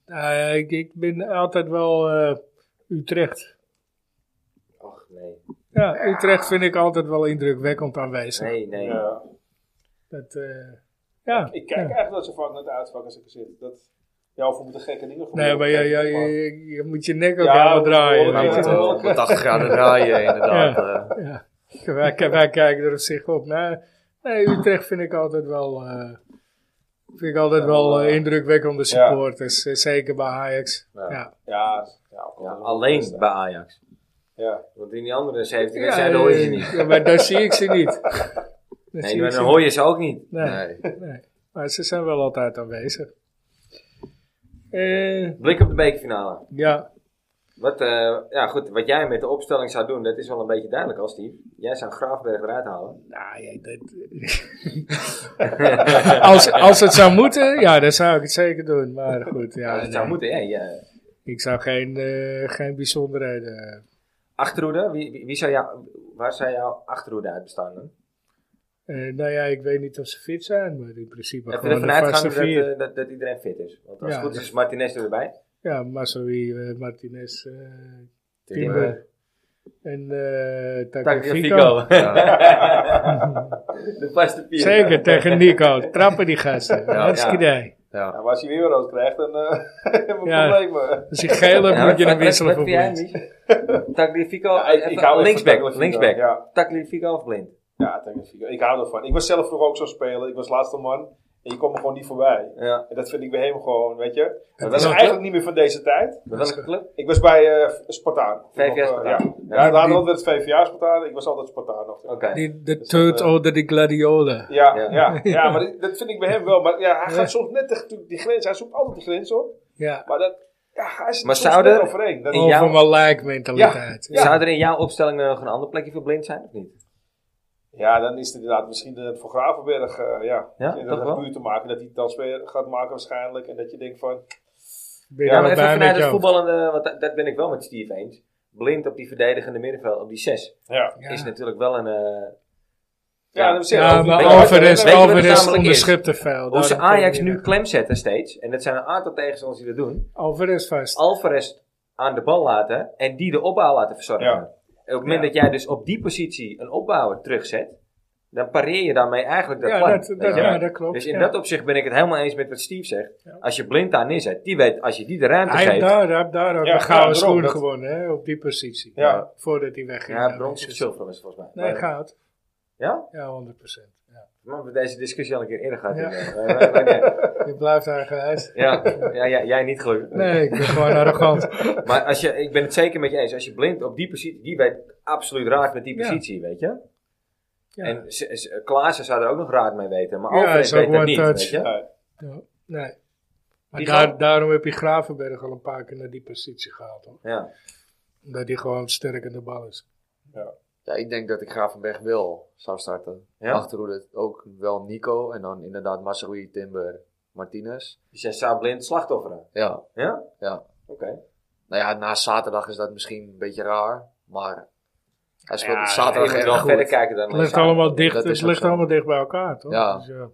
S2: nou, ik, ik ben altijd wel eh, Utrecht.
S1: Och, nee.
S2: Ja, Utrecht vind ik altijd wel indrukwekkend aanwezig.
S1: Nee, nee.
S4: Ja.
S2: Dat, eh, ja.
S4: Ik kijk
S2: ja.
S4: eigenlijk dat ze vaak naar de uitvak als ik er zit. Dat, ja, of er moeten gekke dingen
S2: Nee,
S4: gebeuren.
S2: maar je, je, je, je moet je nek ook
S4: Ja,
S2: helemaal
S4: moet
S2: draaien.
S4: worden,
S3: wij
S2: weet je
S3: moeten
S2: wel.
S3: wel op 80 graden draaien, inderdaad. eh.
S2: Ja. Wij, k- wij kijken er op zich op. Nee, nee, Utrecht vind ik altijd wel. eh, vind ik altijd wel eh, indrukwekkende supporters. Eh, Zeker bij Ajax.
S1: Ja.
S2: Ja.
S4: Ja, ja,
S1: Ja, alleen bij Ajax.
S4: Ja.
S1: Want in die andere 70
S2: Ja,
S1: zijn hoor je ze
S2: eh,
S1: niet.
S2: ja, maar daar zie ik ze niet. Daar zie
S1: Nee,
S2: ik
S1: maar
S2: ze
S1: dan hoor je ze ook niet.
S2: niet. Nee.
S3: Nee.
S2: Nee, maar ze zijn wel altijd aanwezig. Eh,
S1: Blik op de bekerfinale.
S2: ja,
S1: Wat, eh, ja, goed, wat jij met de opstelling zou doen, dat is wel een beetje duidelijk al, Steve. Jij zou Graafberg eruit halen.
S2: nou ja, dat- als, als het zou moeten, ja, dan zou ik het zeker doen. Maar goed, ja,
S1: Ja, dat zou
S2: nee.
S1: moeten, hè. Ja.
S2: ik zou geen, eh, geen bijzonderheden.
S1: Achterhoede, wie, wie, wie zou jou, waar zou jouw achterhoede uit bestaan? Dan?
S2: eh nou ja, ik weet niet of ze fit zijn, maar in principe
S1: Even
S2: gewoon
S1: ervan
S2: de vaste
S1: uitgaan dat,
S2: vier.
S1: eh, dat, dat iedereen fit is. Want als
S2: Ja. dus
S1: het goed is, Martinez er weer bij.
S2: Ja, Masoi, eh, Martinez, eh
S3: Timber.
S2: Timber en eh Tagliafico.
S1: Tagliafico. de vaste vier.
S2: Zeker, tegen Nico. Trappen die gasten.
S3: Ja,
S2: Hartstikke idee.
S3: Ja.
S4: Nou, maar als je weer rood krijgt, dan eh hebben we
S2: Ja.
S4: problemen.
S2: Als je geel hebt, moet je
S1: een
S2: hem wisselen voor blind.
S1: Tagliafico,
S4: Ja, ik- ik
S1: even
S4: hou echt van
S1: linksback,
S4: Tagliafico,
S1: linksback.
S4: ja.
S1: Tagliafico of blind?
S4: Ja, Tagliafico. ik hou ervan. Ik was zelf vroeger ook zo'n speler. Ik was laatste man. En je kwam er gewoon niet voorbij.
S1: Ja.
S4: En dat vind ik bij hem gewoon, weet je.
S1: Dat
S4: Dat is
S1: is
S4: eigenlijk niet meer van deze tijd.
S1: Met welke club?
S4: Ik was bij eh Spartaan.
S1: VVS
S4: Nog, eh,
S1: Spartaan.
S4: Ja,
S1: Ja,
S4: ja daar
S2: die-
S4: hadden we het VVA Spartaan. Ik was altijd Spartaan nog.
S1: Oké.
S2: Die, de
S4: Dus
S2: third
S4: dat, eh,
S2: order, de gladiolen.
S4: Ja,
S1: Ja.
S4: ja. Ja, maar dit- dat vind ik bij hem wel. Maar ja, hij
S2: Ja.
S4: gaat soms net tegen die grens. Hij zoekt altijd de grens op.
S2: Ja,
S4: Maar dat, ja, hij
S1: Maar
S4: zit maar
S1: zou
S4: soms net
S1: er-
S4: overheen. Dat,
S1: in jouw-
S2: over mijn like mentaliteit.
S4: Ja.
S1: Zou er in jouw opstelling nog een ander plekje voor blind zijn of niet?
S4: Ja, dan is het inderdaad misschien eh, voor Gravenberg. eh, ja,
S1: Ja,
S4: en
S1: toch
S4: dat
S1: wel?
S4: heeft puur te maken dat hij het dan weer gaat maken waarschijnlijk. En dat je denkt van,
S2: Ben
S1: Ja, maar
S2: wel
S1: even
S2: blij met
S1: vanuit het
S2: jou.
S1: voetballende, want dat, dat ben ik wel met Steve eens. Blind op die verdedigende middenveld, op die 6,
S4: Ja,
S2: Ja.
S1: is natuurlijk wel een... eh,
S4: ja, dat zeg ik.
S2: Ja,
S1: Weet
S2: maar
S1: je wat- weet
S2: Alvarez,
S1: je wat het
S2: Alvarez
S1: namelijk is?
S2: onderschept te veel.
S1: hoe ze
S2: Daarom kom
S1: Ajax
S2: je
S1: nu
S2: er.
S1: klem zetten steeds, en dat zijn een aantal tegenstanders die dat doen.
S2: Alvarez vast.
S1: Alvarez aan de bal laten en die de opbouw laten verzorgen.
S4: Ja.
S1: En op het moment dat jij dus op die positie een opbouwer terugzet, dan pareer je daarmee eigenlijk dat
S2: Ja,
S1: plan.
S2: dat,
S1: weet
S2: dat,
S1: je wel?
S2: ja, dat klopt.
S1: Dus in
S2: ja.
S1: dat opzicht ben ik het helemaal eens met wat Steve zegt.
S2: Ja.
S1: Als je blind daar neerzet, die weet, als je die de ruimte
S2: Hij heeft
S1: geeft.
S2: daar, hij heeft daar ook
S4: Ja,
S2: een gouden
S4: ja, daarom,
S2: schoen
S4: dat-
S2: gewonnen, hè, op die positie.
S4: Ja.
S2: Voordat hij wegging.
S1: Ja,
S2: naar
S1: brons of
S2: Manchester.
S1: zilver was het volgens mij.
S2: Nee,
S1: Maar-
S2: goud.
S1: Ja?
S2: Ja, 100%. Ja.
S1: Maar we hebben deze discussie al een keer eerder gehad.
S2: Ja.
S1: hier, eh. Maar- maar- maar-
S2: Je blijft eigenwijs.
S1: Ja, ja, ja, jij niet gelukkig.
S2: Nee, ik ben gewoon arrogant.
S1: Maar als je, ik ben het zeker met je eens. Als je blind op die positie, die weet absoluut raad met die
S2: Ja.
S1: positie, weet je.
S2: Ja.
S1: En S- S- Klaassen zou er ook nog raad mee weten, maar
S2: Ja, hij
S1: Alfred
S2: is ook
S1: weet dat
S2: one
S1: niet,
S2: touch.
S1: weet je.
S4: Ja.
S2: Ja, nee. Maar
S1: Die
S2: daar-
S1: gaan-
S2: daarom heb je Gravenberg al een paar keer naar die positie gehaald. Hoor.
S1: Ja.
S2: Omdat hij gewoon sterk in de bal is.
S3: Ja, ik denk dat ik Gravenberg wel zou starten.
S1: Ja?
S3: Achterhoede ook wel Nico. En dan inderdaad Massaoui, Timber, Martinez.
S1: Dus jij zou blind slachtofferen.
S3: Ja,
S1: Ja?
S3: ja.
S1: Oké.
S3: Nou ja, na zaterdag is dat misschien een beetje raar. Maar hij speelt
S2: Ja,
S3: op
S1: Je
S3: zaterdag
S1: moet
S3: erg
S1: wel
S3: goed.
S1: verder kijken dan
S2: Het
S1: alleen
S2: ligt
S1: samen.
S2: allemaal dicht,
S3: dat
S2: het
S3: is ook
S2: ligt
S3: zo.
S2: allemaal dicht bij elkaar, toch?
S3: Ja.
S2: Dus, ja.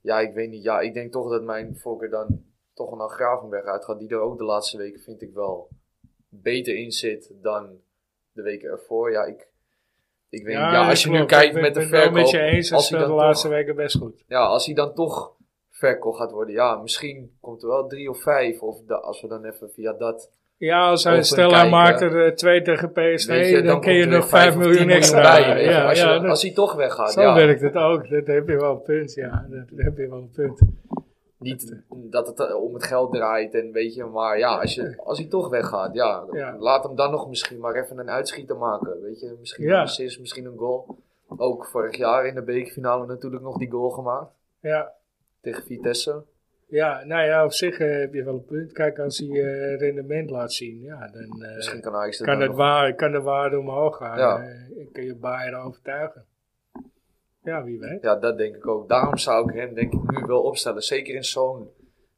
S3: Ja, ik weet niet. Ja, ik denk toch dat mijn voorkeur dan toch naar Gravenberg uitgaat. Die er ook de laatste weken, vind ik wel, beter in zit dan de weken ervoor. Ja, ik, ik weet niet. Ja, als je
S2: klopt.
S3: nu kijkt
S2: Ik ben-
S3: met de
S2: ben wel
S3: verkoop.
S2: met je eens,
S3: als
S2: als
S3: hij
S2: de
S3: dan
S2: laatste
S3: toch-
S2: weken best goed.
S3: ja, als hij dan toch verkocht gaat worden. Ja, misschien komt er wel drie of vijf. Of da- als we dan even via dat...
S2: Ja, als hij,
S3: Over
S2: stel hij
S3: kijken.
S2: maakt er eh, twee tegen
S3: weet
S2: PSV,
S3: je,
S2: dan, kun je
S3: komt er
S2: nog
S3: weer
S2: 5
S3: of
S2: miljoen
S3: 10
S2: extra
S3: bij, weet je.
S2: Ja,
S3: als, je
S2: ja,
S3: dan-
S2: dat-
S3: als hij toch weggaat,
S2: zo
S3: ja.
S2: werkt het ook. Dat heb je wel een punt, ja. Dat, heb je wel een punt.
S3: Niet dat het eh, om het geld draait en weet je, maar ja, als, je, als hij toch weggaat, ja,
S2: Ja.
S3: laat hem dan nog misschien maar even een uitschieter maken. Weet je, misschien
S2: Ja.
S3: een assist, misschien een goal. Ook vorig jaar in de bekerfinale natuurlijk nog die goal gemaakt
S2: Ja.
S3: tegen Vitesse.
S2: Ja, nou ja, op zich eh, heb je wel een punt. Kijk, als hij eh, rendement laat zien, ja, dan eh,
S3: Misschien kan Ajax dat
S2: kan,
S3: dan
S2: het
S3: nog-
S2: waar, kan de waarde omhoog gaan.
S3: Ja.
S2: Eh, en kun je Bayern overtuigen. Ja, wie weet.
S3: Ja, dat denk ik ook. Daarom zou ik hem denk ik nu wel opstellen. Zeker in zo'n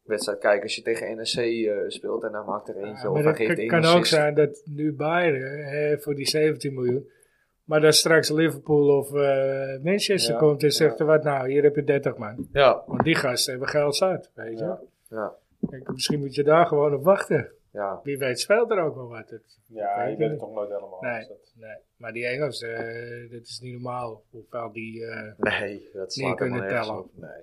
S3: wedstrijd. Kijk, als je tegen NEC eh, speelt en hij maakt er eentje
S2: Ja,
S3: of
S2: maar
S3: hij
S2: het
S3: geeft
S2: kan-
S3: één
S2: kan
S3: assist.
S2: ook zijn dat nu Bayern eh, voor die 17 miljoen, maar dan straks Liverpool of eh, Manchester
S4: Ja,
S2: komt en zegt, wat nou, hier heb je 30 man.
S3: Ja,
S2: Want die gasten hebben geld zat, weet je.
S4: Ja.
S3: ja,
S2: Kijk, misschien moet je daar gewoon op wachten.
S3: ja.
S2: Wie weet speelt er ook wel wat. Het-
S4: Ja, je weet het toch nooit helemaal.
S2: Nee.
S4: Dus dat-
S2: Nee, maar die Engels, eh, dat is niet normaal. Hoeveel die... eh,
S3: Nee, dat slaat
S2: kunnen
S3: helemaal nergens
S2: tellen.
S3: op. Nee.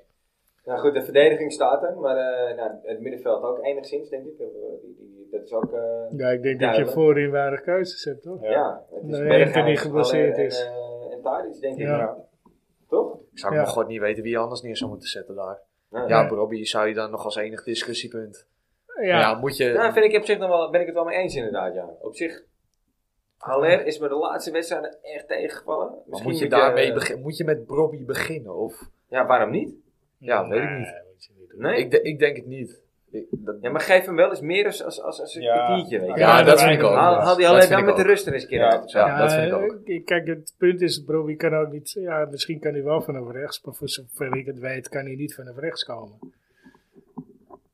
S1: Nou goed, de verdediging staat er, maar eh, nou, het middenveld ook enigszins, denk ik. Eh, die- die- Dat is ook... eh,
S2: Ja, ik denk dat je
S1: Duidelijk.
S2: voorin weinig keuzes hebt, toch?
S1: ja.
S4: Ja.
S1: het is
S2: Nee,
S1: Berghuis,
S2: dat die geblesseerd
S1: Haller
S2: is.
S1: En, eh, en Tadic, denk
S2: Ja.
S1: ik. Toch?
S3: Ik zou
S2: Ja.
S3: ik mijn god niet weten wie je anders neer zou moeten zetten daar.
S1: Nou,
S3: Ja,
S2: Nee.
S3: Robbie zou je dan nog als enig discussiepunt. Ja,
S2: Ja,
S3: moet je.
S1: Nou, vind ik op zich nog wel, ben ik het wel mee eens inderdaad, ja. Op zich, Haller is me de laatste wedstrijden echt tegengevallen.
S3: maar
S1: Misschien
S3: moet je daarmee
S1: eh,
S3: beginnen? Moet je met Robbie beginnen? Of,
S1: Ja, waarom niet?
S3: ja, weet ik
S2: Nee,
S3: niet.
S2: weet je niet.
S1: Nee?
S3: Ik, de- ik denk het niet. Ik- dat-
S1: Ja, maar geef hem wel eens meer als, als, als, als een
S4: Ja.
S1: kwartiertje, weet je.
S3: Ja,
S2: Ja,
S3: dat
S2: dat
S3: vind ik
S2: weet
S3: ook.
S2: ik.
S1: Haal, haal die
S3: Dat
S1: alleen
S3: vind
S1: dan
S3: ik
S1: met de
S3: ook.
S1: rust er eens een keer
S4: Ja.
S1: uit of zo.
S3: Ja, dat vind ik
S2: eh,
S3: ook.
S2: ik- Kijk, het punt is, Broby kan ook niet... Ja, misschien kan hij wel vanaf rechts, maar voor zover ik het weet kan hij niet vanaf rechts komen.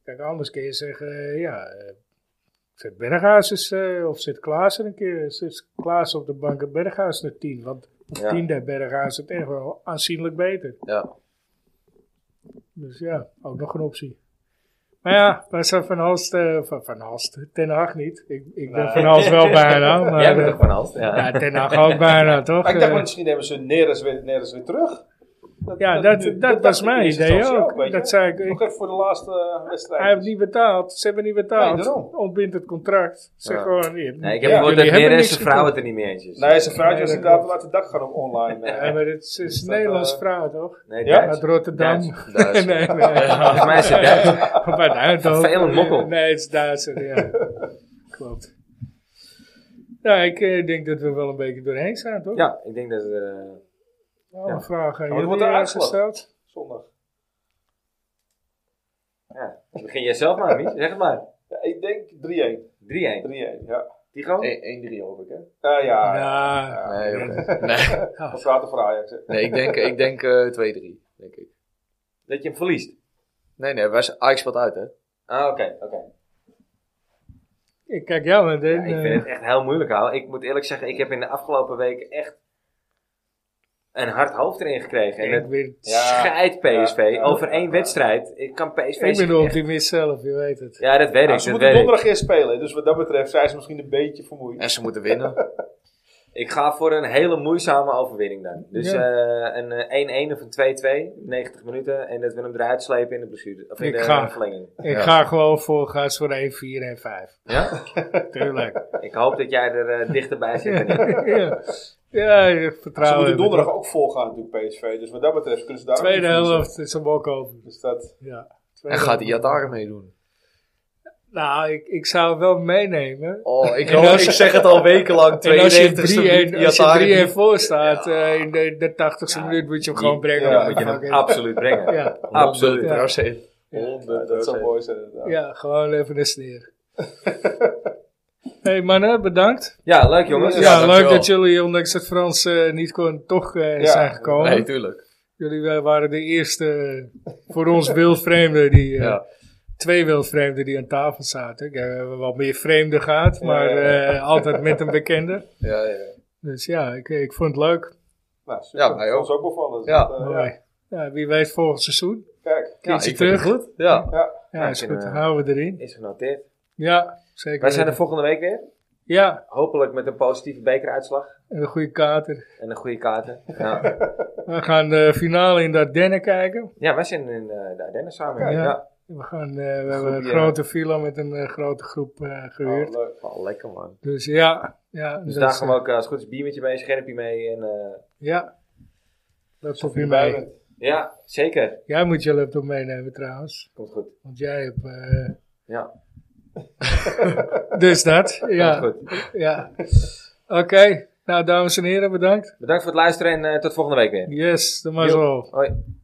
S2: Kijk, anders kun je zeggen, eh, ja... eh, Zet Berghuis eens, eh, of zit Klaas er een keer, zit Klaas op de bank en Berghuis naar tien. Want op
S1: Ja.
S2: tien deed Berghuis het echt wel aanzienlijk beter.
S3: Ja.
S2: Dus ja, ook nog een optie. Maar ja, wij zijn van Halst, eh, van, van Halst, Ten Hag niet. Ik, ik ben
S4: Nee.
S2: van Halst wel bijna, maar
S1: Jij bent
S2: eh,
S1: toch van Alst? Ja.
S2: ja, Ten Hag ook bijna, toch?
S4: Maar ik dacht,
S2: Eh,
S4: maar misschien hebben ze Neres weer, Neres weer terug.
S2: ja, dat, dat, was mijn idee ook. dat zei ik, ik-
S4: Nog even voor de laatste eh, wedstrijd.
S2: hij heeft niet betaald, ze hebben niet
S4: Nee,
S2: betaald.
S4: daarom.
S2: ontbindt het contract. Zeg
S3: Ja.
S2: gewoon, je hebt
S1: Nee, ik heb
S2: niet-
S4: Ja,
S1: gehoord
S2: jullie
S1: dat meer
S2: hebben
S1: rest
S2: niks
S1: de vrouwen dus. het
S2: gekregen.
S1: er niet mee eens is.
S4: Nee, zijn vrouwtje
S2: Nee,
S4: was
S2: dat
S4: inderdaad
S2: klopt.
S4: laten het dak gaan op online. eh.
S2: Ja, maar het is, het is
S4: Is
S2: een
S4: dat,
S2: Nederlands
S4: eh,
S2: vrouw, toch?
S1: Nee,
S4: Ja?
S1: Duits.
S2: Uit Rotterdam.
S1: Duits.
S3: Duits.
S2: nee, nee.
S1: Volgens mij is het Duits.
S2: Op uit Eindhoven.
S1: Vervelend mokkel.
S2: Nee, het is Duitser, ja. Klopt. Ja, ik eh, denk dat we wel een beetje doorheen zijn, toch?
S1: Ja, ik denk dat... eh,
S2: Alle
S1: Ja.
S2: vragen aan
S4: wat
S2: jullie
S4: Oh, wordt er
S2: eh,
S4: uitgeslagen?
S2: gesteld.
S4: Zondag.
S1: ja, begin jij zelf maar, Mies. Zeg het maar.
S4: Ja, ik denk 3-1.
S1: 3-1.
S4: 3-1, ja.
S1: Tigo?
S3: 1-3 hoop ik, hè?
S4: Ah ja,
S2: Ja,
S3: Nee, oké. nee.
S4: we praten voor Ajax. hè.
S3: nee, ik denk, ik denk eh, 2-3. Denk ik.
S1: Dat je hem verliest.
S3: Nee, nee, wij, zijn- Ajax speelt uit, hè?
S1: Ah, oké, oké.
S2: Ik kijk jou eh. aan.
S1: Ja, ik vind het echt heel moeilijk houden. Ik moet eerlijk zeggen, ik heb in de afgelopen weken echt een hard hoofd erin gekregen. En
S2: ik
S1: het
S2: ben,
S4: Ja.
S1: scheidt PSV
S4: Ja, ja,
S1: over
S4: ja,
S1: één
S4: ja.
S1: wedstrijd. Ik kan PSV
S2: ik ben de
S1: zich echt-
S2: optimist zelf, je weet het.
S1: Ja, dat weet
S4: Nou,
S1: ik.
S4: ze
S1: Dat
S4: moeten
S1: weet ik.
S4: donderdag eerst spelen. Dus wat dat betreft zijn ze misschien een beetje vermoeid.
S3: En ze moeten winnen.
S1: ik ga voor een hele moeizame overwinning dan. Dus
S2: Ja.
S1: eh, een eh, 1-1 of een 2-2, 90 minuten. En dat we hem eruit slepen in de blessure. Of in
S2: Ik
S1: de
S2: ga.
S1: verlenging.
S2: Ik
S3: Ja.
S2: ga gewoon voor gaas voor 1, 4 en 5.
S1: Ja?
S2: Tuurlijk.
S1: ik hoop dat jij er eh, dichterbij zit. dan ik.
S2: ja. ja, ik vertrouw
S4: Ze moeten
S2: hem.
S4: donderdag ook volgaan natuurlijk PSV. Dus wat dat betreft kunnen ze daar ook
S2: Tweede
S4: niet verliezen.
S2: helft is een bok over.
S4: Dus dat...
S2: Ja.
S3: en gaat Iatare meedoen?
S2: Nou, ik, ik zou hem wel meenemen.
S3: Oh, ik,
S2: En
S3: hoop-
S2: als-
S3: ik zeg het al wekenlang.
S2: En als je
S3: 92
S2: 3-1 als je 3-1 voor staat eh, in de, de 80ste minuut, moet je hem gewoon brengen.
S4: ja,
S2: Dan moet je hem-
S1: Moet je hem absoluut brengen.
S2: Ja.
S1: Absoluut.
S2: Ja.
S4: dat, dat zou mooi zijn inderdaad.
S2: ja, gewoon even een sneer. hey mannen, bedankt.
S1: Ja, leuk jongens.
S2: Ja,
S3: Ja,
S2: leuk
S3: dankjewel.
S2: dat jullie, ondanks het Frans eh, niet kon, toch eh,
S4: Ja.
S2: zijn gekomen.
S3: Nee, tuurlijk.
S2: Jullie eh, waren de eerste eh, voor ons wildvreemden die... eh,
S3: Ja.
S2: Twee wildvreemden die aan tafel zaten. Ik heb- We hebben wat meer vreemden gehad, maar
S4: ja, ja.
S2: eh, altijd met een bekende.
S3: Ja, ja.
S2: Dus ja, ik, ik vond het leuk.
S4: Nou, super.
S3: Ja, mij ook.
S4: Ons ook bevallen. Dus
S3: Ja.
S4: dat, eh,
S2: Mooi. Ja, wie weet volgend seizoen.
S4: Kijk.
S2: Ja,
S3: ik vind het goed. Ja.
S4: Ja.
S2: Ja,
S1: Ja,
S2: is
S1: ik
S2: goed.
S1: vind, eh,
S2: Houden we erin.
S1: Is genoteerd.
S2: Ja, zeker.
S1: Wij zijn er
S2: weten.
S1: volgende week weer.
S2: Ja,
S1: Hopelijk met een positieve bekeruitslag.
S2: en een goede kater.
S1: En een goede kaarten. Ja,
S2: We gaan de finale in de Ardennen kijken.
S1: ja wij zijn in eh, de Ardennen samen.
S2: Ja.
S1: ja.
S2: We, gaan, eh, we hebben een
S1: groepje,
S2: grote villa met een eh, grote groep eh, gehuurd.
S4: Oh, leuk.
S3: Oh, lekker man.
S2: Dus ja. ja
S1: Dus
S2: dat
S1: daar
S2: is,
S1: gaan we ook eh, als het goed is biermetje mee, schermpje mee. En, eh,
S2: Ja, laptop
S4: Wie
S2: weer
S4: bij
S2: mee.
S4: bent.
S1: ja, zeker.
S2: Jij moet je laptop meenemen trouwens.
S1: Komt goed.
S2: Want jij hebt... eh,
S1: Ja,
S2: Dus dat, ja.
S1: komt goed.
S2: ja. Oké, nou dames en heren, bedankt.
S1: Bedankt voor het luisteren en eh, tot volgende week weer.
S2: Yes, de mazzel.
S1: Hoi.